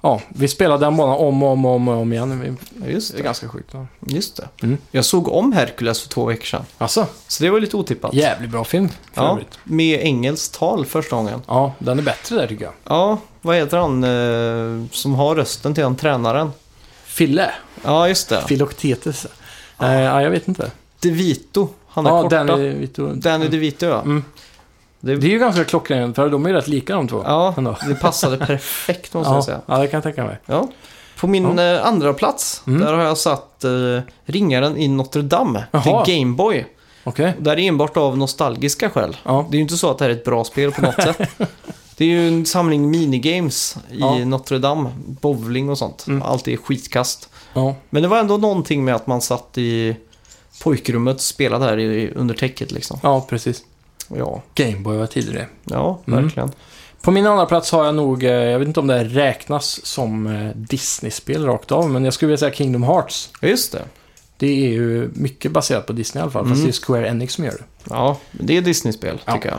[SPEAKER 2] ja, vi spelade den banan om och om och om, och om igen. Vi-
[SPEAKER 1] Ja, just
[SPEAKER 2] Det är
[SPEAKER 1] det.
[SPEAKER 2] ganska sjukt. va?
[SPEAKER 1] Just det.
[SPEAKER 2] Mm.
[SPEAKER 1] Jag såg om Hercules för två veckor sedan.
[SPEAKER 2] Alltså,
[SPEAKER 1] Så det var lite otippat.
[SPEAKER 2] jävligt bra film för
[SPEAKER 1] Ja,
[SPEAKER 2] övrigt.
[SPEAKER 1] med engelskt tal första gången.
[SPEAKER 2] Ja, den är bättre där tycker jag.
[SPEAKER 1] Ja, vad heter han eh, som har rösten till den tränaren?
[SPEAKER 2] Fille.
[SPEAKER 1] Ja, just det.
[SPEAKER 2] Filoktetes. Eh, ja, jag vet inte.
[SPEAKER 1] DeVito. Han är
[SPEAKER 2] Ja,
[SPEAKER 1] korta.
[SPEAKER 2] den
[SPEAKER 1] Danny,
[SPEAKER 2] är, vet du,
[SPEAKER 1] DeVito, ja.
[SPEAKER 2] Mm.
[SPEAKER 1] Det,
[SPEAKER 2] Det är ju ganska klockrent, för de är ju rätt lika de två.
[SPEAKER 1] ja,
[SPEAKER 2] Ändå.
[SPEAKER 1] det passade perfekt måste
[SPEAKER 2] Ja,
[SPEAKER 1] jag säga.
[SPEAKER 2] ja, det kan jag tänka mig.
[SPEAKER 1] Ja. På min eh, andra plats
[SPEAKER 2] Mm.
[SPEAKER 1] där har jag satt eh, Ringaren i Notre Dame
[SPEAKER 2] Jaha.
[SPEAKER 1] till Gameboy.
[SPEAKER 2] Okej.
[SPEAKER 1] Där är enbart av nostalgiska skäl.
[SPEAKER 2] Ja.
[SPEAKER 1] Det är ju inte så att det här är ett bra spel på något sätt. Det är ju en samling minigames i
[SPEAKER 2] Ja.
[SPEAKER 1] Notre Dame. Bowling och sånt.
[SPEAKER 2] Mm.
[SPEAKER 1] Allt är skitkast.
[SPEAKER 2] ja.
[SPEAKER 1] Men det var ändå någonting med att man satt i pojkrummet och spelade här i, under täcket liksom.
[SPEAKER 2] Ja, precis.
[SPEAKER 1] Ja,
[SPEAKER 2] Gameboy var tidigare.
[SPEAKER 1] ja
[SPEAKER 2] Mm.
[SPEAKER 1] verkligen.
[SPEAKER 2] På min andra plats har jag nog, eh, jag vet inte om det här räknas som eh, Disney-spel rakt av, men jag skulle vilja säga Kingdom Hearts.
[SPEAKER 1] Ja, just det.
[SPEAKER 2] Det är ju mycket baserat på Disney i alla fall, fast
[SPEAKER 1] Mm.
[SPEAKER 2] det är Square Enix som gör det.
[SPEAKER 1] Ja, men det är Disney-spel
[SPEAKER 2] Ja.
[SPEAKER 1] tycker jag.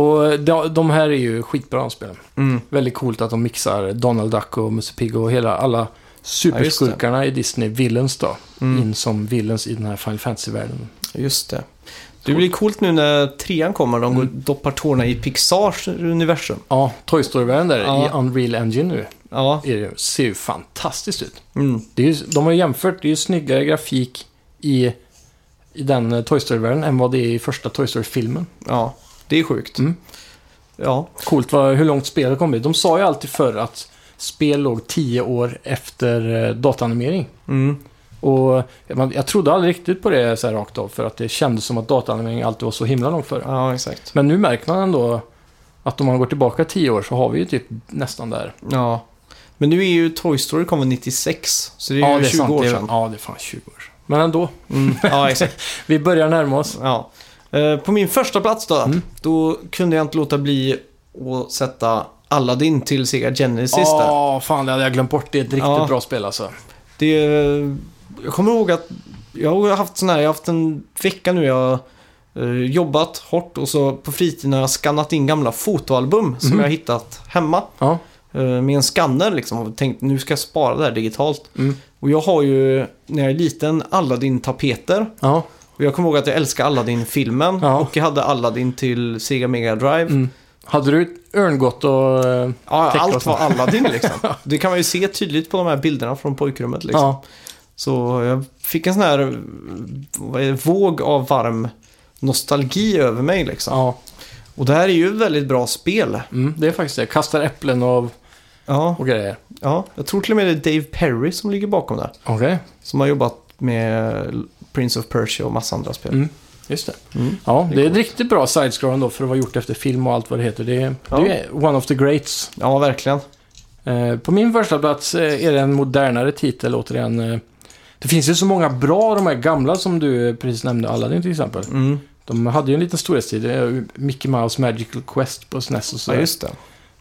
[SPEAKER 2] Och eh, de, de här är ju skitbra de spelen.
[SPEAKER 1] Mm.
[SPEAKER 2] Väldigt coolt att de mixar Donald Duck och Musse Pigg och hela, alla superskurkarna i Disney, villains då,
[SPEAKER 1] Mm.
[SPEAKER 2] in som villains i den här Final Fantasy-världen.
[SPEAKER 1] Just det. Det blir coolt nu när trean kommer. De
[SPEAKER 2] Mm.
[SPEAKER 1] går, doppar tårna i Pixars universum.
[SPEAKER 2] Ja, Toy Story-världen där
[SPEAKER 1] Ja.
[SPEAKER 2] i Unreal Engine nu
[SPEAKER 1] Ja,
[SPEAKER 2] är det, ser ju fantastiskt ut.
[SPEAKER 1] mm.
[SPEAKER 2] Det är ju, de har ju jämfört, det är ju snyggare grafik i, i den eh, Toy Story-världen än vad det är i första Toy Story-filmen.
[SPEAKER 1] ja det är sjukt.
[SPEAKER 2] Mm.
[SPEAKER 1] Ja,
[SPEAKER 2] Coolt vad, hur långt spelet kom blivit. De sa ju alltid förr att spel låg tio år efter eh, dataanimering.
[SPEAKER 1] mm.
[SPEAKER 2] Och man, jag trodde aldrig riktigt på det så här rakt av för att det kändes som att dataanimering alltid var så himla långt före.
[SPEAKER 1] ja exakt.
[SPEAKER 2] Men nu märker man ändå att om man går tillbaka tio år så har vi ju typ nästan där.
[SPEAKER 1] Ja. Men nu är ju Toy Story kommer 96, så det är ju 20
[SPEAKER 2] sant.
[SPEAKER 1] år
[SPEAKER 2] Det är-
[SPEAKER 1] sedan.
[SPEAKER 2] Ja, det är fan 20 år sedan. Men ändå,
[SPEAKER 1] Mm. Ja, exakt.
[SPEAKER 2] vi börjar närma oss.
[SPEAKER 1] Ja. Eh, På min första plats då,
[SPEAKER 2] Mm.
[SPEAKER 1] då kunde jag inte låta bli att sätta Aladdin till Sega Genesis där.
[SPEAKER 2] Ja, fan det hade jag glömt bort. Det är ett riktigt
[SPEAKER 1] Ja.
[SPEAKER 2] bra spel alltså.
[SPEAKER 1] Det, eh, jag kommer ihåg att jag har haft sån här, jag har haft en vecka nu jag eh, jobbat hårt och så på fritiden har jag skannat in gamla fotoalbum som
[SPEAKER 2] Mhm.
[SPEAKER 1] jag har hittat hemma
[SPEAKER 2] Ja.
[SPEAKER 1] eh, med en skanner liksom och tänkt nu ska jag spara det här digitalt.
[SPEAKER 2] Mm.
[SPEAKER 1] Och jag har ju när jag är liten Aladdin-tapeter
[SPEAKER 2] Ja.
[SPEAKER 1] och jag kommer ihåg att jag älskar Aladdin-filmen
[SPEAKER 2] Ja.
[SPEAKER 1] och jag hade Aladdin till Sega Mega Drive.
[SPEAKER 2] Mm. Hade du örngott och... eh,
[SPEAKER 1] Ja,
[SPEAKER 2] täcka och
[SPEAKER 1] allt var
[SPEAKER 2] sånt.
[SPEAKER 1] Aladdin liksom. Det kan man ju se tydligt på de här bilderna från pojkrummet liksom.
[SPEAKER 2] Ja.
[SPEAKER 1] Så jag fick en sån här eh, vad är det, våg av varm nostalgi över mig liksom.
[SPEAKER 2] ja.
[SPEAKER 1] Och det här är ju ett väldigt bra spel.
[SPEAKER 2] Mm, det är faktiskt det. Kastar äpplen och,
[SPEAKER 1] Ja,
[SPEAKER 2] och grejer.
[SPEAKER 1] ja, jag tror till och med det är Dave Perry som ligger bakom det.
[SPEAKER 2] Okej.
[SPEAKER 1] Som har jobbat med Prince of Persia och massa andra spel.
[SPEAKER 2] Mm. Just det.
[SPEAKER 1] Mm.
[SPEAKER 2] Ja,
[SPEAKER 1] Det är
[SPEAKER 2] det är ett riktigt bra sidescroll då för att vara gjort efter film och allt vad det heter. Det är,
[SPEAKER 1] Ja.
[SPEAKER 2] det är one of the greats.
[SPEAKER 1] Ja, verkligen.
[SPEAKER 2] Eh, på min första plats eh, är det en modernare titel återigen. Eh, det finns ju så många bra, de här gamla som du eh, precis nämnde, Aladdin till exempel.
[SPEAKER 1] Mm.
[SPEAKER 2] De hade ju en liten storhetstid, eh, Mickey Mouse Magical Quest på SNES och
[SPEAKER 1] Ja,
[SPEAKER 2] sådär.
[SPEAKER 1] just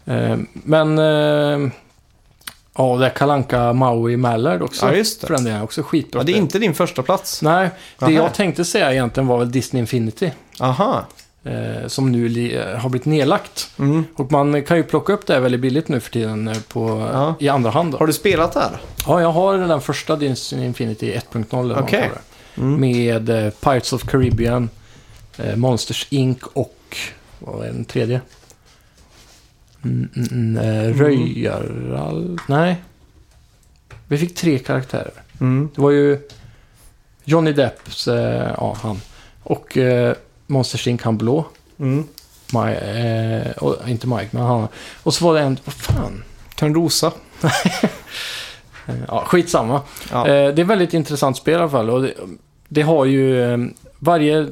[SPEAKER 1] det.
[SPEAKER 2] Eh, men... Eh, ja, det är Kalanka Maui Mallard också.
[SPEAKER 1] Ja, just
[SPEAKER 2] För
[SPEAKER 1] det.
[SPEAKER 2] den delen också. Skitbra
[SPEAKER 1] Ja, det är
[SPEAKER 2] spel.
[SPEAKER 1] inte din första plats.
[SPEAKER 2] Nej, det
[SPEAKER 1] Aha.
[SPEAKER 2] jag tänkte säga egentligen var väl Disney Infinity.
[SPEAKER 1] Aha.
[SPEAKER 2] Eh, som nu li- eh, har blivit nedlagt.
[SPEAKER 1] Mm.
[SPEAKER 2] Och man kan ju plocka upp det här väldigt billigt nu för tiden eh, på,
[SPEAKER 1] Ja.
[SPEAKER 2] i andra hand. Då.
[SPEAKER 1] Har du spelat där?
[SPEAKER 2] Ja, jag har den första Disney Infinity 1.0. eller vad man
[SPEAKER 1] Okej.
[SPEAKER 2] kallar det.
[SPEAKER 1] Mm.
[SPEAKER 2] Med eh, Pirates of Caribbean, eh, Monsters Inc och... Vad är den tredje? Mm, mm, mm, eh, Röjaral... Nej. Vi fick tre karaktärer.
[SPEAKER 1] Mm.
[SPEAKER 2] Det var ju Johnny Depps, eh, ja han. Och eh, Monsters Inc han blå.
[SPEAKER 1] Mm.
[SPEAKER 2] My, eh, och, inte Mike, men han. Och så var det en, vad fan?
[SPEAKER 1] Törnrosa.
[SPEAKER 2] Eh, Ja, skitsamma.
[SPEAKER 1] Ja.
[SPEAKER 2] Eh, det är väldigt intressant spel i alla fall. Och det, det har ju eh, varje...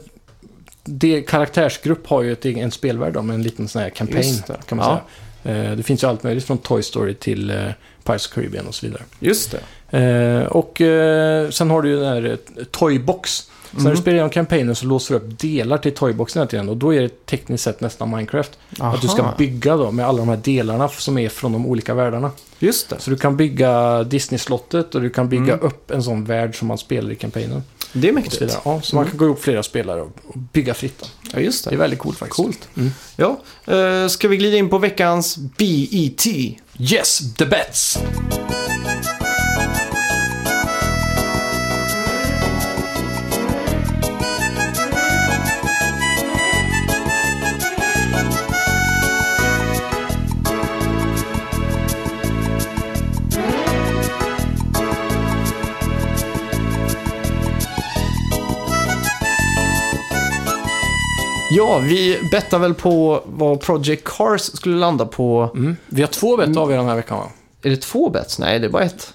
[SPEAKER 2] Det, karaktärsgrupp har ju ett, egen- en spelvärld då, med en liten sån här campaign.
[SPEAKER 1] Just det.
[SPEAKER 2] Kan man
[SPEAKER 1] Ja.
[SPEAKER 2] säga. Eh, det finns ju allt möjligt från Toy Story till eh, Pirates of the Caribbean och så vidare.
[SPEAKER 1] Just det.
[SPEAKER 2] Eh, och eh, sen har du ju den här eh, Toybox. Så när du
[SPEAKER 1] Mm.
[SPEAKER 2] spelar igenom kampanjen så låser du upp delar till Toyboxen hela tiden och då är det tekniskt sett nästan Minecraft. Att du ska
[SPEAKER 1] Aha.
[SPEAKER 2] bygga då med alla de här delarna f- som är från de olika världarna.
[SPEAKER 1] Just det.
[SPEAKER 2] Så du kan bygga Disney-slottet och du kan bygga
[SPEAKER 1] Mm.
[SPEAKER 2] upp en sån värld som man spelar i kampanjen.
[SPEAKER 1] Det är
[SPEAKER 2] Och så,
[SPEAKER 1] mäktigt.
[SPEAKER 2] vidare. Ja, så man kan gå ihop flera spelare och och bygga fritt. Då.
[SPEAKER 1] Ja, just det.
[SPEAKER 2] Det är väldigt coolt faktiskt.
[SPEAKER 1] Coolt.
[SPEAKER 2] Mm.
[SPEAKER 1] Ja, eh, ska vi glida in på veckans E BET?
[SPEAKER 2] Yes, the bets!
[SPEAKER 1] Ja, vi bettar väl på vad Project Cars skulle landa på.
[SPEAKER 2] Mm. Vi har två bett av er den här veckan va?
[SPEAKER 1] Är det två bets? Nej, det är bara ett.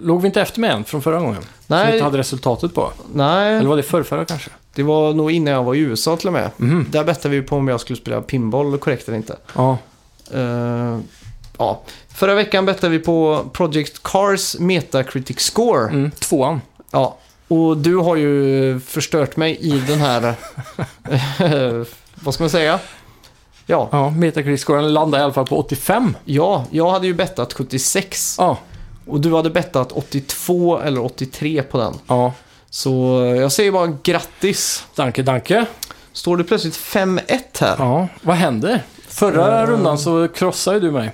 [SPEAKER 2] Låg vi inte efter med en från förra gången? Som vi
[SPEAKER 1] Nej,
[SPEAKER 2] inte hade resultatet på? Eller
[SPEAKER 1] nej,
[SPEAKER 2] var det förrförra kanske?
[SPEAKER 1] det var nog innan jag var i USA till och med.
[SPEAKER 2] Mhm.
[SPEAKER 1] Där bettade vi på om jag skulle spela pinball korrekt eller inte.
[SPEAKER 2] Ja.
[SPEAKER 1] Eh, ja. Förra veckan bettade vi på Project Cars Metacritic Score.
[SPEAKER 2] Mm, tvåan.
[SPEAKER 1] Ja, och du har ju förstört mig i den här... eh, vad ska man säga? Ja,
[SPEAKER 2] Ja, Metacritic-scoren landar i alla fall på 85.
[SPEAKER 1] ja, jag hade ju bettat 76
[SPEAKER 2] Ja.
[SPEAKER 1] och du hade bettat 82 eller 83 på den.
[SPEAKER 2] Ja.
[SPEAKER 1] Så eh, jag säger bara grattis.
[SPEAKER 2] Danke, danke.
[SPEAKER 1] Står det plötsligt 5-1 här? Ja,
[SPEAKER 2] Ja. Vad händer? Förra
[SPEAKER 1] Eh.
[SPEAKER 2] rundan så krossade du mig.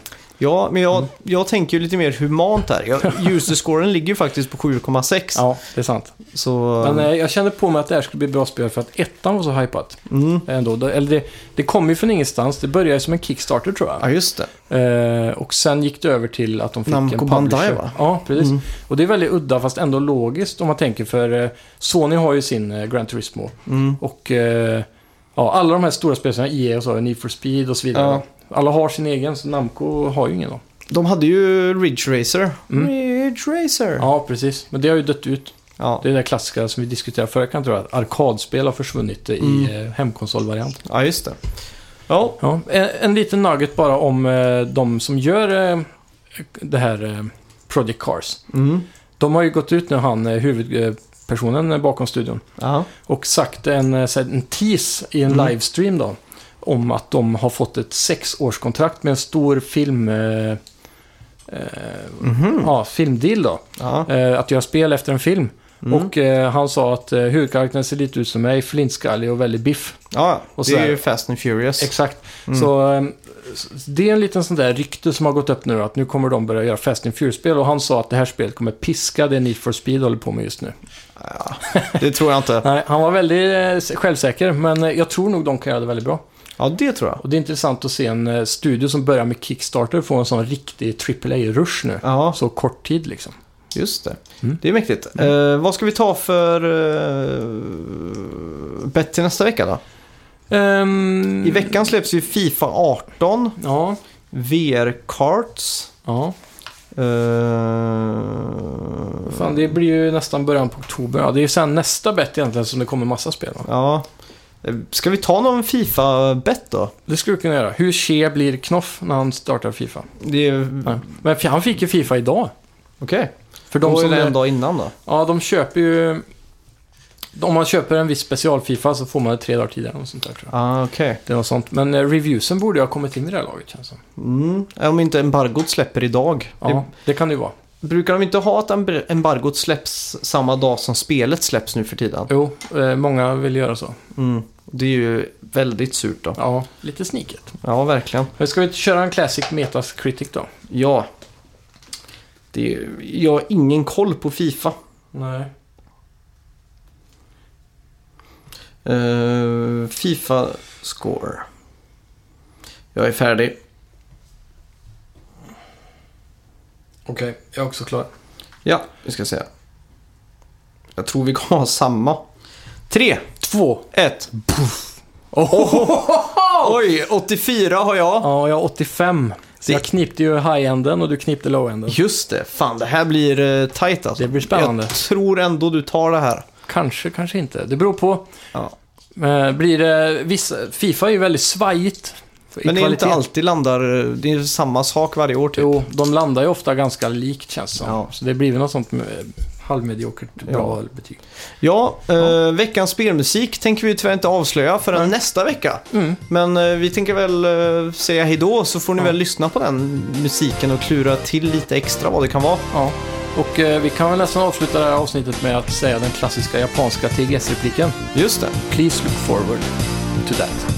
[SPEAKER 1] men jag,
[SPEAKER 2] Mm.
[SPEAKER 1] jag tänker ju lite mer humant här. Jag, user-scoren ligger ju faktiskt på 7,6.
[SPEAKER 2] Ja, det är sant.
[SPEAKER 1] Så...
[SPEAKER 2] Men eh, jag kände på mig att det här skulle bli bra spel för att ettan var så hypat.
[SPEAKER 1] mm.
[SPEAKER 2] Ändå. Det- Eller det, det kom ju från ingenstans. Det började som en Kickstarter tror jag.
[SPEAKER 1] Ja, just det.
[SPEAKER 2] Eh, och sen gick det över till att de fick
[SPEAKER 1] Namco
[SPEAKER 2] en publisher.
[SPEAKER 1] Bandai, va?
[SPEAKER 2] Ja, precis.
[SPEAKER 1] Mm.
[SPEAKER 2] Och det är väldigt udda fast ändå logiskt om man tänker för eh, Sony har ju sin eh, Gran Turismo.
[SPEAKER 1] Mm.
[SPEAKER 2] Och eh, ja, alla de här stora spelsarna, EA och så, Need for Speed och så vidare.
[SPEAKER 1] Ja.
[SPEAKER 2] Alla har sin egen, så Namco har ju ingen då.
[SPEAKER 1] De hade ju Ridge Racer.
[SPEAKER 2] Mm.
[SPEAKER 1] Ridge Racer!
[SPEAKER 2] Ja, precis. Men det har ju dött ut.
[SPEAKER 1] Ja.
[SPEAKER 2] Det är det klassiska som vi diskuterade förra kan jag tro att arkadspel har försvunnit
[SPEAKER 1] Mm.
[SPEAKER 2] i eh, hemkonsolvariant.
[SPEAKER 1] ja, just det. Ja,
[SPEAKER 2] Ja, en, en liten nugget bara om eh, de som gör eh, det här eh, Project Cars.
[SPEAKER 1] Mm.
[SPEAKER 2] De har ju gått ut nu, han eh, huvudpersonen eh, bakom studion.
[SPEAKER 1] Aha.
[SPEAKER 2] och sagt en, eh, så här, en tease i en
[SPEAKER 1] Mm.
[SPEAKER 2] livestream då. Om att de har fått ett sexårskontrakt med en stor film... Eh, eh, Ja, filmdeal då.
[SPEAKER 1] Mhm. Ja.
[SPEAKER 2] Eh, att göra spel efter en film. Och eh, han sa att eh, huvudkaraktären ser lite ut som mig, flintskallig och väldigt biff.
[SPEAKER 1] ja,
[SPEAKER 2] Och
[SPEAKER 1] det är
[SPEAKER 2] sådär.
[SPEAKER 1] ju Fast and Furious.
[SPEAKER 2] Exakt. Så eh, s- det är en liten sån där rykte som har gått upp nu att nu kommer de börja göra Fast and Furious-spel. Och han sa att det här spelet kommer piska det Need for Speed håller på med just nu.
[SPEAKER 1] det tror jag inte.
[SPEAKER 2] Nej, han var väldigt eh, s- självsäker, men eh, jag tror nog de kan göra det väldigt bra.
[SPEAKER 1] Ja, det tror jag.
[SPEAKER 2] Och det är intressant att se en eh, studio som börjar med Kickstarter få en sån riktig AAA-rush nu.
[SPEAKER 1] Ja,
[SPEAKER 2] Så kort tid liksom.
[SPEAKER 1] just det.
[SPEAKER 2] Mm.
[SPEAKER 1] Det är mäktigt. Eh, vad ska vi ta för eh, bett till nästa vecka då?
[SPEAKER 2] Ehm,
[SPEAKER 1] I veckan släpps ju Fifa 18,
[SPEAKER 2] Ja,
[SPEAKER 1] VR Karts.
[SPEAKER 2] ja.
[SPEAKER 1] eh,
[SPEAKER 2] Fan, det blir ju nästan början på oktober. Ja, det är ju sen nästa bet egentligen som det kommer massa spel. va?
[SPEAKER 1] ja. Eh, Ska vi ta någon Fifa-bett då?
[SPEAKER 2] Det skulle vi kunna göra. Hur che blir Knoff när han startar Fifa?
[SPEAKER 1] Det är...
[SPEAKER 2] Ja. Men f- han fick ju Fifa idag.
[SPEAKER 1] Okej.
[SPEAKER 2] För de
[SPEAKER 1] Då är
[SPEAKER 2] som...
[SPEAKER 1] det en dag innan då.
[SPEAKER 2] Ja, de köper ju... Om man köper en viss special-Fifa så får man det tre dagar tidigare. Och sånt där, tror jag.
[SPEAKER 1] Ah, okej.
[SPEAKER 2] Det är något sånt. Men eh, reviewsen borde ju ha kommit in i det här laget känns det som.
[SPEAKER 1] Mm. Om inte embargot släpper idag.
[SPEAKER 2] Ja, det kan det ju vara.
[SPEAKER 1] Brukar de inte ha att emb- embargot släpps samma dag som spelet släpps nu för tiden?
[SPEAKER 2] Jo, eh, många vill göra så.
[SPEAKER 1] Mm. Det är ju väldigt surt då.
[SPEAKER 2] Ja, lite sniket.
[SPEAKER 1] Ja, verkligen.
[SPEAKER 2] Men Ska vi köra en classic Metacritic då?
[SPEAKER 1] Ja. Det är, ju- jag har ingen koll på Fifa.
[SPEAKER 2] Nej.
[SPEAKER 1] Eh, Fifa score. Jag är färdig.
[SPEAKER 2] Okej, jag är också klar.
[SPEAKER 1] Ja, vi ska se. Jag tror vi kommer ha samma. 3,
[SPEAKER 2] Två.
[SPEAKER 1] 1.
[SPEAKER 2] Okej,
[SPEAKER 1] Oj, 84 har jag.
[SPEAKER 2] Ja, jag har 85. Så
[SPEAKER 1] Det-
[SPEAKER 2] jag knipte ju high-enden och du knipte low-enden.
[SPEAKER 1] Just det, fan det här blir eh, tight alltså.
[SPEAKER 2] Det blir spännande.
[SPEAKER 1] Jag tror ändå du tar det här.
[SPEAKER 2] Kanske, kanske inte. Det beror på.
[SPEAKER 1] Ja.
[SPEAKER 2] Eh, Blir det, vissa, Fifa är ju väldigt svajigt. i
[SPEAKER 1] Men det är inte
[SPEAKER 2] kvalitet.
[SPEAKER 1] alltid landar, eh, det är samma sak varje år typ.
[SPEAKER 2] Jo, de landar ju ofta ganska likt känns det som.
[SPEAKER 1] Ja.
[SPEAKER 2] Så det blir väl något sånt med halvmediokert bra betyg.
[SPEAKER 1] Ja, eh, veckans spelmusik tänker vi tyvärr inte avslöja förrän nästa vecka.
[SPEAKER 2] Mm.
[SPEAKER 1] Men eh, vi tänker väl eh, säga hejdå så får ni
[SPEAKER 2] Ja.
[SPEAKER 1] väl lyssna på den musiken och klura till lite extra vad det kan vara.
[SPEAKER 2] Ja. Och eh, vi kan väl nästan avsluta det här avsnittet med att säga den klassiska japanska TGS-repliken.
[SPEAKER 1] Just det.
[SPEAKER 2] Please look forward to that.